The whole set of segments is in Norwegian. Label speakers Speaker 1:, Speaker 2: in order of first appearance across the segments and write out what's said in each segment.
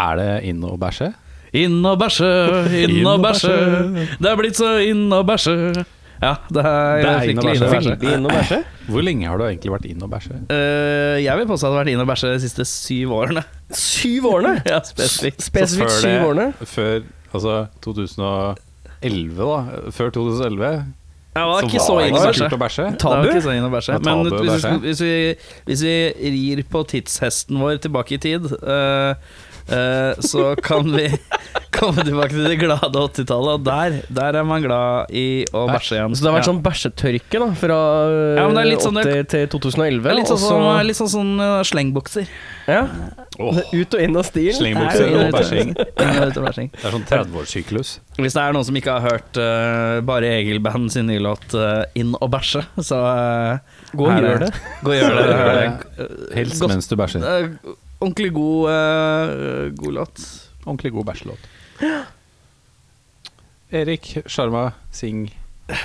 Speaker 1: Er det inn å bæsje?
Speaker 2: Inn og bæsje, inn og bæsje. Det er blitt så inn og bæsje. Ja, det er,
Speaker 1: Det er inn og
Speaker 2: Eh, fryktelig inn og bæsje.
Speaker 3: Veldig inne og bæsje.
Speaker 1: Hvor lenge har du egentlig vært inn å bæsje?
Speaker 2: Eh, jeg vil påstå at jeg har vært inn og bæsje de siste syv årene.
Speaker 3: Syv årene!
Speaker 2: Ja, spesifikt.
Speaker 3: Spesifikt
Speaker 1: Så før
Speaker 3: syv årene.
Speaker 1: det- Før altså 2011, da. Før 2011
Speaker 2: Jeg var ikke
Speaker 1: var
Speaker 2: så
Speaker 1: det
Speaker 2: inn og
Speaker 1: så
Speaker 2: bæsje.
Speaker 1: kult å bæsje.
Speaker 2: Det var
Speaker 3: Tabu?
Speaker 2: ikke så inn og bæsje.
Speaker 1: Ja,
Speaker 2: Men
Speaker 1: tabu å
Speaker 2: hvis vi,
Speaker 1: bæsje.
Speaker 2: hvis, vi, hvis vi rir på tidshesten vår tilbake i tid, eh, eh, så kan vi komme tilbake til det glade 80-tallet. Og der, der er man glad i å bæsje igjen.
Speaker 3: Så det har vært
Speaker 2: Ja.
Speaker 3: sånn bæsjetørke da fra
Speaker 2: Ja, men det er litt
Speaker 3: 80
Speaker 2: sånn-
Speaker 3: til 2011.
Speaker 2: Det er litt sånn,
Speaker 3: og
Speaker 2: som,
Speaker 3: så-
Speaker 2: litt sånn, sånn eh, slengbukser.
Speaker 3: ja.
Speaker 1: Åh.
Speaker 3: Det er Ut og inn av stil.
Speaker 1: Slengbukser
Speaker 2: Nei,
Speaker 1: og bæsjing.
Speaker 2: inn og ut og bæsjing.
Speaker 1: Det er sånn 30-årssyklus.
Speaker 2: Hvis det er noen som ikke har hørt eh, Bare Egil Band sin nye låt eh, 'Inn og bæsje', så eh,
Speaker 3: Gå og
Speaker 2: er
Speaker 3: gjør det.
Speaker 2: Gå og gjør det. Eh,
Speaker 1: Helst
Speaker 2: godt-
Speaker 1: mens du bæsjer.
Speaker 2: eh, Ordentlig god, eh, god låt.
Speaker 1: Ordentlig god bæsjelåt. Erik, Sjarma, Sing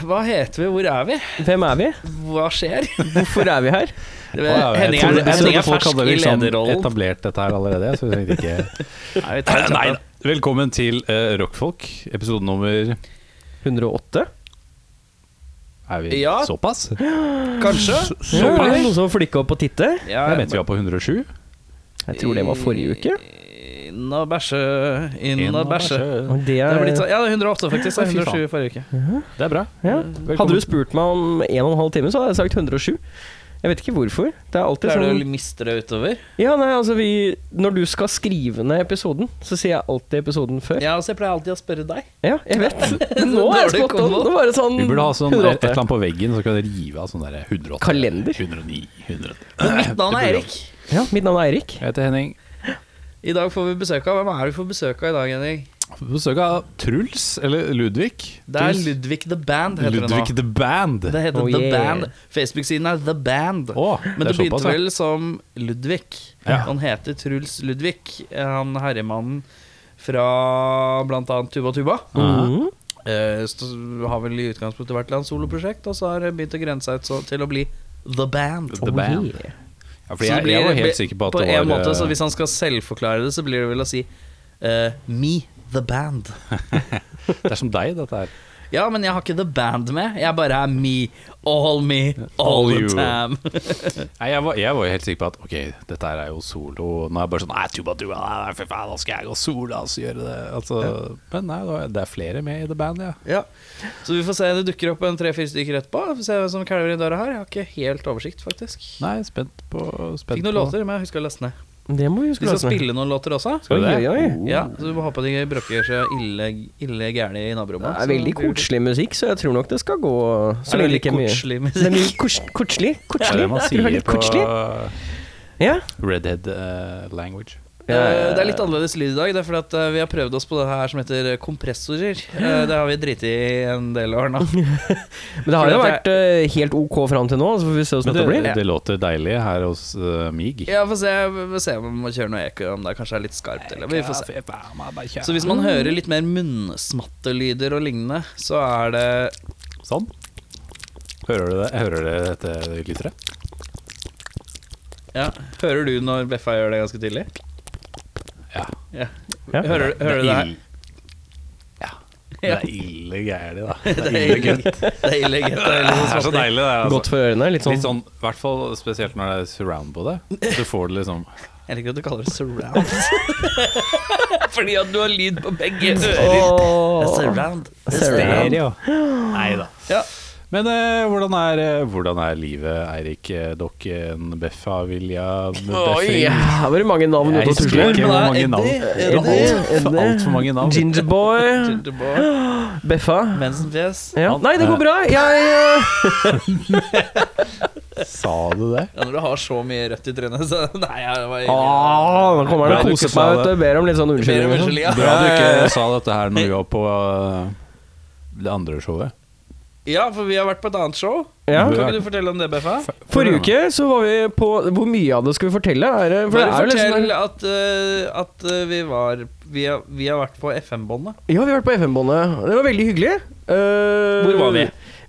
Speaker 2: Hva heter vi, hvor er vi,
Speaker 3: Hvem er vi?
Speaker 2: hva skjer?
Speaker 3: Hvorfor er vi her?
Speaker 2: Eh, Henning er, Henning er fersk i lederrollen.
Speaker 1: sånn etablert dette her allerede, så vi tenkte ikke
Speaker 2: Nei, vi tar en
Speaker 1: Nei,
Speaker 2: kjapp
Speaker 1: da. Velkommen til eh, Rockfolk, episode nummer
Speaker 3: 108?
Speaker 1: Er vi
Speaker 2: Ja.
Speaker 1: såpass?
Speaker 2: en. Kanskje?
Speaker 3: Ja, er det noen som flikka opp og titte?
Speaker 2: Ja,
Speaker 1: Jeg mente vi var på 107.
Speaker 3: Jeg tror det var forrige uke.
Speaker 2: Inn og bæsje, inn og bæsje.
Speaker 3: Og det
Speaker 2: Det
Speaker 3: er,
Speaker 2: er blitt sånn- ja, det er 108 faktisk. Det
Speaker 1: Fy
Speaker 2: er
Speaker 1: faen.
Speaker 2: 107 forrige uke.
Speaker 1: Det er bra.
Speaker 3: ja.
Speaker 1: Velkommen.
Speaker 3: Hadde du spurt meg om en og en halv time, så hadde jeg sagt 107. Jeg vet ikke hvorfor. Det er alltid
Speaker 2: Pleier du
Speaker 3: sånn
Speaker 2: å miste det utover?
Speaker 3: Ja, nei, altså vi Når du skal skrive ned episoden, så sier jeg alltid episoden før.
Speaker 2: Ja, så jeg pleier alltid å spørre deg.
Speaker 3: Ja, jeg vet. Nå er
Speaker 2: Dårlig
Speaker 3: jeg spot on.
Speaker 2: kombo.
Speaker 3: Nå var det sånn
Speaker 1: Vi burde ha sånn
Speaker 2: Mm.
Speaker 1: et, et
Speaker 3: 108.
Speaker 1: eller annet på veggen, så kan dere rive av sånn der 108.
Speaker 3: Kalender?
Speaker 1: 109, 110.
Speaker 2: Mitt navn er Erik.
Speaker 3: Ja, mitt navn er Eirik.
Speaker 1: Jeg heter Henning.
Speaker 2: I dag får vi besøk av Hvem er det vi får besøk av i dag, Henning?
Speaker 1: På besøk av Truls, eller Ludvig.
Speaker 2: Det er
Speaker 1: Truls.
Speaker 2: Ludvig The Band, heter
Speaker 1: Ludvig
Speaker 2: det nå.
Speaker 1: The Band.
Speaker 2: Det heter
Speaker 3: Oh,
Speaker 2: The
Speaker 3: yeah.
Speaker 2: Band. Facebook-siden er The Band.
Speaker 1: Å, det
Speaker 2: Men det,
Speaker 1: er
Speaker 2: begynte
Speaker 1: såpass, ja.
Speaker 2: vel som Ludvig.
Speaker 1: Ja.
Speaker 2: Han heter Truls Ludvig. Han herremannen fra bl.a. Tuba Tuba.
Speaker 3: Mhm.
Speaker 2: Eh, st- har vel i utgangspunktet vært et eller annet soloprosjekt, og så har det begynt å grense seg ut så- til å bli The Band.
Speaker 1: The Band.
Speaker 3: Yeah.
Speaker 1: Ja, fordi
Speaker 2: Så det
Speaker 1: jeg, jeg
Speaker 2: blir-
Speaker 1: var helt sikker på at
Speaker 2: på
Speaker 1: det var
Speaker 2: en måte,
Speaker 1: eh,
Speaker 2: så Hvis han skal selvforklare det, så blir det vel å si eh, Me, The Band.
Speaker 1: Det er som deg, dette her.
Speaker 2: Ja, men jeg har ikke The Band med. Jeg bare er me. All me, all,
Speaker 1: All
Speaker 2: the
Speaker 1: you.
Speaker 2: time.
Speaker 1: Nei, jeg, var, jeg var jo helt sikker på at ok, dette her er jo solo. Nå er jeg bare sånn Nei, tuba, tuba, nei, for faen, da skal jeg gå solo og så gjøre det. Altså, Men nei, da- det er flere med i The Band, ja.
Speaker 2: Ja. Så vi får se. Det dukker opp en tre-fire stykker etterpå. Vi får se hvem som kalver i døra her. Jeg har ikke helt oversikt, faktisk.
Speaker 1: Nei, spent på spent
Speaker 2: Fikk noen
Speaker 1: på.
Speaker 2: låter, men jeg husker å laste ned.
Speaker 3: Det må vi
Speaker 2: De
Speaker 3: huske
Speaker 2: skal
Speaker 3: å lese ned.
Speaker 2: spille noen låter også.
Speaker 1: Skal vi
Speaker 3: Oi,
Speaker 1: det?
Speaker 3: oi, oi.
Speaker 2: Ja, så vi må håpe de brokker seg ille, ille gærne i
Speaker 3: Det
Speaker 2: naborommet.
Speaker 3: er veldig koselig musikk, så jeg tror nok det skal gå så
Speaker 2: Så
Speaker 3: lenge det
Speaker 2: veldig
Speaker 3: ikke er mye
Speaker 2: koselig
Speaker 3: Det er
Speaker 2: musikk.
Speaker 3: mye kors,
Speaker 1: Det
Speaker 3: kortslig.
Speaker 1: er
Speaker 3: Kortslig.
Speaker 1: det man
Speaker 3: Det er
Speaker 1: sier
Speaker 3: veldig
Speaker 1: på
Speaker 3: kortslig. Ja.
Speaker 1: redhead eh, language.
Speaker 2: Eh, Det er litt annerledes lyd i dag. Det er fordi at eh, Vi har prøvd oss på det her som heter kompressorer. Eh, Det har vi driti i en del år nå.
Speaker 3: Men det har jo vært eh, helt ok fram til nå, så får vi se
Speaker 1: Men det,
Speaker 3: hvordan dette blir.
Speaker 1: det, låter deilig her hos eh, Mig.
Speaker 2: Ja, få se, vi får se om vi må kjøre noe eko, om det kanskje er litt skarpt. Eller. Vi får se. Så hvis man hører litt mer munnsmattelyder og lignende, så er det
Speaker 1: Sånn. Hører du det? Hører dere dette glitteret?
Speaker 2: ja. Hører du når Beffa gjør det ganske tidlig?
Speaker 1: Ja.
Speaker 2: ja.
Speaker 3: Ja.
Speaker 2: Hører, hører du det her?
Speaker 1: ill- Ja. Det
Speaker 2: Ja.
Speaker 1: er ille gærent, da.
Speaker 2: Det er ille gutt. Det er ille gutt.
Speaker 1: Det
Speaker 2: Det er sånn- ille
Speaker 1: er så
Speaker 2: smatting.
Speaker 1: deilig, det. Altså.
Speaker 3: Godt for ørene. Litt sånn,
Speaker 1: Litt sånn, I hvert fall spesielt når det er surround på det. Så får du liksom
Speaker 2: Jeg liker at du kaller det surround. Fordi at du har lyd på begge Det er
Speaker 3: Åh.
Speaker 2: Surround. Det er
Speaker 3: Surround.
Speaker 2: stereo.
Speaker 1: Nei da.
Speaker 2: Ja.
Speaker 1: Men eh, hvordan, er, eh, hvordan er livet, Eirik? Eh, Dokken, Beffa, Vilja, Beffing?
Speaker 3: Ja, var det mange navn ute
Speaker 1: Jeg
Speaker 3: og
Speaker 1: husker
Speaker 3: tusler?
Speaker 1: ikke hvor mange
Speaker 2: Eddie,
Speaker 1: navn.
Speaker 2: Eddie.
Speaker 1: Det var altfor mange navn.
Speaker 3: Gingerboy. Beffa.
Speaker 2: Mensenfjes.
Speaker 3: Ja. Nei, det går bra. Jeg eh,
Speaker 1: Sa du det?
Speaker 2: Ja, når du har så mye rødt i trynet, så Nei, jeg var
Speaker 3: ah, Nå kommer
Speaker 1: Bra
Speaker 3: han
Speaker 1: du
Speaker 3: og
Speaker 1: ikke
Speaker 3: koser
Speaker 1: sa
Speaker 3: meg, vet
Speaker 1: det.
Speaker 3: du. Ber om litt sånn
Speaker 2: Ber om
Speaker 3: unnskyldning. og sånn.
Speaker 2: unnskyldning, ja.
Speaker 1: Bra du ikke sa dette her når vi var på eh, det andre showet.
Speaker 2: Ja, for vi har vært på et annet show.
Speaker 3: Ja.
Speaker 2: Kan ikke du fortelle om det, Beffa?
Speaker 3: Forrige uke så var vi på Hvor mye av det skal vi fortelle? Er det, for det
Speaker 2: Bare
Speaker 3: er jo
Speaker 1: liksom
Speaker 3: litt
Speaker 2: fortell
Speaker 3: sånn
Speaker 2: at, eh, at eh, vi var vi har, vi har vært på FM-båndet.
Speaker 3: Ja, vi har vært på FM-båndet. Det var veldig hyggelig. Eh,
Speaker 2: Hvor var vi?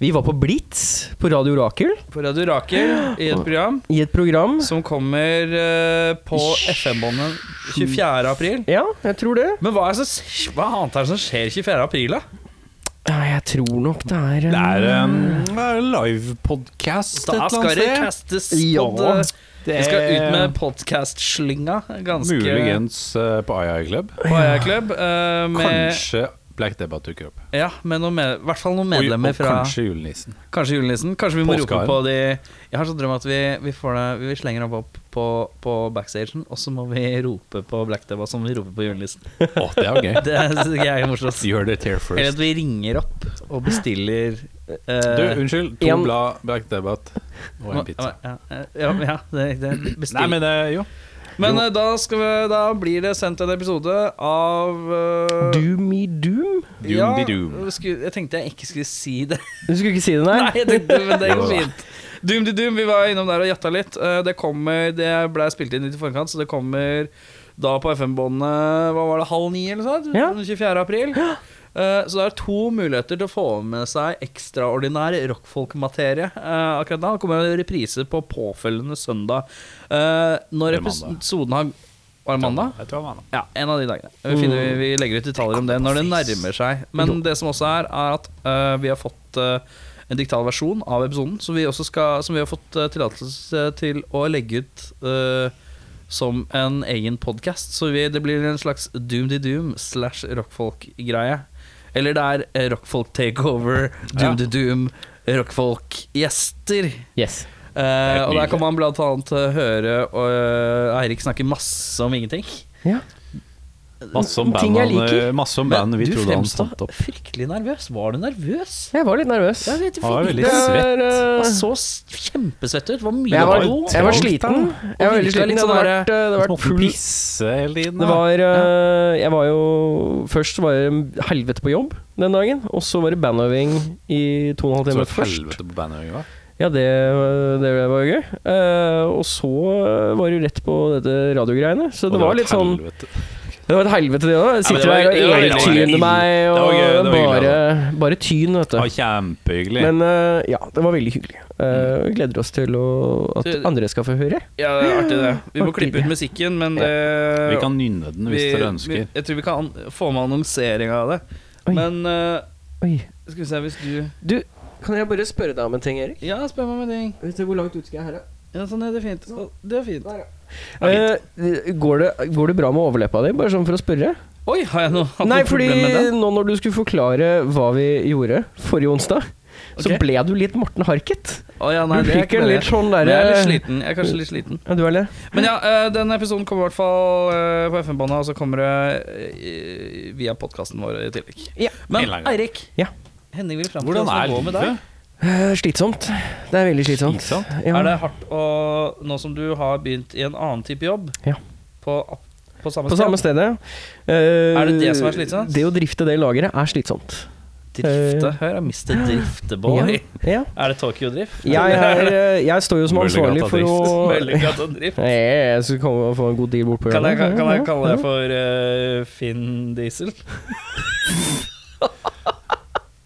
Speaker 3: Vi var på Blitz på Radio Orakel
Speaker 2: På Radio Rakel i et program
Speaker 3: i et program.
Speaker 2: som kommer eh, på FM-båndet 24. april.
Speaker 3: Ja, jeg tror det.
Speaker 2: Men hva, er det som- hva annet er det som skjer 24. april, da?
Speaker 3: Ja, jeg tror nok det er
Speaker 1: Det
Speaker 3: eh,
Speaker 1: er en livepodkast et
Speaker 2: Da
Speaker 1: eller annet
Speaker 2: skal det
Speaker 1: sted.
Speaker 2: kastes
Speaker 3: Ja,
Speaker 2: pod-
Speaker 1: det
Speaker 2: Vi skal ut
Speaker 1: er-
Speaker 2: med podcast-slynga ganske
Speaker 1: Muligens eh, på Aya Club.
Speaker 2: på Aja Club. eh, med,
Speaker 1: Kanskje Black Debba dukker opp.
Speaker 2: ja, med noen med, i hvert fall noen
Speaker 1: Og-
Speaker 2: medlemmer
Speaker 1: og
Speaker 2: fra
Speaker 1: kanskje julenissen.
Speaker 2: Kanskje julenissen. Kanskje vi må rope
Speaker 1: Påskeharen.
Speaker 2: på de Jeg har sånn drøm at vi, vi, får det, vi slenger dem opp på, på backstagen, og så må vi rope på Black Debba som vi roper på julenissen.
Speaker 1: Å, det er jo gøy.
Speaker 2: Det syns jeg er morsomt.
Speaker 1: Gjør det here
Speaker 2: Eller
Speaker 1: first.
Speaker 2: at vi ringer opp og bestiller
Speaker 1: Du,
Speaker 2: eh,
Speaker 1: unnskyld. To
Speaker 3: en-
Speaker 1: blad Black Debba og en pizza.
Speaker 2: Ja, ja, ja det, det bestill.
Speaker 1: Nei, men eh, jo.
Speaker 2: Men eh, da, skal vi, da blir det sendt en episode av eh,
Speaker 3: Doom i Doom?
Speaker 2: ja,
Speaker 1: Doom de doom.
Speaker 2: sku- Jeg tenkte jeg ikke skulle si det.
Speaker 3: Du skulle ikke si det, nei?
Speaker 2: Nei, jeg tenkte, men det går
Speaker 1: Jo da.
Speaker 2: fint. Doom de Doom, vi var innom der og jatta litt. Eh, Det kommer, det ble spilt inn litt i forkant, så det kommer da på FM-båndet Hva var det, halv ni eller sånt?
Speaker 3: Ja.
Speaker 2: 24. april. Eh, Så det er to muligheter til å få med seg ekstraordinær rockfolkmaterie eh, akkurat da. Det kommer en reprise på påfølgende søndag. Eh, Når
Speaker 1: Eller mandag.
Speaker 2: episoden har Var det mandag?
Speaker 1: Jeg tror det var mandag.
Speaker 2: Ja, en av de dagene. Vi, finner, vi legger ut detaljer om det når det nærmer seg. Men det som også er, er at øh, vi har fått øh, en diktal versjon av episoden, som vi, også skal, som vi har fått øh, tillatelse til å legge ut øh, som en egen podkast. Så vi, det blir en slags doom de doom slash rockfolk-greie. Eller det er eh, rockfolk takeover, doom de doom, rockfolk-gjester.
Speaker 3: Yes.
Speaker 2: Eh, og der
Speaker 1: nydelig.
Speaker 2: kan man blant annet eh, høre eh, Eirik snakke masse om ingenting.
Speaker 3: Ja.
Speaker 1: Masse om
Speaker 3: Ting
Speaker 1: band,
Speaker 3: jeg
Speaker 1: han,
Speaker 3: liker.
Speaker 1: eh, masse om band vi
Speaker 2: du
Speaker 1: trodde han
Speaker 2: fremstod
Speaker 1: fant opp.
Speaker 2: fryktelig nervøs. Var du nervøs?
Speaker 3: Jeg var litt nervøs.
Speaker 2: Jeg vet ikke.
Speaker 1: Han var veldig
Speaker 3: Det er,
Speaker 1: svett.
Speaker 2: Du
Speaker 3: eh,
Speaker 2: var så s- kjempesvett ut. Det var mye
Speaker 3: jeg, var,
Speaker 1: jo
Speaker 2: blod.
Speaker 3: jeg var
Speaker 1: trangt,
Speaker 3: sliten.
Speaker 1: da.
Speaker 3: Jeg var veldig
Speaker 2: virket litt
Speaker 3: sliten. Det
Speaker 2: sånn
Speaker 3: hadde
Speaker 2: der-
Speaker 3: vært, eh, det hadde vært
Speaker 1: Måtte
Speaker 3: full
Speaker 1: pisse hele tiden.
Speaker 3: Det
Speaker 1: da.
Speaker 3: var eh, Jeg var jo Først var jeg helvete på jobb den dagen, og så var det bandøving i to og en halv
Speaker 1: Så
Speaker 3: time
Speaker 1: et
Speaker 3: først.
Speaker 1: helvete på bandet var.
Speaker 3: Ja, det, det var jo gøy. Eh, og så var det jo rett på dette radiogreiene, så
Speaker 1: Og
Speaker 3: det, var, litt sånn
Speaker 1: helvete.
Speaker 3: Det var et helvete, det òg. Sitter
Speaker 2: var-
Speaker 3: her og
Speaker 2: det var-
Speaker 1: det
Speaker 3: eltyner
Speaker 1: var-
Speaker 3: meg,
Speaker 1: det var
Speaker 3: og
Speaker 1: gøy, det var hyggelig,
Speaker 3: bare, bare tyn, vet
Speaker 1: Det
Speaker 3: du.
Speaker 1: var kjempehyggelig.
Speaker 3: Men eh, ja, det var veldig hyggelig.
Speaker 1: Mm.
Speaker 3: Eh, vi gleder oss til å, at
Speaker 2: Så-
Speaker 3: andre skal få høre.
Speaker 2: Ja, det er artig, det. Vi må
Speaker 3: Artig,
Speaker 2: klippe ut
Speaker 3: det.
Speaker 2: musikken, men
Speaker 3: Ja.
Speaker 2: det-
Speaker 1: vi kan nynne den hvis
Speaker 2: eh, vi-
Speaker 1: dere ønsker.
Speaker 2: Vi, jeg tror vi kan an- få med annonsering av det.
Speaker 3: Oi.
Speaker 2: Men eh,
Speaker 3: Oi.
Speaker 2: skal vi se hvis du
Speaker 3: Du, kan jeg bare spørre deg om en ting, Erik?
Speaker 2: Ja, spør meg om en ting.
Speaker 3: Vet du hvor langt ut skal jeg her, da?
Speaker 2: Ja, sånn er det fint. Så, det er fint.
Speaker 3: Eh, går, det, går det bra med overleppa di, bare sånn for å spørre?
Speaker 2: Oi, har jeg noe hatt noe
Speaker 3: Nei, fordi
Speaker 2: problem med den?
Speaker 3: nå når du skulle forklare hva vi gjorde forrige onsdag,
Speaker 2: Ok.
Speaker 3: så ble du litt Morten Harket.
Speaker 2: Å, ja, nei,
Speaker 3: du
Speaker 2: det er
Speaker 3: fikk
Speaker 2: ikke
Speaker 3: en
Speaker 2: det.
Speaker 3: litt sånn
Speaker 2: Men
Speaker 3: derre
Speaker 2: Jeg er litt sliten. Jeg er kanskje litt sliten.
Speaker 3: Ja, du er det?
Speaker 2: Men ja, eh, den episoden kommer i hvert fall eh, på FM-båndet, og så kommer det eh, via podkasten vår i tillegg.
Speaker 3: Ja.
Speaker 1: En
Speaker 2: Men
Speaker 1: eller annen gang.
Speaker 2: Eirik,
Speaker 3: Ja.
Speaker 2: Henning vil fram til
Speaker 1: Hvordan
Speaker 2: hvordan
Speaker 1: er
Speaker 2: det går med deg.
Speaker 1: livet?
Speaker 3: Eh, slitsomt. Det er veldig slitsomt.
Speaker 1: Slitsomt?
Speaker 3: Ja.
Speaker 2: Er det hardt å Nå som du har begynt i en annen type jobb
Speaker 3: Ja.
Speaker 2: på, på samme
Speaker 3: På samme stedet. Eh,
Speaker 2: Er det det som er slitsomt?
Speaker 3: Det å drifte det lageret er slitsomt.
Speaker 2: Drifte. Hør, jeg mister drifteboy.
Speaker 3: Ja.
Speaker 2: Er det Tokyo-drift?
Speaker 3: Jeg, er, eh, jeg står jo som
Speaker 1: Veldig
Speaker 3: ansvarlig
Speaker 1: godt at
Speaker 3: for
Speaker 1: det
Speaker 3: å
Speaker 2: Veldig godt å drift.
Speaker 3: Nei, Jeg skulle komme og få en god deal bort på
Speaker 2: Kan jeg,
Speaker 3: hjørnet.
Speaker 2: kan jeg kalle deg for eh, Finn Diesel?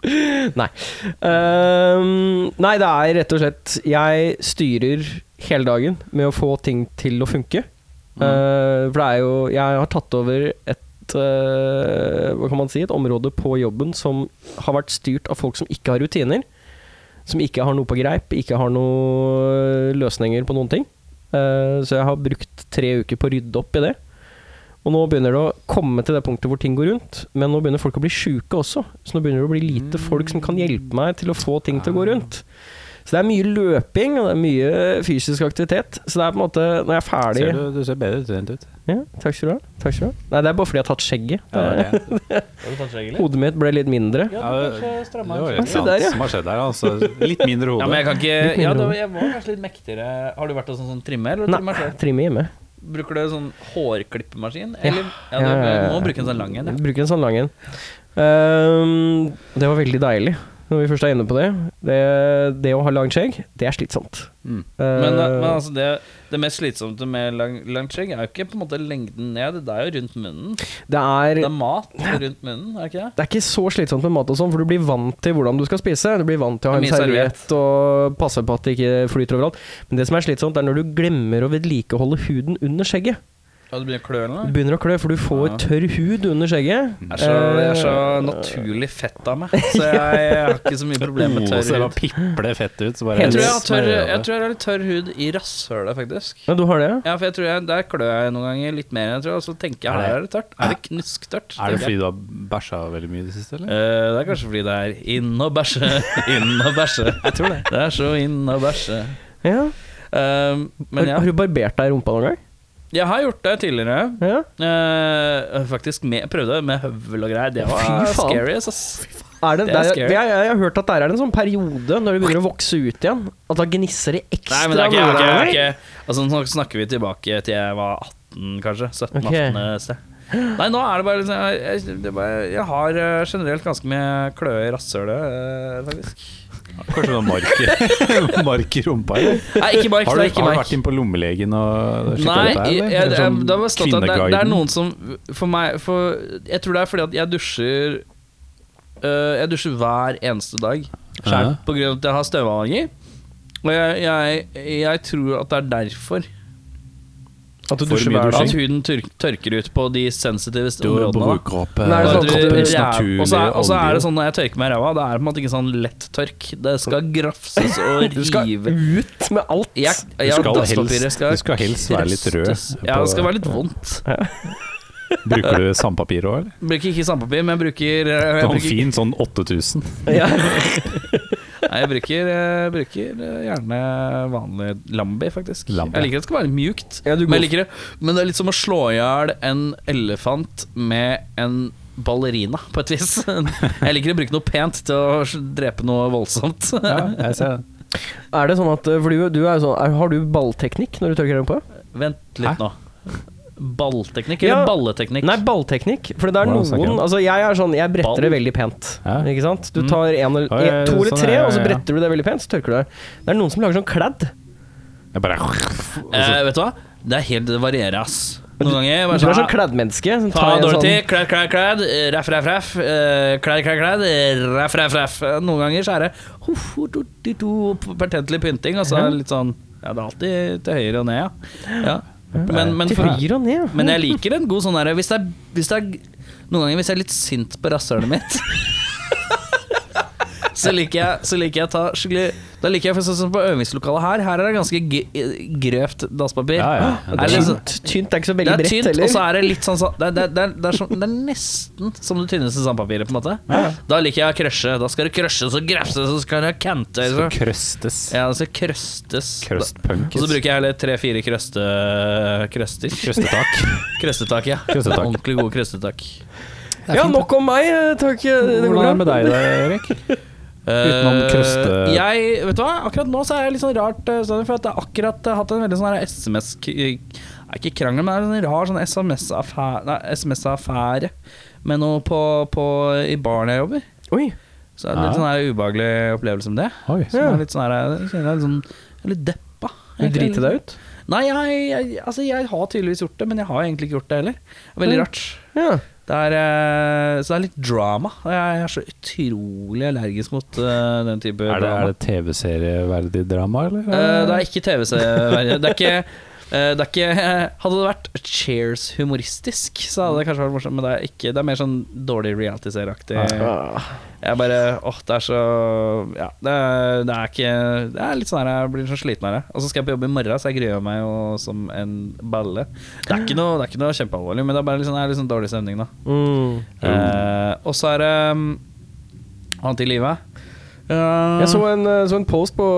Speaker 3: Ehm, nei, det er rett og slett Jeg styrer hele dagen med å få ting til å funke.
Speaker 1: Mm.
Speaker 3: Eh, for det er jo Jeg har tatt over et eh, Hva kan man si Et område på jobben som har vært styrt av folk som ikke har rutiner. Som ikke har noe på greip, ikke har noen løsninger på noen ting. Eh, så jeg har brukt tre uker på å rydde opp i det. Og nå begynner det å komme til det punktet hvor ting går rundt. Men nå begynner folk å bli sjuke også. Så nå begynner det å bli
Speaker 1: Mm.
Speaker 3: lite folk som kan hjelpe meg til å få ting til å gå rundt. Så det er mye løping, og det er mye fysisk aktivitet. Så det er på en måte Når jeg er ferdig
Speaker 1: Ser du, du ser bedre trent ut.
Speaker 3: ja, Takk skal du ha. Takk skal du ha. Nei, det er bare fordi jeg har tatt skjegget.
Speaker 1: Ja, det er det.
Speaker 2: Har du tatt skjegg, eller?
Speaker 3: Hodet mitt ble litt mindre.
Speaker 2: Ja,
Speaker 1: Ja,
Speaker 2: du
Speaker 1: det-
Speaker 2: kanskje stramma
Speaker 1: Det var
Speaker 2: en
Speaker 1: et
Speaker 3: Se
Speaker 1: eller
Speaker 3: der, ja.
Speaker 1: annet som har skjedd der. Altså. Litt mindre
Speaker 2: Ja, men
Speaker 1: hode.
Speaker 2: jeg kan ikke
Speaker 3: Litt mindre
Speaker 2: ja, da,
Speaker 3: hår.
Speaker 2: Jeg var kanskje litt mektigere Har du vært hos en sånn trimmer? Eller
Speaker 3: Nei,
Speaker 2: trimmer selv?
Speaker 3: trimme hjemme.
Speaker 2: Bruker du sånn hårklippemaskin?
Speaker 3: Ja.
Speaker 2: Eller ja, du,
Speaker 3: Ja, ja, ja.
Speaker 2: sånn du må bruke en sånn lang en. Ja.
Speaker 3: Bruke en sånn lang en. Ehm, det var veldig deilig. når vi først er inne på det. Det, det å ha langt skjegg, det er slitsomt.
Speaker 1: Mm.
Speaker 2: Men,
Speaker 3: Eh,
Speaker 2: men altså det, det mest slitsomme med lang, langt skjegg er jo ikke på en måte lengden ned, det er jo rundt munnen.
Speaker 3: det
Speaker 2: Det
Speaker 3: er
Speaker 2: er mat rundt munnen, er det ikke det?
Speaker 3: det er ikke så slitsomt med mat og sånn, for du blir vant til hvordan du skal spise. Du blir vant til å ha en
Speaker 2: Mye serviett.
Speaker 3: serviett og passe på at det ikke flyter overalt. Men det som er slitsomt, er når du glemmer å vedlikeholde huden under skjegget.
Speaker 2: Ja, det begynner å klø eller
Speaker 3: Du
Speaker 2: noe?
Speaker 3: begynner å klø, for du får
Speaker 2: Ja.
Speaker 3: tørr hud under skjegget.
Speaker 2: Jeg
Speaker 3: Eh,
Speaker 2: er, så, jeg er så naturlig fett av meg, så jeg, jeg har ikke så mye problemer med
Speaker 1: Oh, så
Speaker 2: tørr
Speaker 1: det bare
Speaker 2: hud.
Speaker 1: pipler fett ut. Så bare
Speaker 2: Jeg tror jeg,
Speaker 3: Hennes
Speaker 2: har tørr,
Speaker 1: Smører
Speaker 2: jeg tror jeg har litt tørr hud i rasshølet, faktisk.
Speaker 3: Ja, du har det?
Speaker 2: Ja, for jeg tror jeg, Der klør jeg noen ganger litt mer enn jeg tror, og så tenker jeg
Speaker 1: Er det-
Speaker 2: her er det tørt. Er det knusktørt?
Speaker 1: Er det
Speaker 2: tenker jeg.
Speaker 1: fordi du har bæsja veldig mye i det siste, eller?
Speaker 2: Eh, det er kanskje fordi det er inn og bæsje, inn og bæsje. Jeg tror Det Det er så inn og bæsje.
Speaker 3: Ja.
Speaker 2: Um, men
Speaker 3: har, har
Speaker 2: ja,
Speaker 3: du barbert deg i rumpa noen gang?
Speaker 2: jeg har gjort det tidligere.
Speaker 3: Ja.
Speaker 2: Eh, faktisk med, prøvde det med høvel og greier. Det var
Speaker 3: Fy faen.
Speaker 2: scary. ass.
Speaker 3: Er det,
Speaker 2: Det er
Speaker 3: det er-
Speaker 2: scary.
Speaker 3: det er- jeg, jeg har hørt at der er det en sånn periode når det begynner å vokse ut igjen, at da gnisser det ekstra.
Speaker 2: Nei, men det er ikke, det er ikke,
Speaker 3: mellom
Speaker 2: det er
Speaker 3: deg.
Speaker 2: ikke. Altså, Nå snakker vi tilbake til jeg var 18, kanskje. 17-18
Speaker 3: Ok.
Speaker 2: sted. Nei, nå er det bare liksom jeg, jeg, det er bare, jeg har eh, generelt ganske mye kløe i rasshølet, eh, faktisk.
Speaker 1: Kanskje du har mark- mark i rumpa? Eller?
Speaker 2: Nei, ikke mark.
Speaker 1: Har du,
Speaker 2: det er ikke
Speaker 1: har du
Speaker 2: mark.
Speaker 1: vært inn på lommelegen og sjekket
Speaker 2: Nei,
Speaker 1: dette her,
Speaker 2: jeg,
Speaker 1: eller?
Speaker 2: jeg,
Speaker 1: Eller
Speaker 2: jeg,
Speaker 1: sånn
Speaker 2: det, var stått at det, er- det er
Speaker 1: kvinneguiden?
Speaker 2: noen som For meg for, Jeg tror det er fordi at jeg dusjer øh, Jeg dusjer hver eneste dag Selv
Speaker 1: Ja.
Speaker 2: på grunn av at jeg har støvallergi Og jeg, jeg, jeg tror at det er derfor
Speaker 3: At du
Speaker 1: For
Speaker 3: dusjer
Speaker 1: mye
Speaker 3: hver
Speaker 2: At
Speaker 3: dag.
Speaker 1: dusjing.
Speaker 2: huden tør, tørker ut på de sensitive st-
Speaker 1: Du har
Speaker 2: områdene da.
Speaker 1: brukerhoppe,
Speaker 3: Nei, det er
Speaker 2: Og
Speaker 3: sånn
Speaker 1: kroppens
Speaker 2: jeg tror
Speaker 3: kroppens
Speaker 2: ræv-
Speaker 1: naturlige
Speaker 2: og så er- og så er det
Speaker 1: olje.
Speaker 2: sånn når jeg tørker meg i ræva Det er på en måte ikke sånn lett tørk Det skal grafses og
Speaker 3: Du skal
Speaker 2: rive
Speaker 3: ut med alt.
Speaker 2: jeg,
Speaker 1: Du
Speaker 2: jeg,
Speaker 1: skal
Speaker 2: dasspapiret
Speaker 1: helst- du skal helst være litt rød
Speaker 2: krøstes. Ja, det
Speaker 1: på-
Speaker 2: skal være litt vondt sånn-
Speaker 1: Bruker du sandpapir òg, eller?
Speaker 2: Bruker ikke sandpapir, men jeg bruker eh, jeg
Speaker 1: Sånn
Speaker 2: bruker,
Speaker 1: fin sånn 8000.
Speaker 3: Ja.
Speaker 2: nei, jeg bruker, eh, bruker eh, gjerne vanlig Lambi, faktisk.
Speaker 1: Lambi.
Speaker 2: Jeg liker at det skal være mjukt,
Speaker 3: Ja, du
Speaker 2: men, jeg
Speaker 3: går-
Speaker 2: liker det. men det er litt som å slå i hjel en elefant med en ballerina, på et vis. Jeg liker å bruke noe pent til å drepe noe voldsomt.
Speaker 1: jeg ser det.
Speaker 3: Er det sånn at eh, For du, du er jo sånn er, Har du ballteknikk når du tørker rumpa?
Speaker 2: Vent
Speaker 1: Hæ?
Speaker 2: litt nå. Ballteknikk
Speaker 3: Ja.
Speaker 2: eller balleteknikk?
Speaker 3: Nei, ballteknikk. For det er
Speaker 1: Hvordan snakker
Speaker 3: noen
Speaker 1: du?
Speaker 3: Altså, jeg er sånn Jeg bretter det
Speaker 2: Ball?
Speaker 3: veldig pent.
Speaker 1: Ja.
Speaker 3: Ikke sant? Du
Speaker 2: Mm.
Speaker 3: tar en, eller-
Speaker 1: Ja, ja, ja,
Speaker 3: en, to eller
Speaker 1: sånn,
Speaker 3: tre,
Speaker 1: ja, ja,
Speaker 3: og så
Speaker 1: ja.
Speaker 3: bretter du det veldig pent, så tørker du det. Det er noen som lager sånn kladd.
Speaker 1: Jeg bare og
Speaker 2: eh,
Speaker 1: så-
Speaker 2: vet du hva? Det er helt, det varierer, ass. Noen ganger
Speaker 3: altså- Du
Speaker 2: bare
Speaker 3: er
Speaker 2: sånn,
Speaker 3: sånn kladdmenneske. Som
Speaker 2: Ta
Speaker 3: tar en
Speaker 2: Dorothy,
Speaker 3: sånn,
Speaker 2: klær, klær, klær, raff, raff, raff, eh, klær, klær, klær, raff, raff, raff. Noen ganger så er det ho, ho, do, di, do, pertentlig pynting, og så er det litt sånn Ja, det er alltid til høyre og ned, ja. ja. Men, men,
Speaker 3: til
Speaker 2: for,
Speaker 3: høyre og ned.
Speaker 2: men jeg liker en god sånn derre hvis, det er- hvis det er Noen ganger hvis jeg er litt sint på rasshølet mitt så liker, jeg, så liker jeg å ta skikkelig Da liker jeg for sånn som på øvingslokalet her. Her er det ganske g- eh, grøvt dasspapir.
Speaker 1: Ja, ja. Det er
Speaker 2: Er litt
Speaker 1: sånn-
Speaker 2: sånn-
Speaker 3: Tynt, tynt er ikke så veldig
Speaker 2: det er
Speaker 3: bredt
Speaker 2: tynt,
Speaker 3: heller.
Speaker 2: og så er det litt sånn sånn- Det, det, det, det, er, sånn, det er nesten som det tynneste sandpapiret, på en måte. Da liker jeg å krøsje. Da skal det krøsjes og grafses, og så skal det kante.
Speaker 1: så krøstes.
Speaker 2: Ja, det skal krøstes.
Speaker 1: Krøstpunkes.
Speaker 2: Og så bruker jeg heller tre-fire krøste, krøster.
Speaker 1: Krøstetak.
Speaker 2: Krøstetak, ja.
Speaker 1: Krøstetak.
Speaker 2: Ordentlig gode krøstetak.
Speaker 3: ja, nok om meg. eh, Takk. eh,
Speaker 1: Hvordan er
Speaker 3: Det går bra.
Speaker 1: det med deg da, Erik? Utenom
Speaker 2: Eh,
Speaker 1: krøste-
Speaker 2: Jeg, vet du hva, akkurat nå så er jeg litt sånn rart eh, sånn, For at jeg har akkurat eh, hatt en veldig sånn her SMS k- Nei, ikke krangel, men det er en rar sånn SMS-affære Nei, SMS-affære Med noe på, på, i baren jeg jobber
Speaker 3: Oi.
Speaker 2: Så det er en litt
Speaker 1: Ja.
Speaker 2: sånn her ubehagelig opplevelse med det
Speaker 1: Oi,
Speaker 2: Så
Speaker 3: Ja.
Speaker 2: jeg er litt sånn her Jeg kjenner jeg er litt sånn jeg er Litt deppa
Speaker 3: Du driter deg ut?
Speaker 2: Nei, jeg, jeg, altså, jeg har tydeligvis gjort det Men jeg har egentlig ikke gjort det heller Det er Veldig
Speaker 3: Mm.
Speaker 2: rart
Speaker 3: Ja.
Speaker 2: det er, eh, så det er litt drama. Jeg er så utrolig allergisk mot eh, den type
Speaker 1: Er det,
Speaker 2: drama.
Speaker 1: er det TV-serieverdig drama, eller?
Speaker 2: Eh, det er ikke TV-serie. Det er ikke, eh, det er ikke Hadde det vært Cheers humoristisk, så hadde det kanskje vært morsomt, men det er ikke Det er mer sånn dårlig realityserieaktig. Jeg bare Åh, det er så Ja, det er, det er ikke Det er litt sånn her jeg blir så sliten av det. Og så skal jeg på jobb i morgen, så jeg gruer meg jo som en balle. Det er ikke noe, det er ikke noe kjempealvorlig, men det er bare litt sånn, det er litt sånn dårlig stemning, da.
Speaker 3: Mm.
Speaker 2: Eh, og så er det um, annet i livet. Eh,
Speaker 3: Jeg så en, eh, så en post på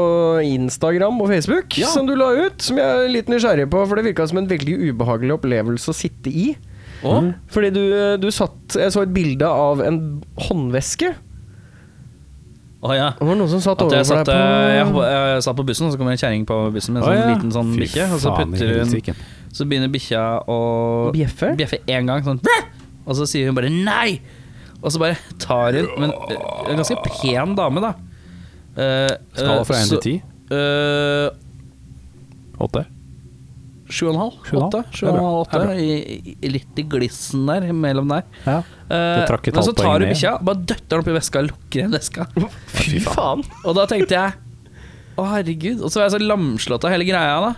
Speaker 3: Instagram og Facebook
Speaker 2: Ja.
Speaker 3: som du la ut, som jeg er litt nysgjerrig på, for det virka som en veldig ubehagelig opplevelse å sitte i.
Speaker 2: Å?
Speaker 3: Fordi du, eh, du satt Jeg så et bilde av en håndveske.
Speaker 2: Eh, Å, ja.
Speaker 3: Det var noen som satt
Speaker 2: At jeg
Speaker 3: overfor
Speaker 2: satt,
Speaker 3: deg
Speaker 2: eh, jeg,
Speaker 3: på
Speaker 2: hoppa- jeg satt på bussen, og så kom en kjerring på bussen med en
Speaker 1: Å,
Speaker 2: sånn
Speaker 1: ja.
Speaker 2: liten sånn
Speaker 1: Fy
Speaker 2: bikkje. Og så
Speaker 1: faen i
Speaker 2: putter hun
Speaker 1: helsike.
Speaker 2: Så begynner bikkja å
Speaker 3: Bjeffe?
Speaker 2: bjeffe én gang, sånn «Bæ!» Og så sier hun bare 'nei'! Og så bare tar hun Men eh, en ganske pen dame, da. Eh, eh,
Speaker 1: Skala fra 1
Speaker 2: så-
Speaker 1: til 10?
Speaker 2: eh,
Speaker 1: 8?
Speaker 2: Sju og en halv?
Speaker 1: Sju og en halv.
Speaker 2: Åtte? Sju
Speaker 1: Det er
Speaker 2: og en
Speaker 1: bra.
Speaker 2: halv,
Speaker 1: Det er
Speaker 2: åtte. I, i, litt i glissen der, imellom der.
Speaker 1: Ja.
Speaker 2: Eh,
Speaker 1: Det trakk et
Speaker 2: men så
Speaker 1: halvt poeng
Speaker 2: tar du
Speaker 1: ned.
Speaker 2: bikkja, bare døtter den oppi veska, lukker igjen veska.
Speaker 3: Fy faen.
Speaker 2: Og da tenkte jeg Å, herregud. Og så var jeg så lamslått av hele greia, da.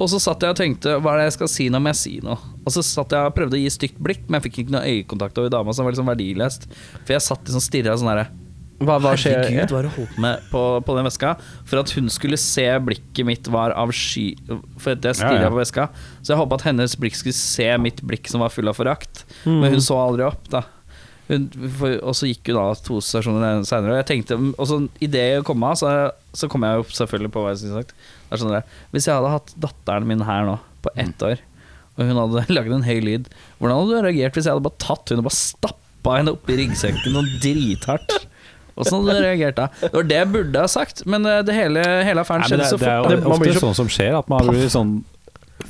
Speaker 2: Og så satt jeg og tenkte hva er det jeg skal si nå, må jeg si noe? Og så satt jeg og prøvde å gi stygt blikk, men jeg fikk ikke noe øyekontakt over dama, som var liksom verdiløst. For jeg satt liksom stirra sånn herre
Speaker 3: Hva, hva skjer?
Speaker 2: Herregud, hva har du holdt med på, på den veska? For at hun skulle se blikket mitt var av sky For at jeg stirra
Speaker 1: Ja, ja.
Speaker 2: på veska. Så jeg håpa at hennes blikk skulle se mitt blikk som var full av forakt.
Speaker 1: Mm.
Speaker 2: Men hun så aldri opp, da. Hun, for, og så gikk hun av to stasjoner seinere. Og jeg tenkte Og så idet jeg kom av, så, så kom jeg jo selvfølgelig på hva jeg skulle sagt. Det er sånn der, Hvis jeg hadde hatt datteren min her nå, på ett
Speaker 1: Mm.
Speaker 2: år, og hun hadde lagd en høy lyd, hvordan hadde du reagert hvis jeg hadde bare tatt hun og bare stappa henne oppi ryggsekken sånn drithardt? Åssen hadde du reagert da? Det var det jeg burde ha sagt, men eh, det hele, hele affæren
Speaker 1: Nei, men det,
Speaker 2: skjedde så
Speaker 1: det er jo
Speaker 2: fort.
Speaker 3: Det- man
Speaker 1: ofte
Speaker 3: blir så
Speaker 1: sånn som skjer, at man blir sånn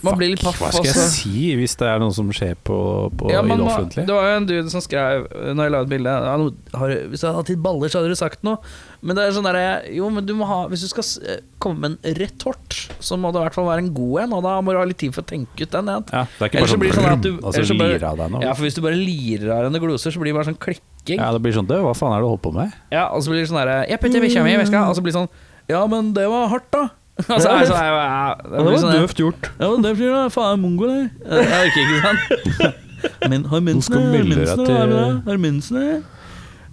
Speaker 2: Man blir litt
Speaker 1: Fuck,
Speaker 2: paff,
Speaker 1: Hva skal jeg
Speaker 2: altså.
Speaker 1: si hvis det er noe som skjer på, på,
Speaker 2: Ja, men
Speaker 1: i det
Speaker 2: nå-
Speaker 1: offentlige?
Speaker 2: det var jo en dude som skrev eh, Når jeg la ut bilde ja, nå har du- Hvis jeg hadde hatt litt baller, så hadde du sagt noe. Men det er sånn der, Jo, men du må ha Hvis du skal s- eh, komme med en retort, så må det i hvert fall være en god en, og da må du ha litt tid for å tenke ut den. Ja.
Speaker 1: Ja, det er ikke
Speaker 2: Ellers
Speaker 1: bare
Speaker 2: så
Speaker 1: sånn,
Speaker 2: blir det sånn at du
Speaker 1: og så
Speaker 2: ellers så bare-
Speaker 1: lirer av deg noe.
Speaker 2: Ja, for hvis du bare lirer av henne gloser, så blir det bare sånn klikking.
Speaker 1: Ja, det blir sånn Du, hva faen er det du holder på med?
Speaker 2: Ja, og så blir det sånn derre Jeg putter bikkja mi i veska, og så blir det sånn Ja, men det var hardt, da. Og så er det sånn ja, ja, det
Speaker 3: Det
Speaker 2: blir
Speaker 3: var
Speaker 2: sånn,
Speaker 3: døvt gjort.
Speaker 2: Ja, men det blir da faen mongo, det. Det orker ikke, sant? Men har mensen,
Speaker 1: skal
Speaker 2: jeg? har
Speaker 1: melde deg
Speaker 2: mensen, jeg?
Speaker 1: til-
Speaker 2: har jeg? har mensen, jeg?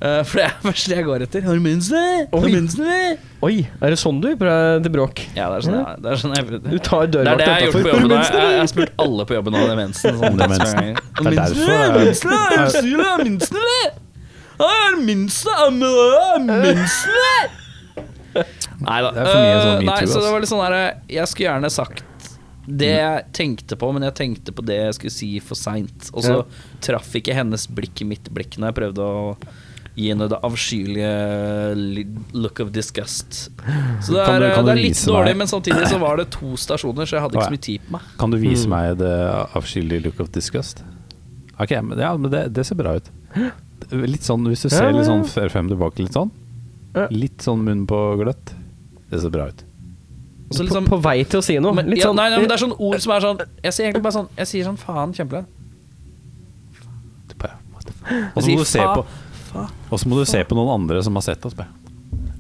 Speaker 2: Eh, For det er det første jeg går etter. Har mensen, jeg? har
Speaker 3: Oi.
Speaker 2: mensen, jeg?
Speaker 3: Oi, er det sånn du ypper deg til bråk?
Speaker 2: Ja, det er sånn, ja. det er sånn jeg
Speaker 3: Du tar
Speaker 2: det er det
Speaker 3: dørvakta
Speaker 2: jeg har gjort
Speaker 3: utenfor.
Speaker 2: på jobben. da. Jeg, jeg har spurt alle på jobben om det er mensen. Sånn,
Speaker 1: Om det er mensen.
Speaker 2: Mensen,
Speaker 1: Det er
Speaker 2: mensen,
Speaker 1: derfor jeg-
Speaker 2: mensen, er det syv, er det mensen, eller? Er det mensen, er det- er det mensen, eller? Nei da.
Speaker 1: Det er for mye sånn
Speaker 2: nei,
Speaker 1: metoo, Mm.
Speaker 2: så det
Speaker 1: altså.
Speaker 2: var litt sånn der, Jeg skulle gjerne sagt det jeg tenkte på, men jeg tenkte på det jeg skulle si for seint. Og så
Speaker 3: Ja.
Speaker 2: traff ikke hennes blikk mitt blikk når jeg prøvde å gi henne det avskyelige li- look of disgust. Så det er,
Speaker 1: Kan du- kan
Speaker 2: det
Speaker 1: du
Speaker 2: er litt
Speaker 1: vise
Speaker 2: dårlig,
Speaker 1: meg-
Speaker 2: men samtidig så var det to stasjoner, så jeg hadde
Speaker 1: Å,
Speaker 2: ikke
Speaker 1: ja.
Speaker 2: så mye tid på meg.
Speaker 1: Kan du
Speaker 2: Mm.
Speaker 1: vise meg det avskyelige look of disgust? Ok, men, ja, men det, det ser bra ut. Litt sånn, Hvis du ser
Speaker 3: ja,
Speaker 1: litt sånn
Speaker 3: ja.
Speaker 1: fem tilbake, litt sånn.
Speaker 3: Ja.
Speaker 1: Litt sånn munn på gløtt. Det ser bra ut.
Speaker 2: Og så liksom,
Speaker 3: på, på vei til å si noe.
Speaker 2: men,
Speaker 3: Litt
Speaker 2: ja,
Speaker 3: sånn
Speaker 2: nei, nei, men det er sånn ord som er sånn Jeg sier egentlig bare sånn Jeg sier sånn faen kjempelett.
Speaker 1: Du bare, what the fuck? Og så må du se på Og så må du se på noen andre som har sett oss. bare.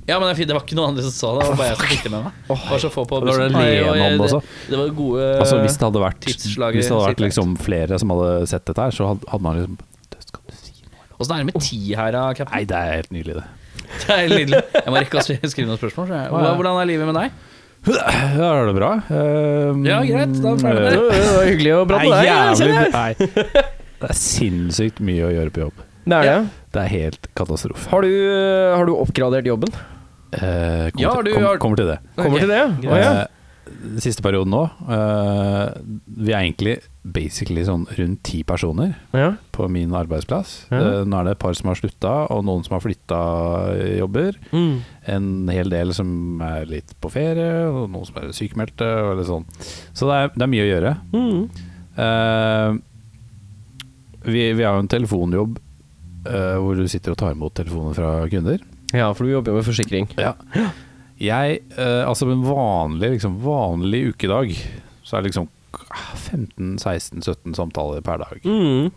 Speaker 2: Ja, men det er fint, det var ikke noen andre som sa det. Det var bare jeg som fikk det med meg. Det var så få på
Speaker 1: Og da var det
Speaker 2: bussen. Nei, og
Speaker 1: Lene om
Speaker 2: jeg-
Speaker 1: det også.
Speaker 2: det- Det var gode
Speaker 1: Altså Hvis det hadde vært, hvis
Speaker 2: Tidsslager
Speaker 1: det hadde vært
Speaker 2: sikkert.
Speaker 1: liksom flere som hadde sett dette her, så hadde, hadde man liksom «Det skal du si nå?»
Speaker 2: Åssen er det med ti her, da,
Speaker 1: Nei,
Speaker 2: cap'n?
Speaker 1: det er helt nydelig, det.
Speaker 2: Det er lidelig. Jeg må rekke å sp- skrive noen spørsmål. Så jeg. Hva- Hvordan er livet med deg?
Speaker 1: Ja, er det bra? Ehm,
Speaker 2: Ja, greit, da er vi ferdig med
Speaker 3: det var hyggelig å prate
Speaker 1: Nei,
Speaker 3: med deg. jeg
Speaker 1: jævlig
Speaker 3: ser det.
Speaker 1: Nei. Det er sinnssykt mye å gjøre på jobb.
Speaker 3: Det er det.
Speaker 1: Det er helt katastrofe.
Speaker 3: Har du, har du oppgradert jobben?
Speaker 1: Eh, kommer,
Speaker 2: Ja,
Speaker 1: til,
Speaker 2: du
Speaker 1: kom,
Speaker 2: har-
Speaker 1: kommer til det.
Speaker 3: Kommer til det? Å, ja.
Speaker 1: Eh, siste perioden nå eh, Vi er egentlig basically sånn rundt ti personer
Speaker 3: Ja.
Speaker 1: på min arbeidsplass.
Speaker 3: Ja.
Speaker 1: Eh, nå er det et par som har slutta, og noen som har flytta jobber.
Speaker 3: Mm.
Speaker 1: En hel del som er litt på ferie, og noen som er sykemeldte. Og litt sånn. Så det er, det er mye å gjøre.
Speaker 3: Mm.
Speaker 1: Eh, vi, vi har jo en telefonjobb eh, hvor du sitter og tar imot telefoner fra kunder.
Speaker 3: Ja, for du jobber jo med forsikring.
Speaker 1: Jeg, eh, altså på en vanlig, liksom, vanlig ukedag, så er det liksom 15-16-17 samtaler per dag.
Speaker 2: Mm.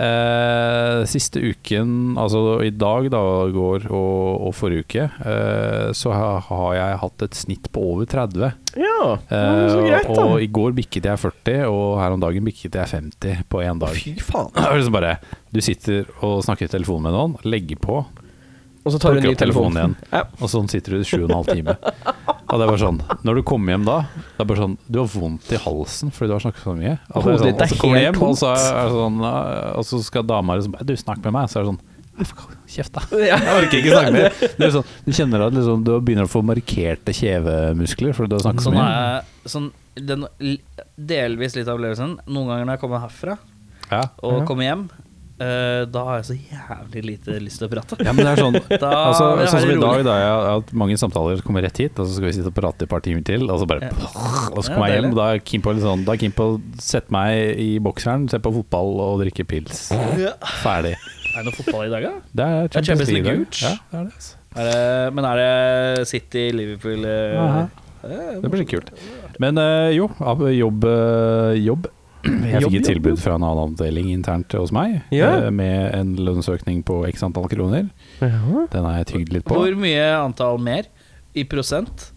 Speaker 1: Eh, siste uken, altså i dag da, går og, og forrige uke, eh, så ha- har jeg hatt et snitt på over 30.
Speaker 3: Ja,
Speaker 1: Eh,
Speaker 3: så greit, da.
Speaker 1: og i går bikket jeg 40, og her om dagen bikket jeg 50 på én dag.
Speaker 3: Fy faen.
Speaker 1: Det er liksom bare, du sitter og snakker i telefonen med noen, legger på,
Speaker 3: Og så tar du en
Speaker 1: Plukker
Speaker 3: ny
Speaker 1: opp
Speaker 3: telefon.
Speaker 1: telefonen
Speaker 3: Ja.
Speaker 1: og sånn sitter du i sju og en halv time. Og det er bare sånn, Når du kommer hjem da, det er bare sånn, du har vondt i halsen fordi du har snakket så mye. Og så er det
Speaker 3: Hodet
Speaker 1: sånn,
Speaker 3: ditt er
Speaker 1: og så kommer du
Speaker 3: helt
Speaker 1: hjem, og så, er det sånn, eh, og så skal dama liksom bare, Du, snakk med meg. Så er det sånn «Nei, for faen, Kjeft, da. Jeg orker ikke snakke mer. Det er sånn, du kjenner at liksom, du begynner å få markerte kjevemuskler fordi du har snakket så
Speaker 2: Sånn
Speaker 1: mye.
Speaker 2: er sånn, den, l- delvis litt av opplevelsen. Noen ganger når jeg kommer herfra
Speaker 1: Ja.
Speaker 2: og kommer hjem, eh, da har jeg så jævlig lite lyst til å prate.
Speaker 1: ja, men det er sånn
Speaker 2: Da
Speaker 1: altså,
Speaker 2: vil jeg ha
Speaker 1: Sånn som
Speaker 2: det
Speaker 1: i dag,
Speaker 2: rolig.
Speaker 1: da jeg har hatt mange samtaler som kommer rett hit, og så skal vi sitte og prate et par timer til, og så bare
Speaker 2: Ja.
Speaker 1: Og så
Speaker 2: Ja,
Speaker 1: kommer jeg hjem, og
Speaker 2: deilig.
Speaker 1: da er Kim på litt sånn Da er Kim på å sette meg i bokseren, se på fotball og drikke pils. Ferdig.
Speaker 2: Er det noe fotball i dag, da?
Speaker 1: Det er
Speaker 2: er Champions
Speaker 1: Champions League. i
Speaker 2: League
Speaker 1: dag.
Speaker 2: ut.
Speaker 1: Ja, det, er det, altså.
Speaker 2: Er det, men er det City, Liverpool eh,
Speaker 1: Aha.
Speaker 2: eh,
Speaker 1: det blir kult. Men eh, jo, ab- jobb, eh, jobb. Jeg
Speaker 3: Jobb,
Speaker 1: fikk et
Speaker 3: jobb,
Speaker 1: tilbud fra en annen avdeling internt hos meg,
Speaker 3: Ja.
Speaker 1: eh, med en lønnsøkning på x antall kroner.
Speaker 3: Ja.
Speaker 1: Den har jeg tygd litt på.
Speaker 2: Hvor mye antall mer i prosent?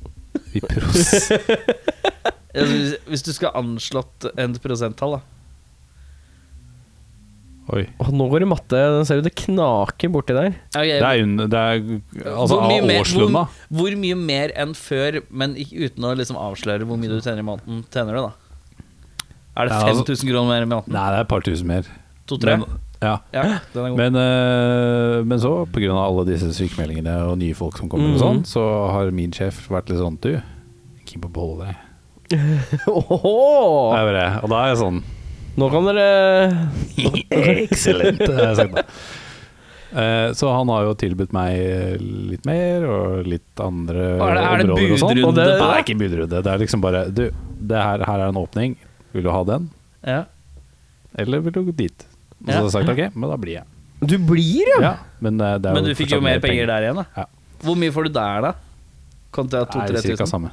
Speaker 1: I pros.
Speaker 2: Altså, Hvis, hvis du skal anslått en prosenttall, da.
Speaker 1: Oi.
Speaker 3: Åh, nå går det matte. Den ser du det knaker borti der.
Speaker 2: Ok,
Speaker 1: Det er jo en- det er, Altså,
Speaker 2: Hvor mye
Speaker 1: av
Speaker 2: mer-
Speaker 1: årslønna.
Speaker 2: Hvor, hvor mye mer enn før, men ikke, uten å liksom avsløre hvor mye du tjener i måneden, tjener du da? Er det
Speaker 1: Ja, altså-
Speaker 2: 5000 kroner mer i måneden?
Speaker 1: Nei, det er et par tusen mer.
Speaker 2: To-tre?
Speaker 1: Men- Ja.
Speaker 2: Ja, den er god.
Speaker 1: Men, eh, men så, pga. alle disse sykemeldingene og nye folk som
Speaker 2: Mm.
Speaker 1: kommer, og sånn,
Speaker 3: Mhm.
Speaker 1: så har min sjef vært litt sånn Du, keen på å beholde deg.
Speaker 3: Åhå!
Speaker 1: Det er bare, og da er jeg sånn
Speaker 3: Nå kan dere
Speaker 1: Excellent! det har jeg sagt da. Eh, Så han har jo tilbudt meg litt mer, og litt andre
Speaker 2: Er det- er det
Speaker 1: områder og sånn.
Speaker 2: budrunde
Speaker 1: Og det, det
Speaker 2: på det?
Speaker 1: er ikke budrunde. Det er liksom bare Du, det her, her er en åpning. Vil du ha den,
Speaker 2: ja.
Speaker 1: eller vil du gå dit? Og så
Speaker 2: Ja.
Speaker 1: har jeg sagt ok, men da blir jeg.
Speaker 3: Du blir, ja!
Speaker 1: Ja, men, eh, det er
Speaker 2: men du fikk jo
Speaker 1: fortsatt
Speaker 2: mer penger der igjen, da.
Speaker 1: Ja.
Speaker 2: Hvor mye får du der, da? Kontra
Speaker 1: Nei, det er cirka
Speaker 2: 2000-3000?
Speaker 1: samme.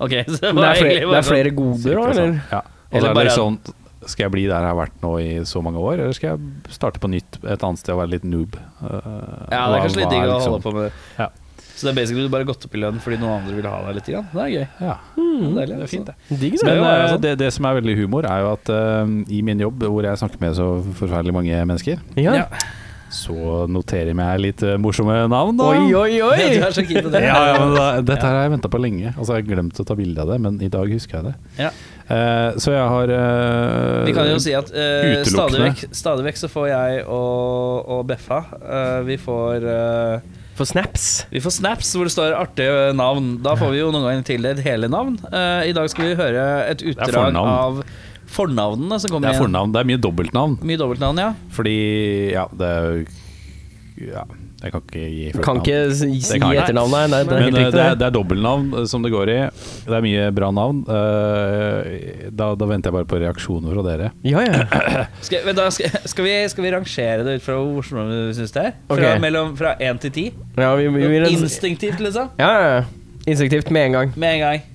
Speaker 2: Ok, så det
Speaker 3: Men det
Speaker 2: var
Speaker 3: er flere,
Speaker 2: egentlig
Speaker 3: det
Speaker 2: bare sånn-
Speaker 3: er flere goder, da?
Speaker 1: Cirka
Speaker 3: Eller?
Speaker 1: sånn. Ja. Og
Speaker 2: Eller
Speaker 1: så er det
Speaker 2: bare-
Speaker 1: sånn Skal jeg bli der jeg har vært nå i så mange år, eller skal jeg starte på nytt et annet sted og være litt noob? Eh,
Speaker 2: sånn- Ja, det er kanskje litt digg å holde på med det.
Speaker 1: liksom- Ja.
Speaker 2: Så det er basically du bare gått opp i lønn fordi noen andre vil ha deg litt? Grann. Det er gøy.
Speaker 1: Ja.
Speaker 2: Hmm. Deilig, altså.
Speaker 1: Det er fint, det.
Speaker 3: Digg,
Speaker 1: Men
Speaker 3: det.
Speaker 1: eh,
Speaker 2: sånn.
Speaker 1: det, det som er veldig humor, er jo at eh, i min jobb, hvor jeg snakker med så forferdelig mange mennesker,
Speaker 3: eh, Ja.
Speaker 2: Ja.
Speaker 1: så noterer jeg meg litt eh, morsomme navn, da.
Speaker 3: Oi, oi, oi!
Speaker 2: Ja, du er så keen på det.
Speaker 1: Ja, ja, men da, dette her har jeg venta på lenge. Altså, jeg har glemt å ta bilde av det, men i dag husker jeg det.
Speaker 2: Ja.
Speaker 1: Eh, så jeg har eh,
Speaker 2: Vi kan jo si at eh, stadig,
Speaker 1: Utelukkende.
Speaker 2: vekk, stadig vekk så får jeg og, og Beffa eh, Vi får eh,
Speaker 3: For snaps.
Speaker 2: Vi får snaps hvor det står artige navn. Da får vi jo noen ganger tildelt hele navn. Eh, I dag skal vi høre et utdrag
Speaker 1: fornavn.
Speaker 2: av fornavnene som
Speaker 1: Det
Speaker 2: kommer
Speaker 1: er
Speaker 2: igjen.
Speaker 1: fornavn. Det er mye dobbeltnavn.
Speaker 2: Mye dobbeltnavn, ja.
Speaker 1: Fordi Ja, det er jo Ja, jeg kan ikke gi
Speaker 3: Du kan
Speaker 1: førstenavn.
Speaker 3: ikke si si
Speaker 1: Det kan jeg.
Speaker 3: etternavn, nei. nei, Det er
Speaker 1: Men eh,
Speaker 3: helt
Speaker 1: det er,
Speaker 3: riktig.
Speaker 1: det er dobbeltnavn eh, som det går i. Det er mye bra navn. Eh, Da, da venter jeg bare på reaksjoner fra dere.
Speaker 3: det. Ja, ja.
Speaker 2: Skal, vent da, skal, skal, vi, skal vi rangere det ut fra hvor morsomt du syns det er? Fra,
Speaker 3: Ok.
Speaker 2: mellom, fra én til ti?
Speaker 3: ja, vi, vi, vi,
Speaker 2: Instinktivt, liksom?
Speaker 3: ja, ja, ja. Instinktivt med en gang.
Speaker 2: Med en gang.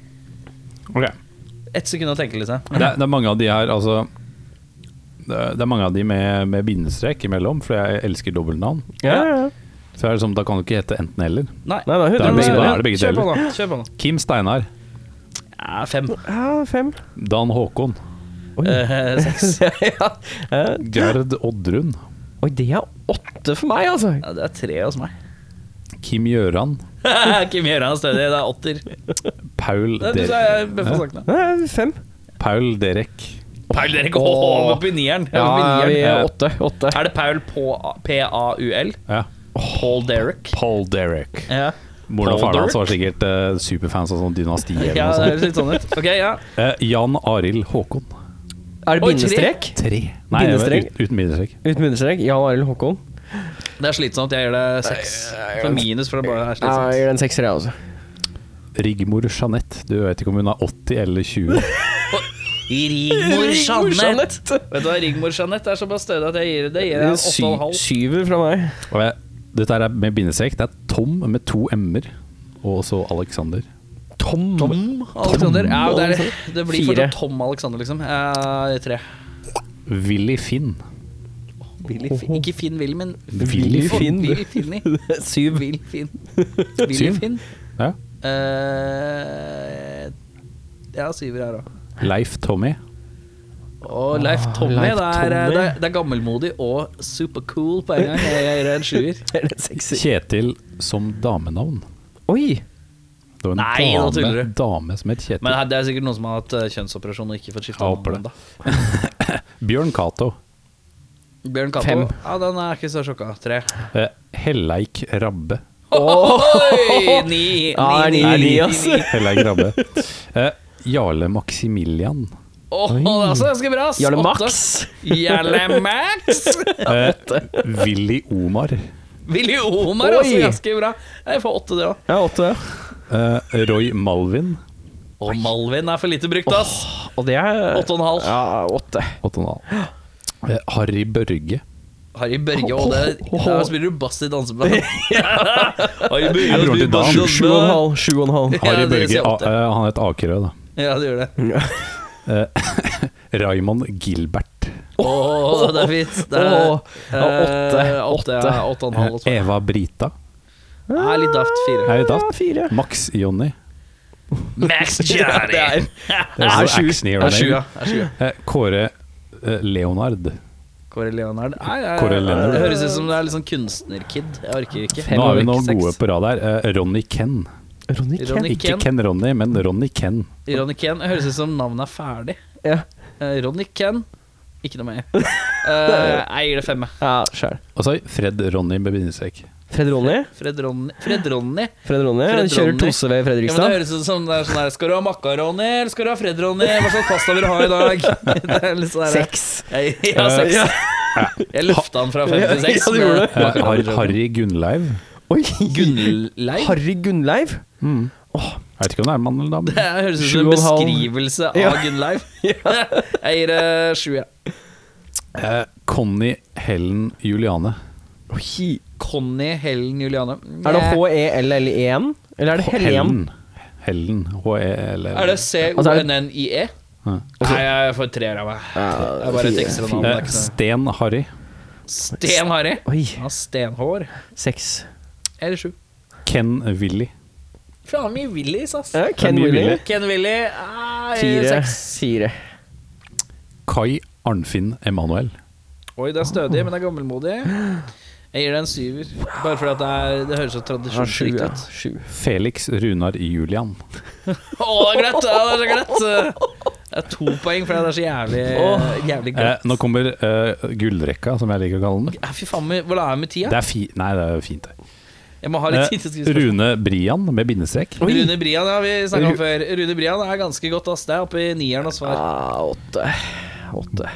Speaker 1: Ok
Speaker 2: Ett sekund å tenke, liksom.
Speaker 1: det, er, det er mange av de her, altså Det er det er mange av de med, med bindestrek imellom, for jeg elsker dobbeltnavn.
Speaker 3: Ja, ja, ja.
Speaker 1: Så er det sånn, da kan du ikke hete enten-eller.
Speaker 2: Nei.
Speaker 3: Nei,
Speaker 1: Da
Speaker 3: da,
Speaker 1: er
Speaker 3: hundre
Speaker 1: det begge,
Speaker 3: deler.
Speaker 1: da er det begge
Speaker 2: Kjør på
Speaker 1: deler.
Speaker 2: nå. Kjør på nå.
Speaker 1: Kim Steinar.
Speaker 2: Ja, fem.
Speaker 3: Ja, fem.
Speaker 1: Dan Håkon.
Speaker 2: Eh, seks.
Speaker 3: ja. Eh,
Speaker 1: Gerd Oddrun.
Speaker 3: Oi, det er åtte for meg, altså.
Speaker 2: Ja, det er tre hos meg.
Speaker 1: Kim Gjøran.
Speaker 2: Kim Gjøran er stødig. Det er åtter.
Speaker 1: Paul,
Speaker 2: Det er Du
Speaker 1: Der-
Speaker 2: sa jeg bør få snakke nå.
Speaker 3: Ja, ja, fem.
Speaker 1: Paul Derek.
Speaker 2: Paul Erik
Speaker 3: Åh.
Speaker 2: Håv på nieren. Jeg
Speaker 3: Ja,
Speaker 2: var på
Speaker 3: ja, vi
Speaker 2: nieren.
Speaker 3: er åtte. åtte.
Speaker 2: Er det Paul på P-A-U-L?
Speaker 1: Ja.
Speaker 2: Paul Derek.
Speaker 1: Paul Derek.
Speaker 2: Ja.
Speaker 1: Moren og
Speaker 2: Paul
Speaker 1: faren hans
Speaker 2: Derek?
Speaker 1: var sikkert eh, superfans av sånn Dynasti eller
Speaker 2: ja,
Speaker 1: noe
Speaker 2: det
Speaker 1: sånt.
Speaker 2: høres litt sånn ut. Ok, ja.
Speaker 1: Eh, Jan Arild Håkon.
Speaker 3: Er det
Speaker 2: Oi,
Speaker 3: bindestrek?
Speaker 1: Tre. Nei, jeg var
Speaker 3: Bindestrek.
Speaker 1: ut, uten bindestrek.
Speaker 3: Uten bindestrek? Jan Arild Håkon?
Speaker 2: Det er slitsomt. Jeg gir det seks. For minus, for det bare er
Speaker 3: Ja, jeg
Speaker 2: slitsomt.
Speaker 3: gir den sekser, jeg også.
Speaker 1: Rigmor Jeanette. Du vet ikke om hun er 80 eller 20.
Speaker 2: Rigmor Jeanette. Vet du hva, Rigmor Jeanette er såpass stødig at jeg gir det. Jeg gir det åtte og en halv.
Speaker 3: syver fra meg.
Speaker 1: Og jeg- Dette her er med bindestrek. Det er Tom med to m-er. Og så Alexander.
Speaker 3: Tom.
Speaker 2: Alexander. Ja, det, er, det. det blir
Speaker 3: Fire.
Speaker 2: fortsatt Tom Alexander, liksom. Eh, tre.
Speaker 1: Willy Finn.
Speaker 2: Willy Finn. Ikke Finn Will, men
Speaker 1: Willy
Speaker 2: Å,
Speaker 3: Finn.
Speaker 2: Will Finny.
Speaker 3: Syv.
Speaker 2: Will Finn. Willy
Speaker 1: Syv?
Speaker 2: Finn.
Speaker 1: Ja.
Speaker 2: Eh, jeg har syver her òg.
Speaker 1: Leif Tommy.
Speaker 2: Og Leif
Speaker 3: Ah,
Speaker 2: Tommy,
Speaker 3: Leif
Speaker 2: det, er, eh,
Speaker 3: Tommy.
Speaker 2: Det, er, det er gammelmodig og supercool på en gang. Jeg jeg gir det en sjuer.
Speaker 3: Er det sekser?
Speaker 1: Kjetil som damenavn.
Speaker 3: Oi!
Speaker 1: Det var en
Speaker 2: Nei, nå tuller
Speaker 1: dame,
Speaker 2: du.
Speaker 1: dame som het Kjetil.
Speaker 2: Men det er sikkert noen som har hatt eh, kjønnsoperasjon og ikke fått skifta
Speaker 1: Jeg håper
Speaker 2: navn. da.
Speaker 1: Bjørn Cato.
Speaker 2: Bjørn Cato.
Speaker 3: Fem.
Speaker 2: Ja, den er ikke så sjokka. Tre.
Speaker 1: Eh, Helleik Rabbe.
Speaker 2: Oi! Ni.
Speaker 3: Ja,
Speaker 2: ni,
Speaker 3: ni,
Speaker 2: ni, ni,
Speaker 3: ass.
Speaker 2: ni.
Speaker 1: Helleik Rabbe. Eh, Jarle Maximilian.
Speaker 2: Åh, det er også ganske bra. ass.
Speaker 3: Jarle
Speaker 2: Åtte.
Speaker 3: Max.
Speaker 2: Jarle Max.
Speaker 1: Eh, Willy Omar.
Speaker 2: Willy Omar er også
Speaker 3: Oi.
Speaker 2: ganske bra. Jeg får åtte, det òg.
Speaker 3: Ja, åtte.
Speaker 1: Eh, Roy Malvin.
Speaker 2: Og Malvin er for lite brukt, ass.
Speaker 3: Og det er
Speaker 2: Åtte og en halv.
Speaker 3: Ja, åtte.
Speaker 1: Otto Dahl. Eh, Harry Børge.
Speaker 2: Harry Børge og det Der spiller du bass i danseband. Harry
Speaker 1: Jeg
Speaker 2: Børge
Speaker 1: tror til
Speaker 2: bass i
Speaker 1: Dan.
Speaker 3: Sju og en
Speaker 2: danseband.
Speaker 3: halv. Sju og en halv.
Speaker 1: Harry
Speaker 2: Ja, det ser
Speaker 1: Børge,
Speaker 2: jeg opp
Speaker 1: a,
Speaker 2: til.
Speaker 1: eh, han het Akerø, da.
Speaker 2: Ja, det gjør det.
Speaker 1: Raymond Gilbert.
Speaker 2: Åh, det er fint. Det er,
Speaker 3: Åh, ja, åtte.
Speaker 2: eh, åtte, ja, åtte og en halv.
Speaker 1: Eh,
Speaker 2: også.
Speaker 1: Eva Brita.
Speaker 2: Ja, litt daft. Fire.
Speaker 1: Er det
Speaker 3: Ja,
Speaker 1: datt?
Speaker 3: fire.
Speaker 1: Max Jonny.
Speaker 2: Max Johnny.
Speaker 3: Det er-
Speaker 1: Det er
Speaker 3: Er
Speaker 1: så
Speaker 3: sju.
Speaker 1: action hero
Speaker 2: Det er sju,
Speaker 1: name.
Speaker 2: ja. Det er sju, ja.
Speaker 1: Eh, Kåre eh, Leonard.
Speaker 2: Kåre Leonard. Nei, jeg,
Speaker 1: Kåre Leonard.
Speaker 2: Det høres ut som det er litt sånn kunstnerkid. Jeg orker ikke.
Speaker 1: Nå er vi noen
Speaker 2: Seks.
Speaker 1: gode på rad her. Eh, Ronny Ken.
Speaker 2: Ronny
Speaker 3: Ronny Kent.
Speaker 1: Ikke
Speaker 2: Ken.
Speaker 1: Ken Ronny, men Ronny Ken.
Speaker 2: Ronny Ken. Høres ut som navnet er ferdig.
Speaker 3: Ja,
Speaker 2: Eh, Ronny Ken. Ikke noe mer. Eh, jeg gir det femme.
Speaker 3: ja sjæl.
Speaker 1: Og så har vi Fred Ronny med bindestrek.
Speaker 3: Fred Ronny.
Speaker 2: Fred Ronny. Fred Ronny.
Speaker 3: Fred Ronny
Speaker 2: Fred
Speaker 3: kjører
Speaker 2: Ronny.
Speaker 3: Tose ved
Speaker 2: Ja, men det
Speaker 3: Fredrikstad.
Speaker 2: høres ut som det er sånn der Skal du ha makaroni, eller skal du ha Fred Ronny? Hva slags pasta vil du ha i dag? Det er litt sånn der-
Speaker 3: Seks.
Speaker 2: Jeg, ja, seks.
Speaker 3: Ja.
Speaker 2: Jeg løfta den fra fem til seks.
Speaker 3: Ja, du gjorde det.
Speaker 1: Eh, Har- Harry Gunnleiv.
Speaker 3: Oi!
Speaker 2: Gunnleif?
Speaker 3: Harry Gunnleiv.
Speaker 1: Jeg vet ikke om det er mann eller dame.
Speaker 2: Det høres ut
Speaker 3: Sju
Speaker 2: som en
Speaker 3: og en halv.
Speaker 2: beskrivelse
Speaker 3: Ja.
Speaker 2: av Gunnleif. Jeg gir det sju, ja.
Speaker 1: Eh, Conny Helen Juliane.
Speaker 3: Oi.
Speaker 2: Conny Helen Juliane.
Speaker 3: Er det E H-E-L-L-E-N? Eller er det Helen?
Speaker 1: Helen. E H-E-L-L.
Speaker 2: Er det
Speaker 3: Altså, er
Speaker 2: C-O-N-N-I-E?
Speaker 1: Ja.
Speaker 2: E? Nei, jeg får treer av meg. Det er bare et ekstra navn. det er
Speaker 1: Eh,
Speaker 2: ikke noe.
Speaker 1: Sten Harry.
Speaker 2: Sten Harry.
Speaker 3: Oi.
Speaker 2: Han har stenhår.
Speaker 3: Seks.
Speaker 2: Eller sju.
Speaker 1: Ken Willy.
Speaker 2: Faen mye Willys, ass.
Speaker 3: Ja, Ken
Speaker 1: mye
Speaker 3: Willy.
Speaker 1: billig.
Speaker 2: Ken Willy ah, jeg gir
Speaker 3: Fire.
Speaker 2: seks.
Speaker 3: Fire.
Speaker 1: Kai Arnfinn Emanuel.
Speaker 2: Oi, det er stødig, men det er gammelmodig. Jeg gir det en syver, bare fordi at det, er, det høres så
Speaker 3: Ja, sju,
Speaker 2: tradisjonsrikt
Speaker 3: ja.
Speaker 2: ut.
Speaker 3: Sju.
Speaker 1: Felix Runar Julian.
Speaker 2: Å, det er glatt! Ja, det er så glatt! Det er to poeng fordi det er så jævlig, jævlig
Speaker 1: Eh,
Speaker 2: glatt.
Speaker 1: nå kommer eh, gullrekka, som jeg liker å kalle den.
Speaker 2: Ja, Fy faen, men hvordan er det med
Speaker 1: Det
Speaker 2: tida?
Speaker 1: er fi Nei, det er fint. det.
Speaker 2: Jeg må ha litt tid til å
Speaker 1: Eh,
Speaker 2: skrive spørsmål.
Speaker 1: Rune Brian med bindestrek.
Speaker 3: Oi.
Speaker 2: Rune Brian, ja, vi snakka om før. Rune Brian er ganske godt, ass. Det er oppe i nieren og svar.
Speaker 3: Ah, åtte. Åtte.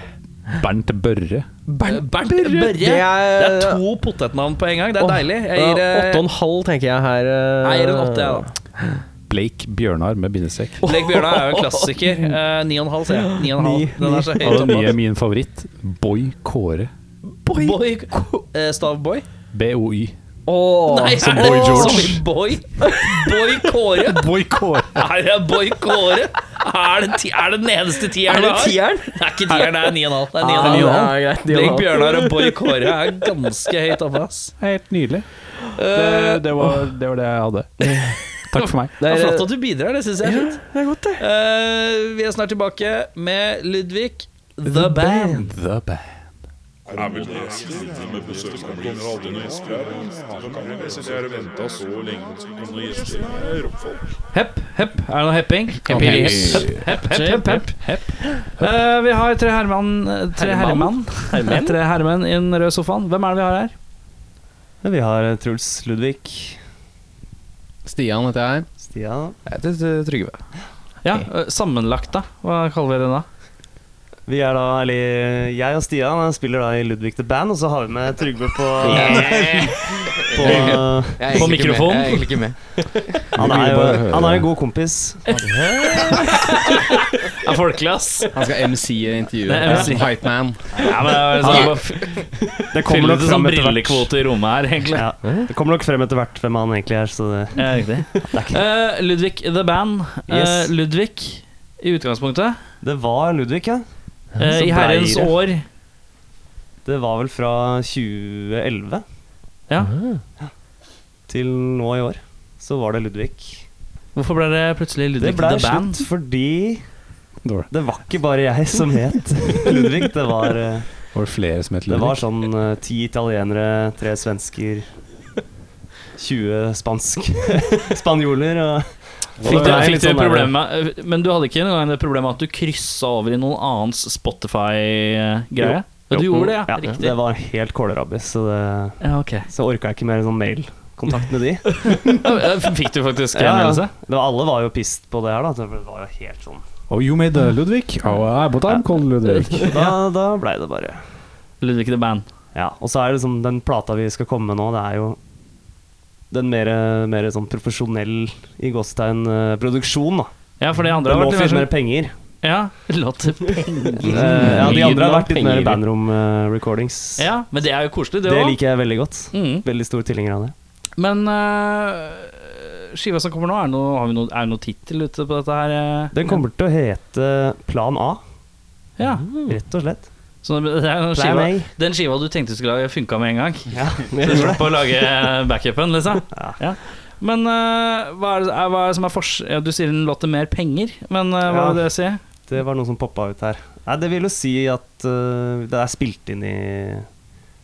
Speaker 1: Bernt Børre.
Speaker 2: Eh, Bernt
Speaker 3: Børre.
Speaker 2: Børre.
Speaker 3: Det er-
Speaker 2: Det er to potetnavn på en gang. Det er
Speaker 3: Åh,
Speaker 2: deilig. Jeg gir
Speaker 3: ja,
Speaker 2: eh,
Speaker 3: Åtte og en halv, tenker jeg her. eh.
Speaker 2: jeg gir en åtte, jeg, da.
Speaker 1: Blake Bjørnar med bindestrek.
Speaker 2: Blake Bjørnar er jo en klassiker. Eh, Ni og en halv, sier jeg. Ni og en halv.
Speaker 3: Ni,
Speaker 2: Den er så høyt
Speaker 1: Og den
Speaker 2: oppe.
Speaker 1: nye min favoritt, Boy Kåre.
Speaker 3: Boy.
Speaker 2: Boy eh, Stav Boy?
Speaker 1: BOY.
Speaker 3: Åh.
Speaker 2: Nei,
Speaker 1: som
Speaker 2: er
Speaker 1: Boy
Speaker 2: det
Speaker 1: George.
Speaker 2: som i Boy? Boy Kåre?
Speaker 1: Boy Kåre.
Speaker 2: Er det Boy Kåre? Er det, ti, er det den eneste
Speaker 3: Er
Speaker 2: tieren
Speaker 3: det
Speaker 2: vi har?
Speaker 3: tieren?
Speaker 2: Det er ikke tieren, det er ni og en halv. Det er ni og
Speaker 3: Ah,
Speaker 2: en halv.
Speaker 3: ja, greit, ni og en
Speaker 2: Blake
Speaker 3: halv.
Speaker 2: Bjørnar og Boy Kåre er ganske høyt oppe, ass.
Speaker 1: Helt nydelig.
Speaker 2: Eh,
Speaker 1: Det, det, var, det var det jeg hadde. Takk for meg.
Speaker 2: det er
Speaker 3: Det er-
Speaker 2: flott at du bidrar, det syns jeg er fint.
Speaker 3: Det er godt, det.
Speaker 2: Eh, vi er snart tilbake med Ludvig The Band.
Speaker 1: The band.
Speaker 2: Hepp, hepp. Er det noe hepping? Hepp, hepp, hepp, hepp. hepp. Eh, vi har tre herremann Tre herremann.
Speaker 3: Herman? Herman?
Speaker 2: Tre herremenn i den røde sofaen. Hvem er det vi har her?
Speaker 4: Vi har eh, Truls Ludvig.
Speaker 5: Stian heter jeg.
Speaker 4: Stian.
Speaker 5: Jeg heter Trygve.
Speaker 2: Ja, eh, Sammenlagt, da. Hva kaller vi den da?
Speaker 4: Vi er da, eller Jeg og Stian eh, spiller da i Ludvig The Band, og så har vi med Trygve på, eh, på eh,
Speaker 5: Jeg er
Speaker 2: På
Speaker 5: egentlig ikke
Speaker 2: mikrofon?
Speaker 5: Med. Jeg er egentlig ikke med.
Speaker 4: han, er jo, han er en god kompis.
Speaker 2: Er folkelig, ass.
Speaker 5: Han skal MC-e
Speaker 2: Det er
Speaker 5: intervjuet.
Speaker 2: MC.
Speaker 5: White man.
Speaker 2: Ja, men det er
Speaker 4: Han-
Speaker 2: sånn,
Speaker 4: Det
Speaker 2: Fyller
Speaker 4: kommer
Speaker 2: det som
Speaker 4: nok frem etter hvert.
Speaker 2: sånn brillekvote i rommet her, egentlig.
Speaker 4: Ja, det kommer nok frem etter hvert hvem han egentlig er, så det
Speaker 2: Ja, riktig. Eh, Ludvig The Band. Eh,
Speaker 4: Yes.
Speaker 2: Ludvig i utgangspunktet.
Speaker 4: Det var Ludvig, ja.
Speaker 2: Eh, I
Speaker 4: Så
Speaker 2: herrens
Speaker 4: breiere.
Speaker 2: år.
Speaker 4: Det var vel fra 2011
Speaker 2: Ja.
Speaker 4: til nå i år. Så var det Ludvig.
Speaker 2: Hvorfor ble det plutselig
Speaker 4: Det
Speaker 2: Ludvig
Speaker 4: ble
Speaker 2: The Band?
Speaker 4: slutt fordi
Speaker 1: Det var,
Speaker 4: det var ikke bare jeg som het Ludvig. Det var, eh,
Speaker 1: det var flere som het
Speaker 4: det var
Speaker 1: Ludvig.
Speaker 4: sånn eh, ti italienere, tre svensker, 20 spansk spanjoler og
Speaker 2: Fikk du,
Speaker 4: Det er
Speaker 2: fikk
Speaker 4: litt
Speaker 2: du
Speaker 4: sånn der-
Speaker 2: problemet, eh, men du hadde ikke engang det problemet at du kryssa over i noen annens Spotify-greie? Ja, du gjorde det, ja.
Speaker 4: Ja,
Speaker 2: Riktig.
Speaker 4: det var helt kålrabbis, så,
Speaker 2: Ja,
Speaker 4: det-
Speaker 2: ok.
Speaker 4: så orka jeg ikke mer sånn mailkontakt med de.
Speaker 2: Ja, Fikk du faktisk
Speaker 4: Ja, ja.
Speaker 2: henvendelse?
Speaker 4: Det var, alle var jo pissed på det her, da. så Det var jo helt sånn.
Speaker 1: Oh, you made uh, Ludvig. Oh, I, but I'm called Ludvig.
Speaker 4: Da, da blei det bare
Speaker 2: Ludvig The Band.
Speaker 4: Ja, og så er det liksom den plata vi skal komme med nå, det er jo den mer, mer sånn profesjonell i gåstegn eh, produksjon, da.
Speaker 2: Ja, for de andre
Speaker 4: Det
Speaker 2: har
Speaker 4: må
Speaker 2: vært Mm.
Speaker 4: finne mer
Speaker 2: diverse.
Speaker 4: penger.
Speaker 2: Ja, låter
Speaker 4: Eh, ja, de andre har vært litt mer
Speaker 5: Penger.
Speaker 4: bandrom-recordings.
Speaker 2: Ja, men det er jo koselig, det
Speaker 4: det
Speaker 2: òg.
Speaker 4: liker jeg veldig godt.
Speaker 2: Mm.
Speaker 4: Veldig stor tilhenger av det.
Speaker 2: Men eh, skiva som kommer nå, er det noe, har vi noe, er det noe tittel ute på dette her? eh?
Speaker 4: Den kommer til å hete Plan A,
Speaker 2: Ja.
Speaker 4: rett og slett.
Speaker 2: Så det er noen
Speaker 4: Plan
Speaker 2: skiva,
Speaker 4: A.
Speaker 2: den skiva du tenkte skulle ha funka med en gang.
Speaker 4: Ja,
Speaker 2: Så du slapp å lage backupen, liksom.
Speaker 4: Ja.
Speaker 2: Ja. Men eh, hva, er det, er, hva er det som er fors... Ja, du sier den låter mer penger, men eh, hva
Speaker 4: Ja.
Speaker 2: vil det si?
Speaker 4: Det var noe som poppa ut her. Nei, det vil jo si at eh, det er spilt inn i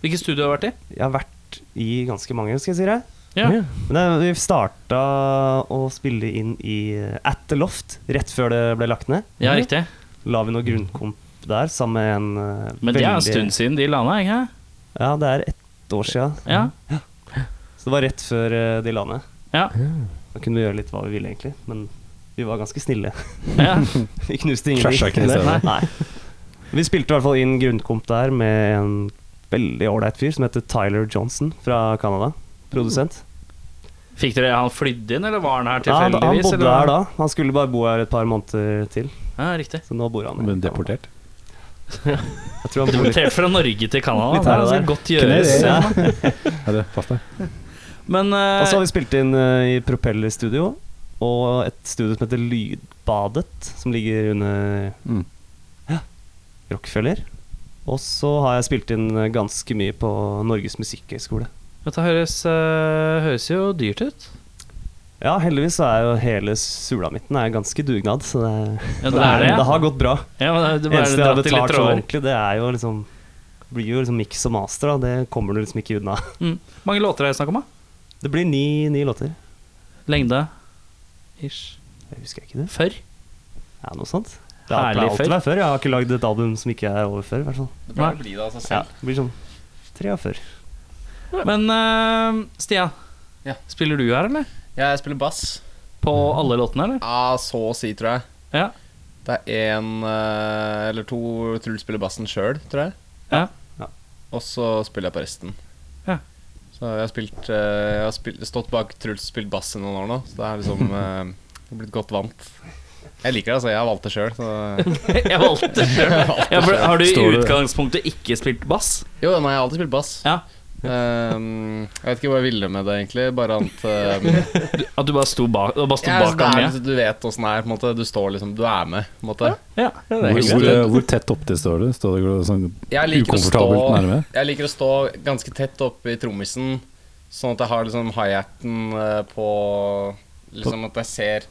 Speaker 2: Hvilket studio har du vært i?
Speaker 4: Jeg har vært i ganske mange, skal jeg si det.
Speaker 2: Ja.
Speaker 4: Men det, vi starta å spille inn i eh, At The Loft rett før det ble lagt ned. Mhm.
Speaker 2: ja, riktig.
Speaker 4: La vi noe grunnkomp der sammen med en eh,
Speaker 2: Men det er en
Speaker 4: veldig-
Speaker 2: stund siden de landa, ikke sant?
Speaker 4: Ja, det er ett år sia.
Speaker 2: Ja.
Speaker 4: Så det var rett før eh, de la ned.
Speaker 2: Ja.
Speaker 4: Da kunne vi gjøre litt hva vi ville, egentlig. Men vi var ganske snille.
Speaker 2: ja.
Speaker 4: Vi knuste
Speaker 1: Trasha ikke
Speaker 4: ingenting.
Speaker 1: stedet.
Speaker 4: Nei. Vi spilte i hvert fall inn grunnkomp der med en veldig ålreit fyr som heter Tyler Johnson fra Canada.
Speaker 2: Mm.
Speaker 4: Produsent.
Speaker 2: Fikk dere han flydd inn, eller var han her
Speaker 4: Ja, han, han
Speaker 2: tilfeldigvis?
Speaker 4: bodde
Speaker 2: eller?
Speaker 4: her da. Han skulle bare bo her et par måneder til,
Speaker 2: Ja, riktig.
Speaker 4: så nå bor han
Speaker 1: Men deportert?
Speaker 4: Jeg tror han bor litt
Speaker 2: Deportert fra Norge til Canada.
Speaker 4: Litt her og
Speaker 2: det
Speaker 4: der.
Speaker 2: skal godt
Speaker 1: Kunne
Speaker 2: gjøres.
Speaker 1: det,
Speaker 2: Ja.
Speaker 1: Ja, det passer.
Speaker 2: Men eh,
Speaker 4: Og så har vi spilt inn eh, i Propeller Studio, og et studio som heter Lydbadet, som ligger under
Speaker 1: Mm.
Speaker 4: Rockefeller. Og så har jeg spilt inn eh, ganske mye på Norges musikkhøgskole.
Speaker 2: dette høres, eh, høres jo dyrt ut.
Speaker 4: Ja, heldigvis så er jo hele sulamitten er ganske dugnad, så det,
Speaker 2: Ja, det er det.
Speaker 4: det har gått bra.
Speaker 2: Ja, men eh, det, det,
Speaker 4: Det eneste jeg har
Speaker 2: det,
Speaker 4: betalt så
Speaker 2: det,
Speaker 4: ordentlig, det er jo liksom blir jo liksom mix og master, da. Det kommer du liksom ikke unna.
Speaker 2: mm. Mange låter er det snakk om, da?
Speaker 4: Det blir ni, ni låter.
Speaker 2: Lengde? Ish.
Speaker 4: Jeg husker ikke det.
Speaker 2: Før?
Speaker 4: Ja, noe sånt. Det har
Speaker 2: Herlig
Speaker 4: pleier alltid
Speaker 2: før.
Speaker 4: å være før. Jeg har ikke lagd et album som ikke er over før, i hvert fall.
Speaker 5: Det pleier å bli det av seg
Speaker 4: Ja,
Speaker 5: selv.
Speaker 4: det blir sånn tre av før.
Speaker 2: Men eh, Stian,
Speaker 5: Ja.
Speaker 2: spiller du her, eller?
Speaker 5: Jeg spiller bass.
Speaker 2: På alle låtene, eller?
Speaker 5: Ja, så å si, tror jeg.
Speaker 2: Ja.
Speaker 5: Det er én eh, eller to hvor Truls spiller bassen sjøl, tror jeg.
Speaker 2: Ja.
Speaker 4: Ja.
Speaker 5: Og så spiller jeg på resten.
Speaker 2: Ja.
Speaker 5: Så jeg har, spilt, eh, jeg har spilt, stått bak Truls og spilt bass i noen år nå, så det er liksom eh, jeg har blitt godt vant. Jeg liker det, altså. Jeg har valgt det sjøl. Så...
Speaker 2: Jeg valgte sjøl. Ja, for har du i utgangspunktet ikke spilt bass?
Speaker 5: Jo, nei, jeg har alltid spilt bass.
Speaker 2: Ja.
Speaker 5: Ehm, jeg vet ikke hva jeg ville med det, egentlig. Bare at ehm,
Speaker 2: At du bare sto bak, du bare sto
Speaker 5: ja,
Speaker 2: bak
Speaker 5: det
Speaker 2: han
Speaker 5: er, sånn
Speaker 2: med?
Speaker 5: Du vet åssen det er. På en måte. Du står liksom Du er med, på en måte.
Speaker 2: Ja, det er
Speaker 1: Hvor,
Speaker 2: hyggelig.
Speaker 1: hvor,
Speaker 5: greit.
Speaker 1: hvor tett opptil står du? Står du sånn
Speaker 5: Jeg liker, å stå,
Speaker 1: ukomfortabelt nærme?
Speaker 5: jeg liker å stå ganske tett oppe i trommisen, sånn at jeg har liksom hi-haten eh, på Liksom at jeg ser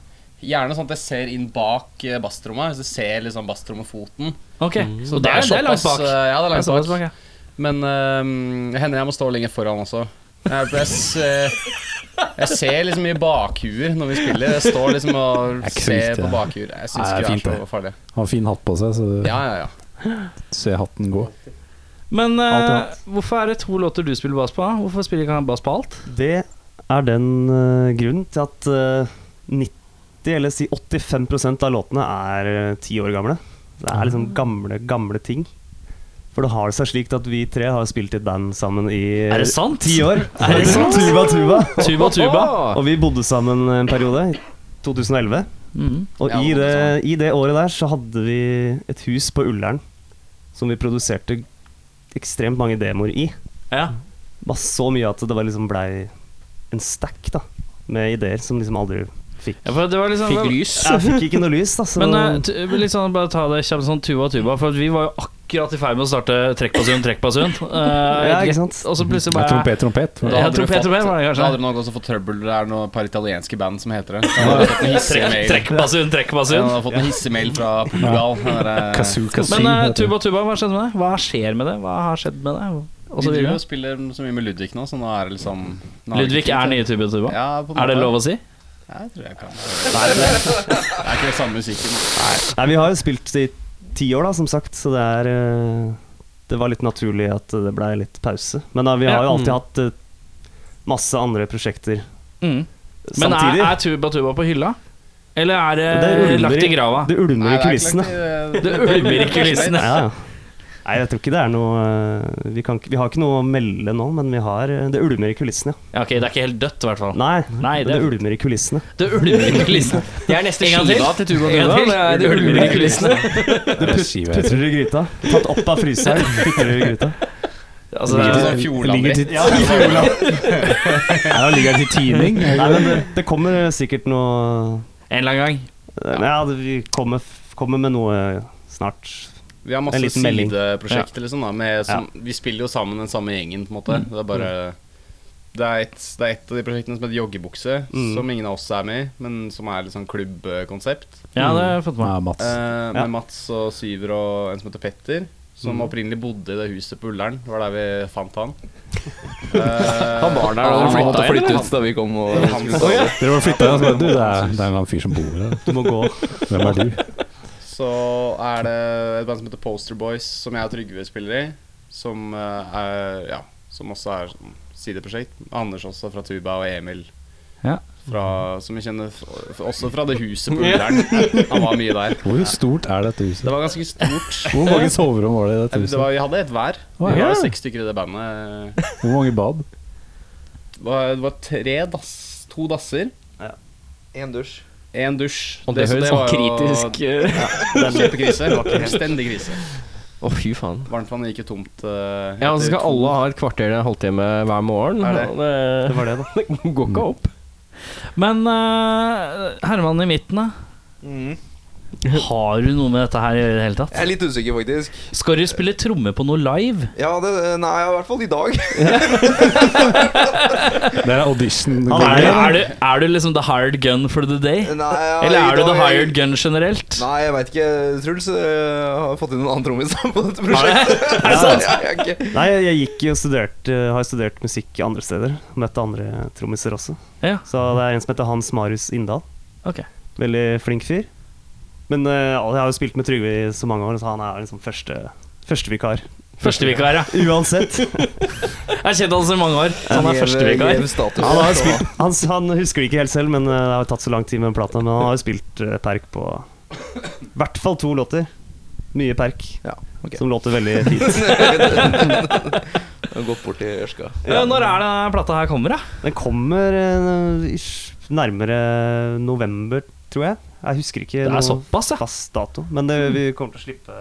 Speaker 5: Gjerne sånn at jeg ser inn bak eh, basstromma, så jeg ser liksom basstrommefoten.
Speaker 2: Ok,
Speaker 3: Mm.
Speaker 2: så Mm. det
Speaker 5: er
Speaker 2: er, det er langt
Speaker 5: såpass,
Speaker 2: bak.
Speaker 5: eh, Ja, det er
Speaker 2: Det er
Speaker 5: langt
Speaker 2: såpass
Speaker 5: bak.
Speaker 2: bak, ja.
Speaker 5: Men eh, det hender jeg må stå lenger foran også. Jeg, jeg, s- eh, jeg ser liksom i bakhuer når vi spiller. Jeg står liksom
Speaker 1: Det
Speaker 5: og
Speaker 1: er ikke så
Speaker 5: ser
Speaker 1: viktig,
Speaker 5: på
Speaker 1: det.
Speaker 5: bakhuer. Jeg syns
Speaker 1: Nei, det er
Speaker 5: ikke
Speaker 1: fint,
Speaker 5: det er
Speaker 1: det.
Speaker 5: så farlig.
Speaker 1: Har fin hatt på seg, så du
Speaker 5: Ja, ja, ja.
Speaker 1: ser hatten gå.
Speaker 2: Men eh,
Speaker 4: Alt i alt.
Speaker 2: hvorfor er det to låter du spiller bass på? da? Hvorfor spiller ikke han bass på alt?
Speaker 4: Det er den eh, grunnen til at eh, 90, eller si 85 av låtene er eh, ti år gamle. Det er liksom gamle, gamle ting. For det har seg slik at vi tre har spilt i et band sammen i
Speaker 2: Er det sant?
Speaker 4: ti år.
Speaker 2: Er det sant?
Speaker 4: Tuba Tuba.
Speaker 2: Tuba tuba.
Speaker 4: Og vi bodde sammen en periode, i 2011.
Speaker 2: Mhm.
Speaker 4: Og
Speaker 5: Ja,
Speaker 4: i,
Speaker 5: det var
Speaker 4: det,
Speaker 5: sånn.
Speaker 4: i det året der så hadde vi et hus på Ullern som vi produserte ekstremt mange demoer i.
Speaker 2: Ja.
Speaker 4: Bare så mye at det var liksom blei en stack da med ideer som liksom aldri fikk
Speaker 2: ja, for det var liksom
Speaker 5: Fikk lys.
Speaker 4: Jeg fikk ikke noe lys, da, så
Speaker 2: Men eh, tu-
Speaker 3: Mm.
Speaker 2: litt sånn, bare ta det kjapt sånn tuba tuba, for at vi var jo akkurat i ferd med å starte Trekkbasun, Trekkbasun. Eh,
Speaker 4: Ja, ikke sant?
Speaker 2: Og så plutselig
Speaker 1: Ja,
Speaker 2: bare
Speaker 1: trompet, trompet.
Speaker 2: Ja,
Speaker 5: Da hadde, du
Speaker 2: trompet,
Speaker 5: fått,
Speaker 2: trompet var det kanskje.
Speaker 5: da hadde du nok også fått trøbbel. Det er noe et par italienske band som heter det. Da hadde du fått en hissig
Speaker 2: Trekk-
Speaker 5: mail.
Speaker 2: Trekkbasun,
Speaker 5: Ja, du
Speaker 2: Trekkbasun.
Speaker 5: hadde fått en hissig mail fra Portugal. Den der, eh,
Speaker 1: Kazoo, kazoo,
Speaker 2: Men eh,
Speaker 1: heter det.
Speaker 2: tuba tuba, hva skjedde med det? Hva skjer med det? Hva har skjedd med det? Og så
Speaker 5: vi driver
Speaker 2: videre.
Speaker 5: og spiller så mye med Ludvig nå, så nå er det liksom nå er det
Speaker 2: Ludvig
Speaker 5: ikke
Speaker 2: er
Speaker 5: fint,
Speaker 2: nye tuba tuba.
Speaker 5: Ja, på en
Speaker 2: Er det
Speaker 5: måte.
Speaker 2: lov å si?
Speaker 5: Ja, jeg tror jeg kan Det er ikke den samme musikken.
Speaker 4: Nei, vi har jo spilt i ti år, da, som sagt, så det er eh, Det var litt naturlig at det blei litt pause. Men da, vi har jo
Speaker 2: Ja,
Speaker 4: alltid hatt eh, masse andre prosjekter
Speaker 2: Mm. Men er,
Speaker 4: samtidig.
Speaker 2: er tuba tuba på hylla? Eller er det,
Speaker 4: Det ruller
Speaker 2: lagt i
Speaker 4: Eh, i-
Speaker 2: grava?
Speaker 4: det ulmer i
Speaker 5: Nei, det er ikke
Speaker 4: kulissene.
Speaker 5: lagt i-
Speaker 2: Det ulmer i kulissene.
Speaker 4: Ja, ja. Nei, jeg tror ikke det er noe eh, Vi, kan, ikke- vi har ikke noe å melde nå, men vi har eh, Det ulmer i kulissene, ja.
Speaker 2: Ja, ok, Det er ikke helt dødt, i hvert fall.
Speaker 4: Nei,
Speaker 2: Nei,
Speaker 4: det,
Speaker 2: det-
Speaker 4: ulmer i kulissene.
Speaker 2: Det ulmer i kulissene.
Speaker 3: Det er neste
Speaker 2: En gang til.
Speaker 3: skiva til Tuba
Speaker 2: En gang
Speaker 3: Duda.
Speaker 2: til.
Speaker 3: Det er det ulmer i kulissene.
Speaker 1: Det er skiva.
Speaker 4: Putter du i gryta? Tatt opp av fryseren, putter du i gryta?
Speaker 2: Altså,
Speaker 5: Ligger det
Speaker 2: det-
Speaker 5: sånn Fjordland-brett?
Speaker 4: Ja, Fjordland.
Speaker 1: Nei, da ligger den til tining.
Speaker 4: Nei, men det, det kommer sikkert noe
Speaker 2: en eller annen gang.
Speaker 4: Ja, det, vi kommer, f- kommer med noe snart.
Speaker 5: Vi har
Speaker 4: En
Speaker 5: masse
Speaker 4: liten melding.
Speaker 5: sideprosjekter, liksom. da med, som, Vi spiller jo sammen den samme gjengen, på en måte.
Speaker 4: Mm.
Speaker 5: Det er bare det er, et, det er et av de prosjektene som heter Joggebukse,
Speaker 4: Mm.
Speaker 5: som ingen av oss er med i, men som er litt sånn klubbkonsept.
Speaker 2: Ja, det har jeg fått med
Speaker 1: Ja, Mats.
Speaker 5: Eh,
Speaker 4: Ja. Mm.
Speaker 5: Med Mats og Syver og en som heter Petter, som opprinnelig bodde i det huset på Ullern. Det var der vi fant han. Eh,
Speaker 6: Han var der da
Speaker 5: han
Speaker 6: han måtte
Speaker 5: var der,
Speaker 6: flytte
Speaker 5: eller?
Speaker 6: ut da vi kom og
Speaker 5: Han skulle sove.
Speaker 1: Dere var flytta, og så bare du, det er, det er en annen fyr som bor her.
Speaker 4: Du må gå.
Speaker 1: Hvem er du?
Speaker 5: Så er det et band som heter Poster Boys, som jeg og Trygve spiller i. Som, eh, er, ja, som også er sånn sideprosjekt. Anders også fra Tuba, og Emil.
Speaker 1: Ja.
Speaker 5: Fra, som jeg kjenner f- f- også fra det huset på Ullern. Han var mye der.
Speaker 1: Hvor stort er dette huset?
Speaker 5: Det var ganske stort.
Speaker 1: Hvor mange soverom var det i dette
Speaker 5: Det
Speaker 1: huset?
Speaker 5: var, vi hadde et hver.
Speaker 1: Å,
Speaker 5: Vi
Speaker 1: ja.
Speaker 5: var seks stykker i det bandet.
Speaker 1: Hvor mange bad?
Speaker 5: Det var, det var tre dass, to dasser,
Speaker 6: En dusj.
Speaker 5: én dusj.
Speaker 2: Og det
Speaker 5: så
Speaker 2: høres
Speaker 5: var
Speaker 2: sånn
Speaker 5: jo
Speaker 2: kritisk eh,
Speaker 5: Kjempekrise. Fullstendig krise.
Speaker 2: Å, fy faen.
Speaker 5: Varmtvannet gikk jo tomt. eh,
Speaker 3: Ja, og så skal
Speaker 5: etter to-
Speaker 3: alle ha et kvarter eller en halvtime hver morgen.
Speaker 5: Er det?
Speaker 3: Og Det,
Speaker 4: Det var det, da.
Speaker 3: det går ikke opp.
Speaker 2: Men eh, Herman i midten, da?
Speaker 6: Mm.
Speaker 2: Har du noe med dette her å gjøre i det hele
Speaker 6: Jeg er
Speaker 2: tatt?
Speaker 6: litt usikker, faktisk.
Speaker 2: Skal du spille tromme på noe live?
Speaker 6: Ja, det, nei, i hvert fall i dag.
Speaker 1: Det er audition.
Speaker 4: Han er-
Speaker 2: Er du, er du liksom the hired gun for the day?
Speaker 6: Nei, ja,
Speaker 2: Eller
Speaker 6: i
Speaker 2: er du the
Speaker 6: dag-
Speaker 2: hired gun generelt?
Speaker 6: Nei, jeg veit ikke. Truls øh, har fått inn en annen trommis på dette prosjektet.
Speaker 2: Er det sant?
Speaker 6: Ja, jeg er ikke-
Speaker 4: Nei, jeg gikk jo og studerte, eh, har studert musikk andre steder. Møtte andre trommiser også.
Speaker 2: Ja.
Speaker 4: Så det er en som heter Hans Marius Inndal.
Speaker 2: Ok.
Speaker 4: Veldig flink fyr. Men eh, alle- jeg har jo spilt med Trygve i så mange år, så han er liksom første førstevikar.
Speaker 2: Førstevikar, ja.
Speaker 4: Uansett.
Speaker 2: Jeg har kjent han så mange år. Så han er
Speaker 6: Hev-
Speaker 2: førstevikar.
Speaker 6: hev status.
Speaker 4: Han, har
Speaker 6: Så-
Speaker 4: spilt, han, han husker det ikke helt selv, men eh, det har jo tatt så lang tid med den plata. Men han har jo spilt eh, perk på i hvert fall to låter. Mye perk.
Speaker 6: Ja, ok.
Speaker 4: Som låter veldig fint.
Speaker 6: Jeg har gått bort til Ørska.
Speaker 2: Ja, Når er det plata her kommer, da?
Speaker 4: Den kommer eh, ish, nærmere november, tror jeg. Jeg husker ikke
Speaker 2: Det
Speaker 4: noe
Speaker 2: er såpass, ja.
Speaker 4: fast dato. Men det, vi kommer til å slippe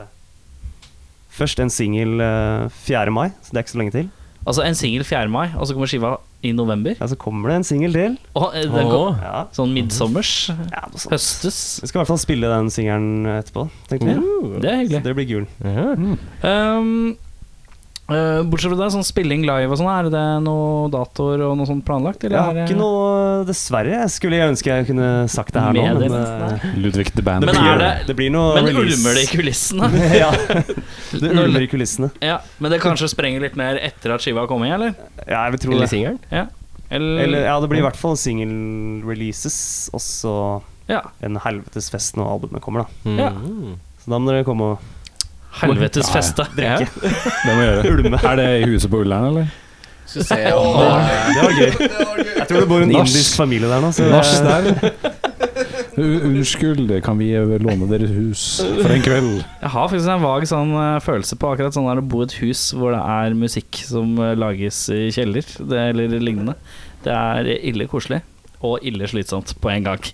Speaker 4: først en singel eh, 4. mai, så det er ikke så lenge til.
Speaker 2: Altså en singel 4. mai, og så kommer skiva i november.
Speaker 4: Ja, så kommer det en singel til.
Speaker 2: Og eh, den kom,
Speaker 4: Ja,
Speaker 2: sånn midsommers.
Speaker 4: ja, noe sånt.
Speaker 2: Høstes.
Speaker 4: Vi skal i hvert fall spille den singelen etterpå, tenkte jeg.
Speaker 2: Det er hyggelig.
Speaker 4: Det blir gul.
Speaker 2: Um, eh, bortsett fra det, sånn spilling live og sånn, er det noen datoer og noe sånt planlagt?
Speaker 4: Jeg har
Speaker 2: er eh, det-
Speaker 4: ikke noe Dessverre. Jeg skulle jeg ønske jeg kunne sagt det her nå.
Speaker 2: Med
Speaker 4: Men,
Speaker 2: det.
Speaker 4: eh,
Speaker 1: Ludvig the Band.
Speaker 2: Men
Speaker 4: blir-
Speaker 2: er det-
Speaker 4: det blir noe
Speaker 2: Men
Speaker 4: release.
Speaker 2: ulmer det i kulissene?
Speaker 4: ja, det ulmer i kulissene.
Speaker 2: Ja, Men det kanskje sprenger litt mer etter at skiva har kommet, eller?
Speaker 4: Ja, jeg vil tro det.
Speaker 3: singelen?
Speaker 2: Eller,
Speaker 4: Eller, ja, det blir i hvert fall single-releases, og så
Speaker 2: ja.
Speaker 4: en helvetes fest når albumet kommer, da.
Speaker 2: Ja.
Speaker 4: Så da må dere komme og
Speaker 2: Helvetes feste. Ja.
Speaker 1: Det må jeg gjøre. Er det i huset på Ullern, eller?
Speaker 5: Skal se om eh,
Speaker 4: Det var gøy. Jeg tror det bor en
Speaker 1: Nach.
Speaker 4: indisk familie der nå. Så
Speaker 1: Nach der. U- Unnskyld, kan vi eh, låne deres hus for en kveld?
Speaker 2: Jeg har faktisk en vag sånn eh, følelse på akkurat sånn der å bo i et hus hvor det er musikk som eh, lages i kjeller, det, eller lignende. Det er ille koselig og ille slitsomt på en gang.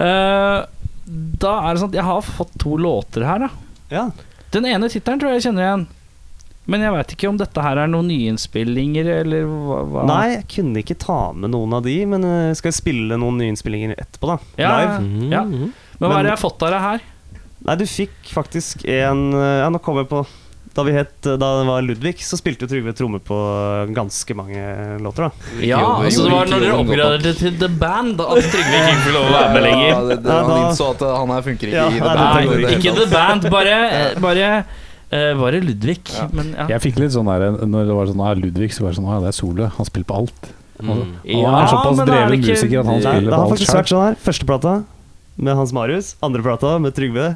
Speaker 2: Eh, da er det sånn at jeg har fått to låter her, da.
Speaker 4: ja.
Speaker 2: Den ene tittelen tror jeg jeg kjenner igjen. Men jeg veit ikke om dette her er noen nyinnspillinger, eller hva, hva.
Speaker 4: Nei, jeg kunne ikke ta med noen av de, men eh, skal jeg spille noen nyinnspillinger etterpå, da?
Speaker 2: ja, Mhm.
Speaker 4: Live.
Speaker 2: Ja. Men hva er det jeg har fått av deg her?
Speaker 4: Nei, du fikk faktisk en eh, Ja, nå kom jeg på Da vi het eh, Da det var Ludvig, så spilte jo Trygve tromme på eh, ganske mange eh, låter, da.
Speaker 2: Ja,
Speaker 6: Jobben-
Speaker 2: altså det var
Speaker 6: jobben-
Speaker 2: når
Speaker 6: jobben
Speaker 2: dere
Speaker 6: går opp.
Speaker 2: oppgraderte til The Band at Trygve ikke fikk lov å være med lenger.
Speaker 6: Ja, det, det,
Speaker 4: Nei,
Speaker 6: han
Speaker 4: da-
Speaker 6: innså at eh, han her funker ikke
Speaker 4: Ja,
Speaker 6: i det bandet.
Speaker 4: nei, det-
Speaker 6: i
Speaker 2: Nei,
Speaker 6: det
Speaker 2: ikke
Speaker 6: hele
Speaker 2: The
Speaker 6: tatt.
Speaker 2: Band, bare, bare eh, Var det Ludvig? Men ja.
Speaker 1: Jeg fikk litt sånn der Når det var sånn ah, Ludvig, så var det sånn ah, det er Solø. Han spiller på alt. Han, han
Speaker 2: Ja,
Speaker 1: er såpass
Speaker 2: men er
Speaker 1: dreven
Speaker 2: det ikke-
Speaker 1: musiker at han
Speaker 4: Nei,
Speaker 1: spiller på
Speaker 4: det har
Speaker 1: alt
Speaker 4: faktisk
Speaker 1: sjøl.
Speaker 4: vært sånn her. Første plata med Hans Marius, andre plata med Trygve,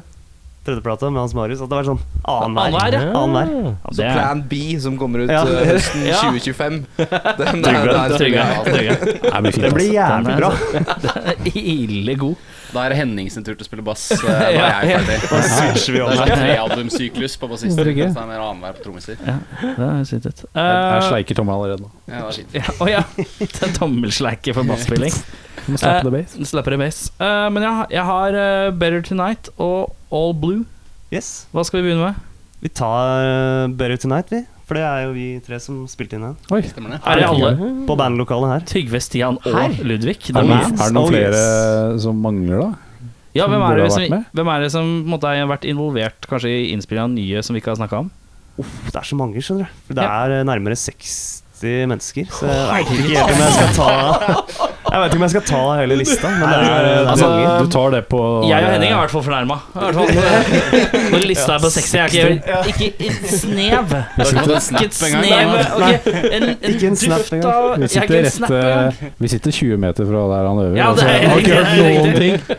Speaker 4: tredjeplata med Hans Marius. At det var sånn
Speaker 2: Annenhver,
Speaker 4: annenhver.
Speaker 2: ja.
Speaker 4: Annenhver.
Speaker 7: Så
Speaker 2: Det er-
Speaker 7: Plan B, som kommer ut
Speaker 4: Ja.
Speaker 7: eh, høsten
Speaker 2: Ja.
Speaker 7: 2025 Den
Speaker 4: Trygve.
Speaker 7: den skal vi ha.
Speaker 1: Det blir fint.
Speaker 4: Det blir
Speaker 1: ass.
Speaker 2: Den
Speaker 4: jævlig
Speaker 2: er-
Speaker 4: bra.
Speaker 2: Ille god.
Speaker 5: Da er det Henning sin tur til å spille bass. eh, Da er jeg ferdig.
Speaker 4: Da switcher vi
Speaker 5: Det
Speaker 4: om.
Speaker 5: er
Speaker 4: her.
Speaker 5: sånn trealbumsyklus på bassister.
Speaker 1: Det er gøy.
Speaker 5: mens Det er mer annenhver på trommiser.
Speaker 2: Det er sykt ut.
Speaker 1: Jeg jeg
Speaker 2: Eh,
Speaker 1: sleiker tommelen allerede nå.
Speaker 5: Ja, det er fint.
Speaker 2: ja, Å ja. Det er Tommelsleike for basspilling.
Speaker 1: Du må slappe det base.
Speaker 2: Slapper i bass. Eh, men ja, jeg har eh, Better Tonight og All Blue.
Speaker 4: Yes.
Speaker 2: Hva skal vi begynne med?
Speaker 4: Vi tar eh, Better Tonight, vi. For det er jo vi tre som spilte inn den.
Speaker 5: Stemmer det?
Speaker 2: Er det alle?
Speaker 4: På bandlokalet her.
Speaker 2: Tygve, Stian og Ludvig. The
Speaker 1: Er det,
Speaker 2: Man.
Speaker 1: noen, er det noen
Speaker 4: Oh, yes.
Speaker 1: flere som mangler, da?
Speaker 2: Ja, hvem er, det
Speaker 1: Burde ha
Speaker 2: som,
Speaker 1: vært med?
Speaker 2: hvem er det som på en måte, har vært involvert kanskje i innspilling av nye som vi ikke har snakka om?
Speaker 4: Uff, det er så mange, skjønner du. For det er eh, nærmere 60 mennesker. Så jeg veit ikke helt om jeg skal ta Jeg vet ikke om jeg skal ta hele lista, men det er, eh, det er
Speaker 2: Altså,
Speaker 4: mange.
Speaker 1: Du tar det på
Speaker 2: Jeg og eh, Henning er i hvert fall fornærma. Når lista er på 60, jeg er ikke Ikke et snev.
Speaker 5: Det er ikke en snap
Speaker 2: Ikke et
Speaker 5: engang,
Speaker 2: snev.
Speaker 5: da.
Speaker 2: Ok, en, en
Speaker 4: Ikke en snap
Speaker 2: duft
Speaker 4: engang.
Speaker 2: av
Speaker 1: Vi
Speaker 2: Jeg er ikke
Speaker 1: sitter,
Speaker 2: en
Speaker 1: rett,
Speaker 2: snap engang.
Speaker 1: eh, vi sitter 20 meter fra der han øver.
Speaker 2: Ja,
Speaker 1: altså.
Speaker 2: det er
Speaker 1: Jeg har ikke
Speaker 2: riktig, det er
Speaker 1: hørt noen ting.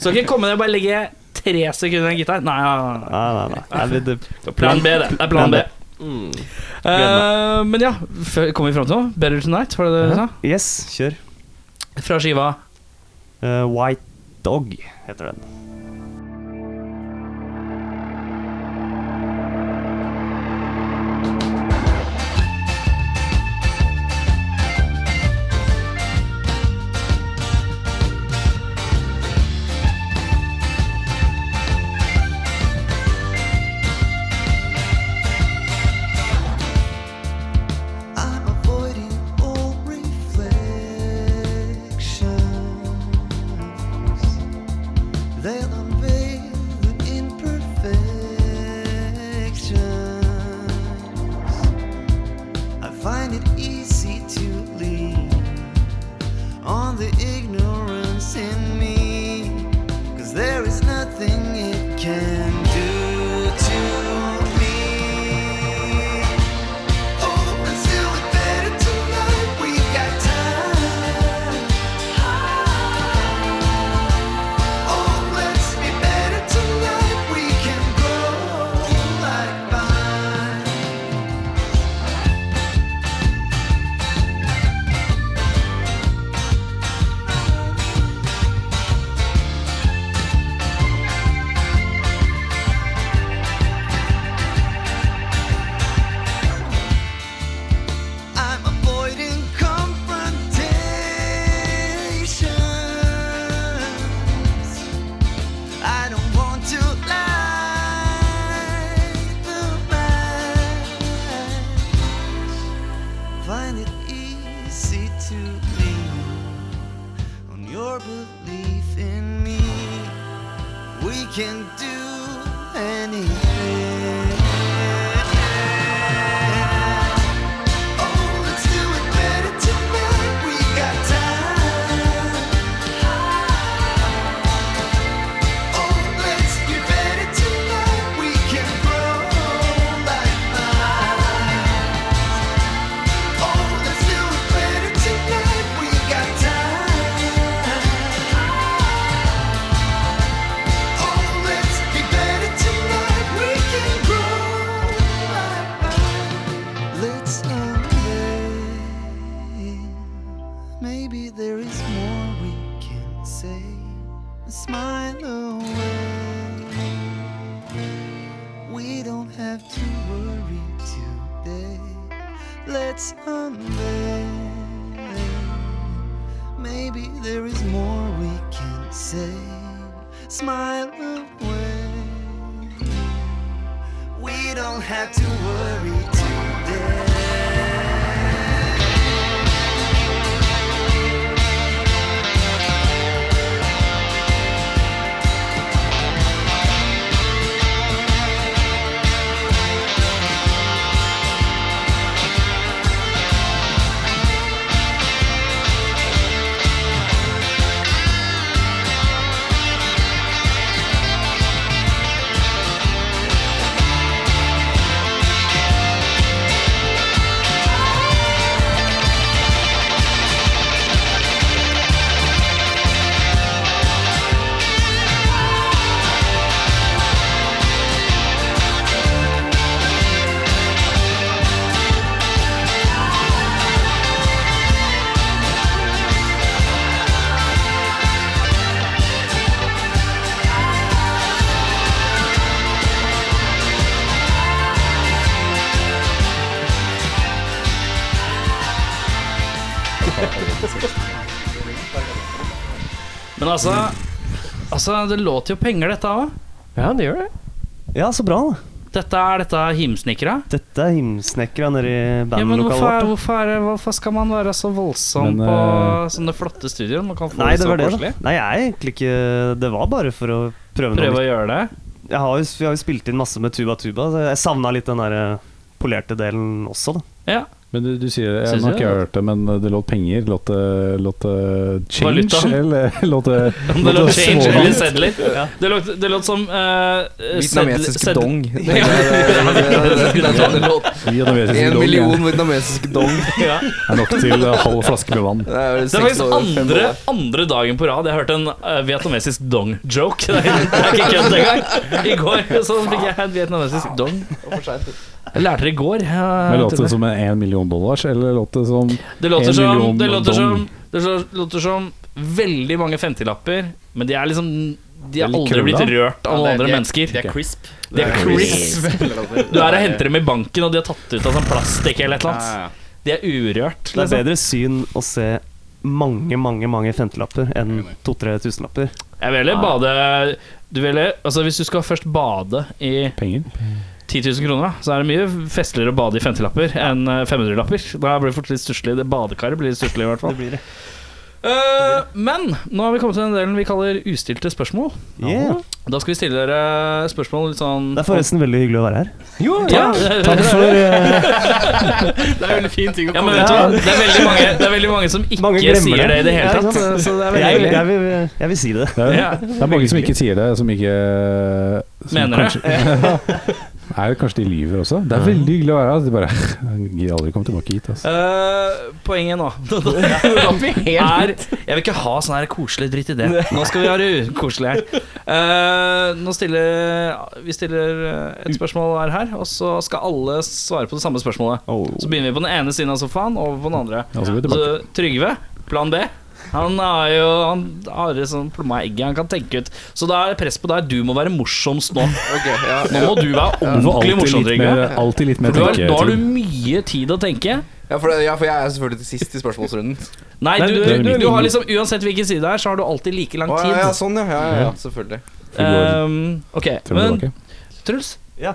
Speaker 2: Så kan jeg komme ned og bare legge tre sekunder i en gitar. Nei, nei, nei.
Speaker 4: Nei, nei, nei. Jeg vil- det-
Speaker 2: Plan B, det. Det er plan B. Mm. Eh, men ja, før- kommer vi fram til noe? Better Tonight, var det det du sa?
Speaker 4: Yes, kjør.
Speaker 2: Fra skiva
Speaker 4: Eh, White Dog heter den.
Speaker 6: I'm avoiding all reflections. They'll unveil the imperfections. I find it easy to lean on the ignorance in me. Cause there is nothing it can do to me. Oh, let's do it better tonight. We got time. Oh, let's be better tonight. We can grow like vines. I'm avoiding confrontations. I don't want to light the match. Find it easy to lean on your belief in me. We can do anything. Oh, let's do it better tonight. We got time. Oh, let's be better tonight. We can grow like mine. Oh, let's do it better tonight. We got time. Oh, let's be better tonight. We can grow like Let's unveil. Maybe there is more we can say. Smile away. We don't have to worry today. Let's unveil. Maybe there is more we can say. Smile away. We don't have to worry today.
Speaker 2: Men altså, altså det låter jo penger, dette òg.
Speaker 3: Ja, det gjør det.
Speaker 4: Ja, så bra. da.
Speaker 2: Dette er dette himsnekra.
Speaker 4: Dette er himsnekra nede i
Speaker 2: Ja, men
Speaker 4: bandlokalet
Speaker 2: hvorfor, er-
Speaker 4: vårt. da.
Speaker 2: hvorfor, er det- hvorfor skal man være så voldsom
Speaker 1: Men,
Speaker 2: på sånne flotte studioer? Man kan få
Speaker 4: Nei,
Speaker 2: det
Speaker 4: det
Speaker 2: så
Speaker 4: var det. da
Speaker 2: koselig.
Speaker 4: Nei, jeg er egentlig ikke Det var bare for å prøve noe
Speaker 2: Prøve
Speaker 4: nytt.
Speaker 2: å gjøre det.
Speaker 4: Jeg har jo, vi har jo spilt inn masse med Tuba Tuba, så jeg savna litt den der eh, polerte delen også, da.
Speaker 2: Ja.
Speaker 1: Men du, du sier Jeg
Speaker 2: Synes
Speaker 1: har
Speaker 2: jeg
Speaker 1: ikke hørt det, men det låt penger. Låt det- låt det eh, change?
Speaker 2: Valuta.
Speaker 1: Eller låt det
Speaker 2: Om det
Speaker 1: låt
Speaker 2: låt
Speaker 1: det
Speaker 2: change
Speaker 1: småbank?
Speaker 2: eller sedler. Det låt, det låt som eh,
Speaker 5: Vietnamesisk
Speaker 2: sed-
Speaker 5: dong. Det
Speaker 2: Ja.
Speaker 5: er sånn det låter.
Speaker 1: Vietnamesisk
Speaker 5: En
Speaker 1: dong,
Speaker 5: million
Speaker 1: ja.
Speaker 5: vietnamesisk dong.
Speaker 1: Det er nok til eh, halv flaske med vann.
Speaker 5: Det er
Speaker 2: Det
Speaker 5: vel
Speaker 2: er
Speaker 5: seks
Speaker 2: faktisk
Speaker 5: dollar, fem
Speaker 2: andre,
Speaker 5: dollar.
Speaker 2: andre dagen på rad jeg hørte en eh, vietnamesisk dong-joke. Det er det er ikke kødd engang. I går så fikk jeg en vietnamesisk dong. Jeg lærte det i går. eh,
Speaker 1: Men Låt det som en en million dollars, eller låt det som
Speaker 2: Det låter
Speaker 1: En
Speaker 2: som,
Speaker 1: million
Speaker 2: det låter som,
Speaker 1: dong.
Speaker 2: det så- låter som veldig mange 50-lapper, men de er liksom De har
Speaker 1: Veldig
Speaker 2: aldri blitt
Speaker 1: krølla.
Speaker 2: rørt av noen andre mennesker.
Speaker 8: De er crisp.
Speaker 2: De er crisp. Du er og henter dem i banken, og de har tatt det ut av sånn plastikk eller et eller annet. De er urørt.
Speaker 4: Det er
Speaker 2: Liksom.
Speaker 4: bedre syn å se mange, mange mange femtelapper enn to-tre tusenlapper.
Speaker 2: Jeg vil heller bade du vil, heller- altså Hvis du skal først bade i
Speaker 1: penger.
Speaker 2: 10 000 kroner, da, så er det mye festligere å bade i 50-lapper enn eh, 500-lapper. Da blir det fort litt stusslig. Det Badekaret blir litt stusslig, i hvert fall.
Speaker 4: Det blir det.
Speaker 2: Eh, men nå har vi kommet til den delen vi kaller ustilte spørsmål.
Speaker 4: Yeah.
Speaker 2: Da skal vi stille dere spørsmål litt sånn
Speaker 4: Det er forresten veldig hyggelig å være her.
Speaker 2: Ja,
Speaker 4: Takk for eh,
Speaker 8: Det er veldig fin ting å
Speaker 2: ja,
Speaker 8: komme
Speaker 2: men vet du hva? Det er veldig mange, det er veldig mange som ikke
Speaker 4: Mange glemmer
Speaker 2: sier det i det
Speaker 4: Ja,
Speaker 2: hele
Speaker 4: ikke
Speaker 2: tatt.
Speaker 4: sant?
Speaker 2: Så det er veldig
Speaker 4: jeg,
Speaker 2: hyggelig.
Speaker 4: jeg, vil, jeg vil si det.
Speaker 1: Det er,
Speaker 2: Ja.
Speaker 1: det er mange som ikke sier det, som ikke som
Speaker 2: Mener det?
Speaker 1: kanskje- Nei, kanskje de lyver også. Det er veldig hyggelig å være her. De bare Jeg gidder aldri komme tilbake hit. Altså.
Speaker 2: Eh, poenget nå er Jeg vil ikke ha sånn her koselig dritt i det. Nå skal vi ha det koselig her. Eh, nå stiller Vi stiller eh, et spørsmål hver her, og så skal alle svare på det samme spørsmålet.
Speaker 4: Oh.
Speaker 2: Så begynner vi på den ene siden av sofaen, over på den andre.
Speaker 1: Ja, så går vi
Speaker 2: Så Altså, Trygve, plan B. Han har jo Han har et sånt plomma egg han kan tenke ut. Så da er det press på deg. Du må være morsomst nå.
Speaker 5: Ok, ja.
Speaker 2: Nå må du
Speaker 1: Du
Speaker 2: være
Speaker 1: får
Speaker 2: ordentlig
Speaker 1: alltid
Speaker 2: morsom,
Speaker 1: litt
Speaker 2: Trygve.
Speaker 1: mer, alltid litt mer
Speaker 2: For du har, nå har du
Speaker 1: tenketid.
Speaker 2: mye tid å tenke.
Speaker 5: Ja, for det, ja, for jeg er selvfølgelig til sist i spørsmålsrunden.
Speaker 2: Nei,
Speaker 4: Nei,
Speaker 2: du,
Speaker 4: du-
Speaker 2: du,
Speaker 1: du-
Speaker 2: har liksom Uansett hvilken side det er, så har du alltid like lang
Speaker 5: Å,
Speaker 2: tid.
Speaker 5: ja, ja, sånn, ja. Ja, ja, ja selvfølgelig.
Speaker 1: Du går
Speaker 2: Ehm, ok,
Speaker 1: til og
Speaker 2: men
Speaker 1: tilbake.
Speaker 2: Truls?
Speaker 4: Ja.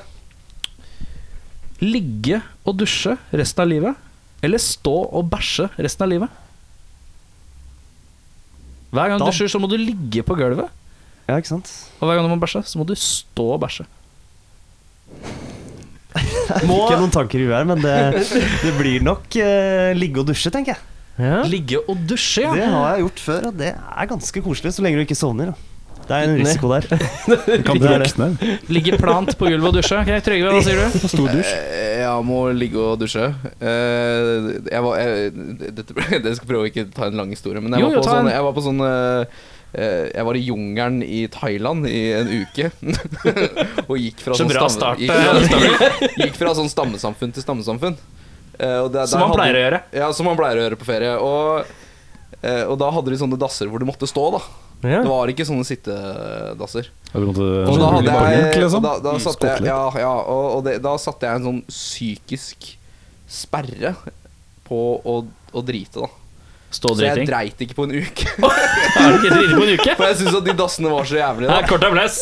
Speaker 2: Ligge og dusje resten av livet, eller stå og bæsje resten av livet? Hver gang du
Speaker 4: Da-
Speaker 2: dusjer, så må du ligge på gulvet.
Speaker 4: Ja, ikke sant?
Speaker 2: Og hver gang du må bæsje, så må du stå og bæsje.
Speaker 4: Ikke noen tanker i huet her, men det, det blir nok eh, ligge og dusje, tenker jeg.
Speaker 2: Ligge og dusje, ja.
Speaker 4: Det har jeg gjort før, og det er ganske koselig så lenge du ikke sovner. Da. Det er en risiko der.
Speaker 1: Kan
Speaker 4: Det er det.
Speaker 1: drukne.
Speaker 2: Ligge plant på gulvet og dusje. Ok, Trygve, hva sier du?
Speaker 1: Stor dusj.
Speaker 5: Eh, Jeg må ligge og dusje. Eh, Jeg var jeg, dette, ble- Dere skal prøve å ikke ta en lang historie, men jeg,
Speaker 2: Jo, jo,
Speaker 5: var, på
Speaker 2: ta en.
Speaker 5: sånn, jeg var på sånn eh, eh, Jeg var i jungelen i Thailand i en uke. og gikk
Speaker 2: Så
Speaker 5: fra, sånn
Speaker 2: bra
Speaker 5: stamme-
Speaker 2: start,
Speaker 5: gikk, gikk, gikk fra sånn stammesamfunn til stammesamfunn. Eh, og det-
Speaker 2: Som
Speaker 5: der
Speaker 2: man
Speaker 5: hadde-
Speaker 2: pleier å gjøre.
Speaker 5: Ja, som man pleier å gjøre på ferie. Og, eh, og da hadde de sånne dasser hvor du måtte stå, da.
Speaker 3: Ja.
Speaker 5: Det var ikke sånne sittedasser.
Speaker 1: Ja, du måtte-
Speaker 5: Og da hadde
Speaker 1: Bank,
Speaker 5: jeg,
Speaker 1: liksom.
Speaker 5: da, da satte jeg
Speaker 1: Skottland.
Speaker 5: Ja, ja og, og det, da satte jeg en sånn psykisk sperre på å, å drite, da.
Speaker 2: Stå og
Speaker 5: Så jeg
Speaker 2: driting.
Speaker 5: dreit ikke på en uke.
Speaker 2: Er du ikke driting på en uke?
Speaker 5: For jeg syns at de dassene var så jævlige,
Speaker 2: Nei,
Speaker 5: da.
Speaker 2: Kort applaus.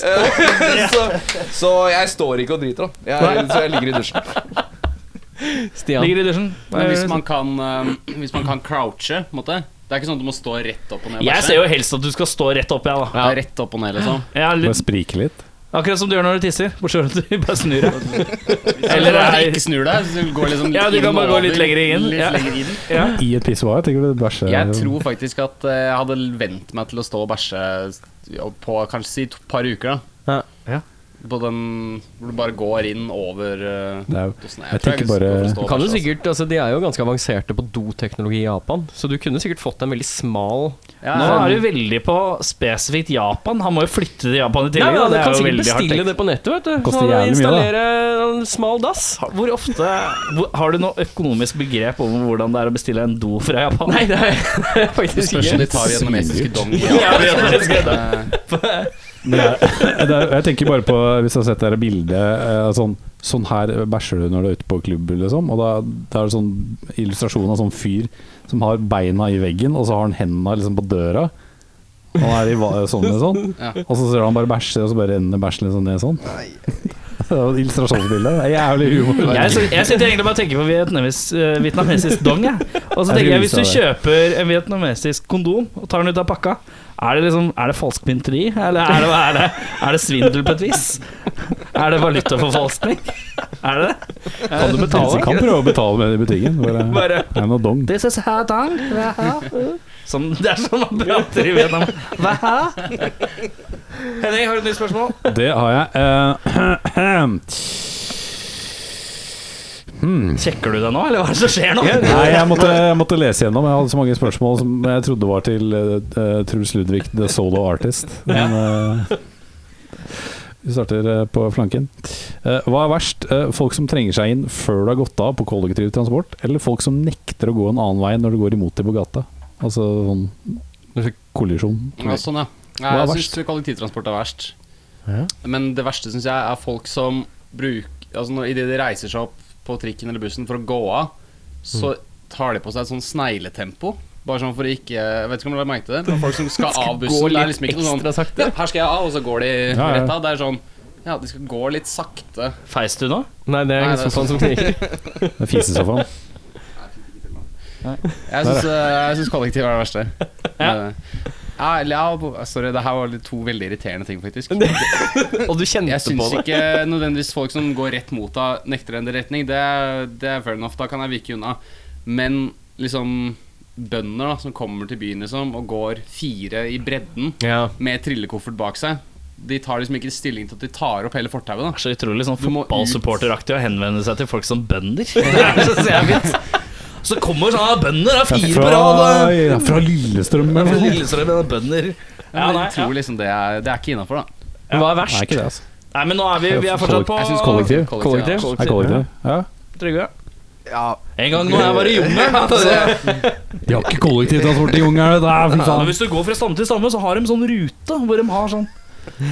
Speaker 5: så, så jeg står ikke og driter, da. Jeg, så jeg ligger i dusjen.
Speaker 3: Stian.
Speaker 2: Ligger i dusjen.
Speaker 8: Men hvis man kan, eh, hvis man kan crouche, på en måte Det er ikke sånn at du må stå rett opp og ned. og
Speaker 2: Jeg
Speaker 8: bæsje.
Speaker 2: ser jo helst at du skal stå rett opp, jeg,
Speaker 8: ja.
Speaker 2: da.
Speaker 8: Rett opp og ned, liksom.
Speaker 2: Jeg er
Speaker 1: Bare
Speaker 2: litt,
Speaker 1: sprike litt.
Speaker 2: akkurat som du gjør når du tisser, bortsett fra at du bare snur deg.
Speaker 8: Eller
Speaker 2: er-
Speaker 8: ikke snur deg. Så du går liksom litt
Speaker 2: Ja, du
Speaker 8: inn
Speaker 2: kan bare gå
Speaker 8: over,
Speaker 2: litt lenger inn,
Speaker 8: Litt
Speaker 2: ja.
Speaker 8: lenger inn.
Speaker 2: Ja.
Speaker 1: I et pissoar, tenker du? Bæsje
Speaker 8: Jeg tror faktisk at eh, jeg hadde vent meg til å stå og bæsje ja, på kanskje si et par uker, da.
Speaker 2: Ja.
Speaker 8: På den hvor du bare går inn over eh,
Speaker 1: Det er jo-
Speaker 8: dosen.
Speaker 1: jeg
Speaker 8: tror
Speaker 1: tenker
Speaker 8: skal
Speaker 1: bare-
Speaker 8: gå for å stå og
Speaker 3: Kan du
Speaker 8: bæsje, altså.
Speaker 3: sikkert, altså De er jo ganske avanserte på doteknologi i Japan, så du kunne sikkert fått en veldig smal
Speaker 8: Ja,
Speaker 2: Nå
Speaker 8: ja.
Speaker 2: er
Speaker 3: Um,
Speaker 2: du veldig på spesifikt Japan. Han må jo flytte til Japan i
Speaker 3: Nei,
Speaker 2: tillegg.
Speaker 3: men
Speaker 2: da.
Speaker 3: Han
Speaker 2: Det
Speaker 3: kan
Speaker 2: er jo
Speaker 3: sikkert
Speaker 2: veldig hardt
Speaker 3: bestille
Speaker 2: tenkt.
Speaker 3: det på nettet, vet du.
Speaker 1: Koster
Speaker 3: Så han
Speaker 1: jævlig mye, da.
Speaker 3: installere en smal dass.
Speaker 2: Hvor ofte hvor, Har du noe økonomisk begrep om hvordan det er å bestille en do fra Japan?
Speaker 3: Nei, det er det er faktisk
Speaker 8: Spørs om
Speaker 3: ikke.
Speaker 8: de tar vietnamesiske dong.
Speaker 2: Ja, det er det.
Speaker 8: Eh,
Speaker 1: Men jeg, det er, jeg tenker bare på Hvis du har sett det her bildet eh, sånn, Sånn her bæsjer du når du er ute på klubb, liksom. Og da, da er det sånn illustrasjon av sånn fyr som har beina i veggen, og så har han hendene liksom på døra. Han er i va- sånn eller sånn.
Speaker 5: Ja.
Speaker 1: Og så ser du han bare bæsjer, og så bare renner bæsjen liksom ned sånn. Det er jo et Illustrasjonsbilde. Det er jævlig humor.
Speaker 2: Jeg, sy- jeg sitter egentlig bare og tenker på vietnamis- eh, vietnamesisk dong. Jeg. Og så tenker jeg Hvis du kjøper en vietnamesisk kondom og tar den ut av pakka, er det liksom Er det falskmynteri? Eller er det, er, det, er det svindel på et vis? Er det valutaforfalskning? Er det det? Kan du
Speaker 1: Så kan prøve å betale med det i butikken. Bare,
Speaker 2: Bare
Speaker 1: det er noe dong.
Speaker 2: This is her dong. Hva her? Sånn, det er sånn man prater i Vietnam. Hva her? Henning, har du et nytt spørsmål?
Speaker 1: Det har jeg. Eh, hmm.
Speaker 2: Sjekker du deg nå, eller hva er det som skjer nå?
Speaker 1: Nei, jeg måtte, jeg måtte lese gjennom. Jeg hadde så mange spørsmål som jeg trodde var til eh, Truls Ludvig, the solo artist. Men eh, vi starter eh, på flanken. Eh, hva er verst? Eh, folk som trenger seg inn før du har gått av på kollektiv transport, eller folk som nekter å gå en annen vei når du går imot dem på gata? Altså sånn kollisjon.
Speaker 5: Ja, sånn, ja.
Speaker 1: Hva er
Speaker 5: Jeg syns
Speaker 1: verst?
Speaker 5: kollektivtransport er verst. Men det verste syns jeg er folk som bruker Altså når, i det de reiser seg opp på trikken eller bussen for å gå av, så
Speaker 2: Mm.
Speaker 5: tar de på seg et sånn snegletempo. Bare sånn for å ikke Jeg vet ikke om du har merket det, men folk som skal av bussen Det er liksom ikke noe sånn ja, 'Her skal jeg av', og så går de
Speaker 1: Ja, ja.
Speaker 5: rett av. Det er sånn Ja, de skal gå litt sakte.
Speaker 2: Feis du nå?
Speaker 3: Nei, det er
Speaker 5: Nei,
Speaker 3: en
Speaker 5: det er
Speaker 3: sofaen som kniker.
Speaker 1: Det er Fisesofaen.
Speaker 5: Jeg syns, eh, jeg syns kollektiv er det verste.
Speaker 2: Ja.
Speaker 5: Eh, Ja, eller ja, sorry, det her var litt to veldig irriterende ting, faktisk.
Speaker 3: Og du kjente
Speaker 5: Jeg
Speaker 3: på
Speaker 5: syns
Speaker 3: det.
Speaker 5: ikke nødvendigvis folk som går rett mot deg, nekter en retning. Det, er- det er fair enough, da kan jeg vike unna. Men liksom bønder da som kommer til byen liksom og går fire i bredden
Speaker 3: Ja.
Speaker 5: med trillekoffert bak seg, de tar liksom ikke stilling til at de tar opp hele fortauet. da
Speaker 2: Så utrolig sånn
Speaker 5: Du må ut.
Speaker 2: fotballsupporteraktig å henvende seg til folk som bønder. Det er så særlig. Så kommer sånn ah, bønder, det er fire på rad.
Speaker 1: Fra,
Speaker 2: da.
Speaker 1: ja, fra Lillestrøm
Speaker 2: Det er
Speaker 1: eller
Speaker 2: fra
Speaker 1: noe sånt.
Speaker 2: Lillestrøm, det er Bønder. Ja,
Speaker 5: Men
Speaker 2: nei,
Speaker 5: jeg tror liksom det er, det er ikke innafor, da.
Speaker 3: Hva er
Speaker 1: Nei,
Speaker 3: verst?
Speaker 1: ikke det, altså.
Speaker 2: nei, men nå er vi, vi er fortsatt på
Speaker 5: Jeg synes
Speaker 1: Kollektiv.
Speaker 5: Kollektiv, ja.
Speaker 1: Er kollektiv. Ja.
Speaker 2: Trygve.
Speaker 9: Ja,
Speaker 2: En gang når jeg var i jungelen altså,
Speaker 1: De har ikke kollektivtransport i Ungarn. det er- fy faen.
Speaker 2: Hvis du går fra stamme til stamme, så har de sånn rute hvor de har
Speaker 9: Liksom
Speaker 2: sånn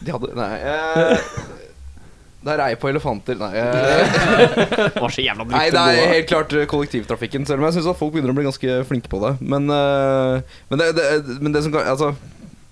Speaker 9: de hadde Nei. Eh, der er jeg på elefanter. Nei, eh,
Speaker 2: Det var så jævla
Speaker 9: nei det er helt klart eh, kollektivtrafikken. Selv om jeg syns at folk begynner å bli ganske flinke på det. Men, eh, men, det, det, men det som kan Altså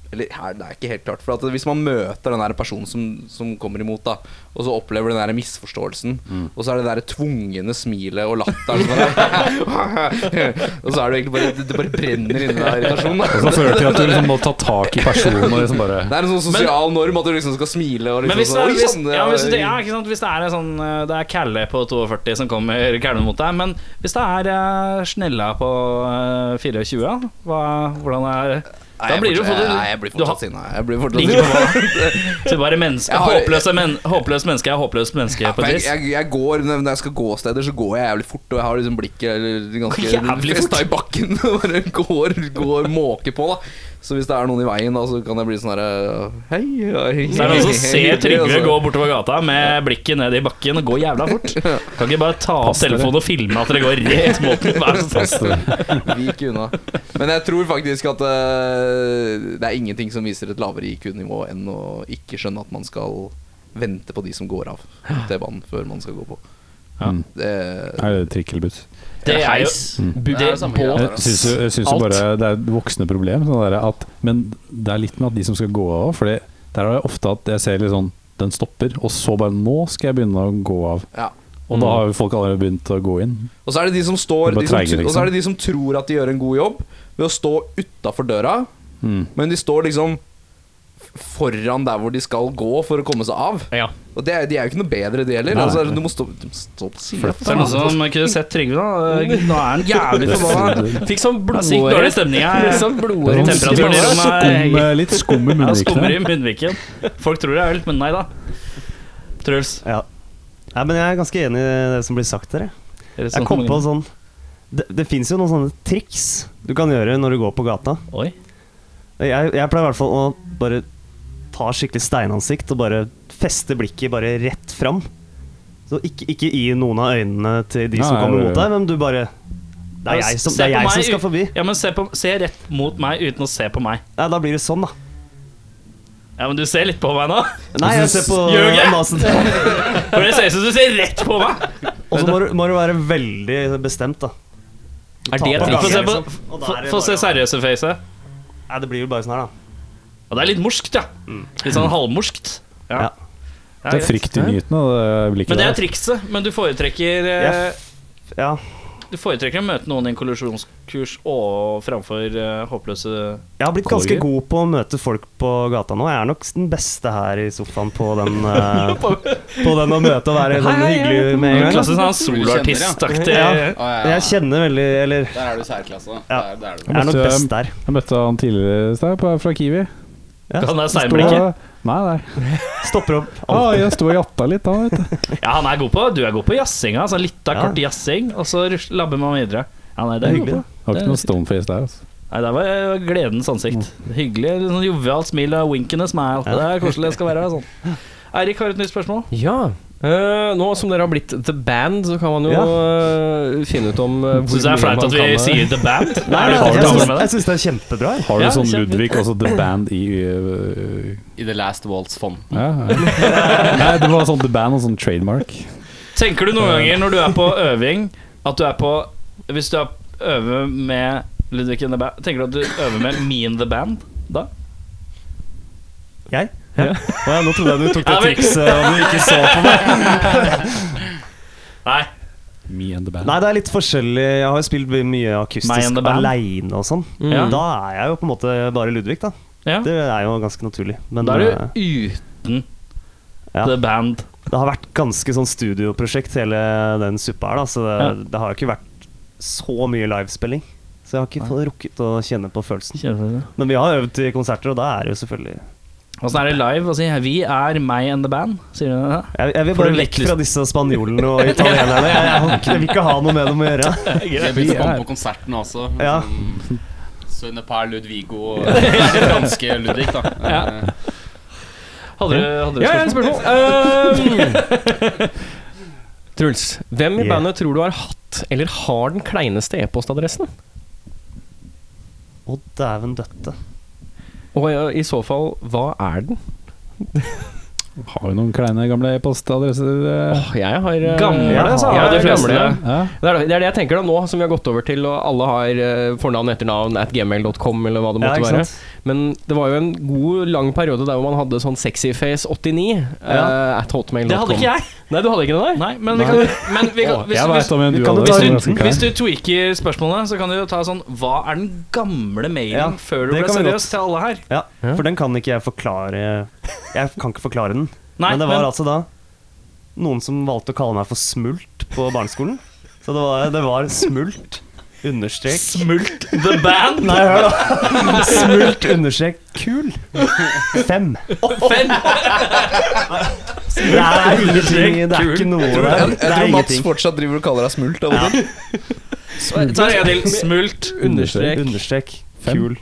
Speaker 9: eller her, det er ikke helt klart. For at Hvis man møter den der personen som, som kommer imot, da og så opplever den der misforståelsen,
Speaker 2: Mm.
Speaker 9: og så er det der tvungne smilet og latteren som er- Og så er det egentlig bare Det bare brenner inni deg av irritasjon. da.
Speaker 1: Og så fører det til at du liksom må ta tak i personen og liksom bare
Speaker 9: Det er en sånn sosial norm at du liksom skal smile og
Speaker 2: Men
Speaker 9: liksom
Speaker 2: hvis det er,
Speaker 9: sånn, «Oi,
Speaker 2: hvis,
Speaker 9: sann,
Speaker 2: ja, hvis, det, ja, ikke sant? hvis det er en sånn eh, Det er Kalle på 42 som kommer kalvende mot deg, men hvis det er eh, Snella på eh, 24, da, hva, hvordan er
Speaker 9: Nei,
Speaker 2: Da
Speaker 9: jeg
Speaker 2: blir du fått-
Speaker 9: fortsatt- Nei, jeg blir
Speaker 2: du har-
Speaker 9: fortsatt sinna. Jeg blir fortsatt
Speaker 2: Ligger på
Speaker 9: sinna.
Speaker 2: Så bare menneske,
Speaker 9: Jeg har-
Speaker 2: håpløse men, håpløst menneske er håpløst menneske på et
Speaker 9: Men jeg,
Speaker 2: vis.
Speaker 9: jeg, jeg går, når når jeg skal gå steder, så går jeg jævlig fort. Og jeg har liksom blikket eller
Speaker 2: Jævlig
Speaker 9: ganske festa i bakken. og Bare går, går måke på, da. Så hvis det er noen i veien, da, så kan jeg bli sånn herre Hei, hei,
Speaker 2: Så er det noen som
Speaker 9: hei,
Speaker 2: ser Trygve
Speaker 9: altså.
Speaker 2: gå bortover gata med blikket ned i bakken og gå jævla fort. Kan ikke bare ta opp telefonen og filme at dere går rett mot den? Vær så snill.
Speaker 9: Vik unna. Men jeg tror faktisk at eh, det er ingenting som viser et lavere IQ-nivå enn å ikke skjønne at man skal vente på de som går av T-banen, før man skal gå på.
Speaker 1: Ja.
Speaker 9: Det,
Speaker 1: Er det trikk eller buss?
Speaker 2: Det er jo
Speaker 5: Det er det samme greia der,
Speaker 1: Jeg syns,
Speaker 5: altså.
Speaker 1: jo- jeg syns jo bare det er et voksende problem. Sånn der at, men det er litt med at de som skal gå av For det- der er det ofte at jeg ser litt sånn Den stopper, og så bare Nå skal jeg begynne å gå av.
Speaker 9: ja.
Speaker 1: Og da
Speaker 2: Mm.
Speaker 1: har jo folk allerede begynt å gå inn.
Speaker 9: Og så er det de som
Speaker 1: Det er
Speaker 9: står
Speaker 1: bare
Speaker 9: de som,
Speaker 1: treige, liksom.
Speaker 9: Og så er det de som tror at de gjør en god jobb ved å stå utafor døra,
Speaker 1: Mm.
Speaker 9: men de står liksom f- foran der hvor de skal gå for å komme seg av.
Speaker 2: Ja.
Speaker 9: Og det, er- de er jo ikke noe bedre, de heller.
Speaker 1: Nei.
Speaker 9: Altså, du må stå, du må stå på siden.
Speaker 2: Så er det noen som kunne sett Trygve, da. Nå er han jævlig forbanna.
Speaker 3: Fikk sånn
Speaker 2: Det er Sykt
Speaker 3: blodåre.
Speaker 2: dårlig stemning her.
Speaker 3: Litt sånn blodåre.
Speaker 1: Det er
Speaker 2: Temperaturen i rommet er
Speaker 1: Skum, eh, litt skum i
Speaker 2: Ja, skummer i
Speaker 1: munnvikene.
Speaker 2: munnviken. Folk tror det er øl, men nei da. Truls.
Speaker 4: Ja. Nei, men jeg er ganske enig i det som blir sagt der. jeg.
Speaker 2: er det
Speaker 4: Jeg
Speaker 2: sånn-
Speaker 4: kom på sånn Det, det fins jo noen sånne triks du kan gjøre når du går på gata.
Speaker 2: Oi.
Speaker 4: Jeg, jeg pleier i hvert fall å bare ta skikkelig steinansikt og bare feste blikket bare rett fram. Så ikke, ikke i noen av øynene til de
Speaker 1: Nei,
Speaker 4: som
Speaker 1: nei,
Speaker 4: kommer
Speaker 1: nei,
Speaker 4: mot
Speaker 1: nei.
Speaker 4: deg, men du bare Det er jeg som, det er jeg som skal forbi.
Speaker 2: Ja, men se, på, se rett mot meg uten å se på meg.
Speaker 4: Nei, da blir det sånn, da.
Speaker 2: Ja, men du ser litt på meg nå.
Speaker 4: Nei, jeg ser på
Speaker 2: Gjør jeg?
Speaker 4: nasen.
Speaker 2: For det ser ut som du ser rett på meg.
Speaker 4: Og så må, du- må du være veldig bestemt, da. Du
Speaker 3: Er
Speaker 4: tar
Speaker 3: det
Speaker 4: på
Speaker 3: trikset?
Speaker 2: Få
Speaker 4: gangen,
Speaker 2: se, på,
Speaker 4: liksom. Og da
Speaker 2: få,
Speaker 4: er det
Speaker 2: få se
Speaker 4: bare-
Speaker 2: seriøse facet.
Speaker 4: Nei, det blir jo bare sånn her, da.
Speaker 2: Og det er litt morskt, ja. Litt sånn
Speaker 4: Mm.
Speaker 2: halvmorskt.
Speaker 4: Ja.
Speaker 2: Ja,
Speaker 1: Det er
Speaker 2: greit.
Speaker 1: fryktinngytende, det blikket
Speaker 2: Men det er
Speaker 1: der.
Speaker 2: trikset. Men du foretrekker, eh,
Speaker 4: Ja,
Speaker 2: du foretrekker å møte noen i en kollisjonskurs og framfor eh, håpløse
Speaker 4: Jeg har blitt ganske god på å møte folk på gata nå. Jeg er nok den beste her i sofaen på den, eh, på den å møte og være sånn hyggelig med en gang.
Speaker 2: Klassisk sånn
Speaker 4: da.
Speaker 2: soloartistaktig
Speaker 4: Ja.
Speaker 5: Å, ja, ja.
Speaker 4: Jeg kjenner veldig Eller jeg
Speaker 5: Der er du særklasse, da.
Speaker 4: Ja.
Speaker 5: Der, der er du.
Speaker 4: er nok
Speaker 1: Måtte-
Speaker 4: best der.
Speaker 1: Jeg møtte han tidligere i sted, på- fra Kiwi.
Speaker 4: Ja.
Speaker 2: Han er
Speaker 1: Sto og-
Speaker 2: seinblikket.
Speaker 1: Nei, nei.
Speaker 4: Stopper opp.
Speaker 1: Ah, jeg sto og jatta litt da, vet du.
Speaker 2: Ja, han er god på Du er god på jazzinga. Altså, litt av
Speaker 4: Ja.
Speaker 2: kort jazzing, og så rusler- labber man videre. Ja, nei, det er hyggelig.
Speaker 1: Har ikke noe stoneface der, altså.
Speaker 2: Nei, Der var eh, gledens ansikt. Hyggelig. litt Sånn jovialt smil og winkende smile. Det er koselig det skal være. sånn Eirik har et nytt spørsmål.
Speaker 3: Ja. Eh, nå som dere har blitt The Band, så kan man jo
Speaker 4: Ja.
Speaker 3: eh, finne ut om uh,
Speaker 2: Syns det er flaut at vi sier The Band?
Speaker 4: Nei,
Speaker 2: er du
Speaker 4: jeg
Speaker 2: komfortabel
Speaker 4: syns-
Speaker 2: med
Speaker 4: jeg
Speaker 2: det?
Speaker 4: syns det er kjempebra. jeg.
Speaker 1: Har du
Speaker 2: Ja,
Speaker 1: sånn
Speaker 2: kjempe-
Speaker 1: Ludvig, altså The Band i øh,
Speaker 5: I The Last Waltz-fonten.
Speaker 1: ja, ja. Nei, det var sånn The Band og sånn trademark.
Speaker 2: Tenker du noen ganger når du er på øving, at du er på Hvis du er øver med Ludvig in the Band, tenker du at du øver med Me in the Band da?
Speaker 4: Jeg? Å ja, nå trodde jeg du tok
Speaker 2: Ja,
Speaker 4: det
Speaker 2: men-
Speaker 4: trikset om du ikke så på meg.
Speaker 2: Nei.
Speaker 1: Me and the Band.
Speaker 4: Nei, det er litt forskjellig. Jeg har jo spilt mye
Speaker 2: Meg and
Speaker 4: akustisk
Speaker 2: the band. Mm.
Speaker 4: aleine og sånn.
Speaker 2: Ja.
Speaker 4: Da er jeg jo på en måte bare Ludvig, da.
Speaker 2: Ja.
Speaker 4: Det er jo ganske naturlig. Men
Speaker 2: Da
Speaker 4: eh,
Speaker 2: er du uten
Speaker 4: Ja.
Speaker 2: The Band.
Speaker 4: Det har vært ganske sånn studioprosjekt hele den suppa her, da, så det, det har jo ikke vært så mye livespilling. Så jeg har ikke fått rukket å kjenne på følelsen. Men vi har øvd i konserter, og da er det jo selvfølgelig
Speaker 2: Åssen er det live? Altså, vi er meg and the band, sier du det?
Speaker 4: Jeg, jeg vil
Speaker 2: Får
Speaker 4: bare
Speaker 2: du litt
Speaker 4: vekk fra disse spanjolene og italienerne. Jeg, jeg, har ikke- jeg vil ikke ha noe med dem å gjøre.
Speaker 5: Jeg begynte å komme på konserten også.
Speaker 4: Ja.
Speaker 5: Sånn Sønne Per Ludvigo og den franske Ludvig, da. Eh,
Speaker 2: Hadde du, hadde du
Speaker 3: Ja, jeg har et
Speaker 2: spørsmål?
Speaker 3: spørsmål. Ehm, Truls, hvem i
Speaker 4: Yeah.
Speaker 3: bandet tror du har hatt eller har den kleineste e-postadressen?
Speaker 4: Å, dæven døtte.
Speaker 3: Og eh, i så fall, hva er den?
Speaker 1: Har jo noen kleine gamle e-postadresser. eh.
Speaker 3: Åh, jeg har eh,
Speaker 2: Gamle,
Speaker 3: jeg har-
Speaker 4: sa
Speaker 3: ja,
Speaker 2: de
Speaker 3: de
Speaker 2: fleste.
Speaker 3: fleste. Gamle.
Speaker 1: Ja.
Speaker 3: Det, er, det er det jeg tenker da nå, som vi har gått over til, og alle har eh, fornavn, etternavn, at gmail.com, eller hva det
Speaker 4: Ja,
Speaker 3: måtte
Speaker 4: ikke
Speaker 3: være.
Speaker 4: sant?
Speaker 3: Men det var jo en god, lang periode der hvor man hadde sånn sexyface89 eh, at hotmail.com.
Speaker 2: Det hadde ikke jeg.
Speaker 3: Nei, du hadde ikke det der?
Speaker 2: Nei, men vi kan, men vi kan
Speaker 1: Åh,
Speaker 2: hvis,
Speaker 1: Jeg
Speaker 2: hvis,
Speaker 1: veit om en du
Speaker 4: kan
Speaker 1: hadde.
Speaker 4: du ta
Speaker 1: som
Speaker 4: en
Speaker 1: ganske klein.
Speaker 2: hvis du tweaker spørsmålet, så kan du jo ta sånn Hva er den gamle mailen
Speaker 4: Ja,
Speaker 2: før du
Speaker 4: det
Speaker 2: ble
Speaker 4: kan vi
Speaker 2: seriøs til alle her?
Speaker 4: Ja, for den kan ikke jeg forklare Jeg kan ikke forklare den.
Speaker 2: Nei,
Speaker 4: men det var
Speaker 2: men-
Speaker 4: altså da noen som valgte å kalle meg for Smult på barneskolen. Så det var, det var Smult understrek
Speaker 2: Smult the band?
Speaker 4: Nei, hør da! Smult understrek kul. Fem.
Speaker 2: Fem?
Speaker 4: Det er ingenting. Det er ikke noe der.
Speaker 9: Jeg, jeg
Speaker 4: Det er
Speaker 9: tror Mats
Speaker 4: ingenting.
Speaker 9: fortsatt driver og kaller deg smult. av og til.
Speaker 2: Ta en gang til. Smult.
Speaker 4: Understrek understrek
Speaker 1: Fem.
Speaker 4: kul.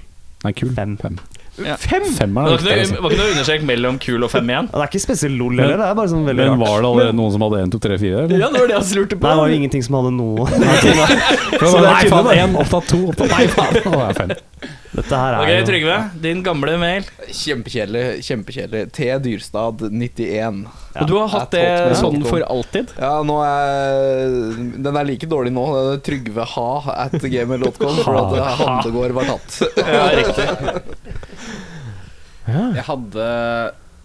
Speaker 1: Nei, kul.
Speaker 4: Fem.
Speaker 1: Fem.
Speaker 2: Ja.
Speaker 1: Femmeren
Speaker 2: Det
Speaker 1: er
Speaker 2: var ikke
Speaker 1: viktig.
Speaker 2: noe,
Speaker 1: Altså.
Speaker 2: var ikke noe understrek mellom kul og fem igjen?
Speaker 4: Ja, Det er ikke spesielt lol heller. Det er bare sånn veldig
Speaker 1: Men
Speaker 4: rart.
Speaker 1: var det allerede noen som hadde 1, 2, 3, 4? Eller?
Speaker 3: det var det jeg lurte
Speaker 4: Nei, det var ingenting som hadde noe
Speaker 1: Så det nei, faen, én, opptatt to, opptatt Nei, faen! Nå er jeg fem.
Speaker 4: Dette her
Speaker 2: Ok,
Speaker 4: er jo
Speaker 2: Eh, Trygve. Din gamle mail.
Speaker 9: Kjempekjedelig. kjempekjedelig T. Dyrstad 91.
Speaker 3: Og du har hatt det
Speaker 9: Ja,
Speaker 3: sånn
Speaker 9: hotmail.com.
Speaker 3: for alltid?
Speaker 9: Ja, nå er Den er like dårlig nå. den er Trygve ha at gmail.com. For at eh, Handegård var tatt.
Speaker 2: Ja, riktig.
Speaker 5: Jeg hadde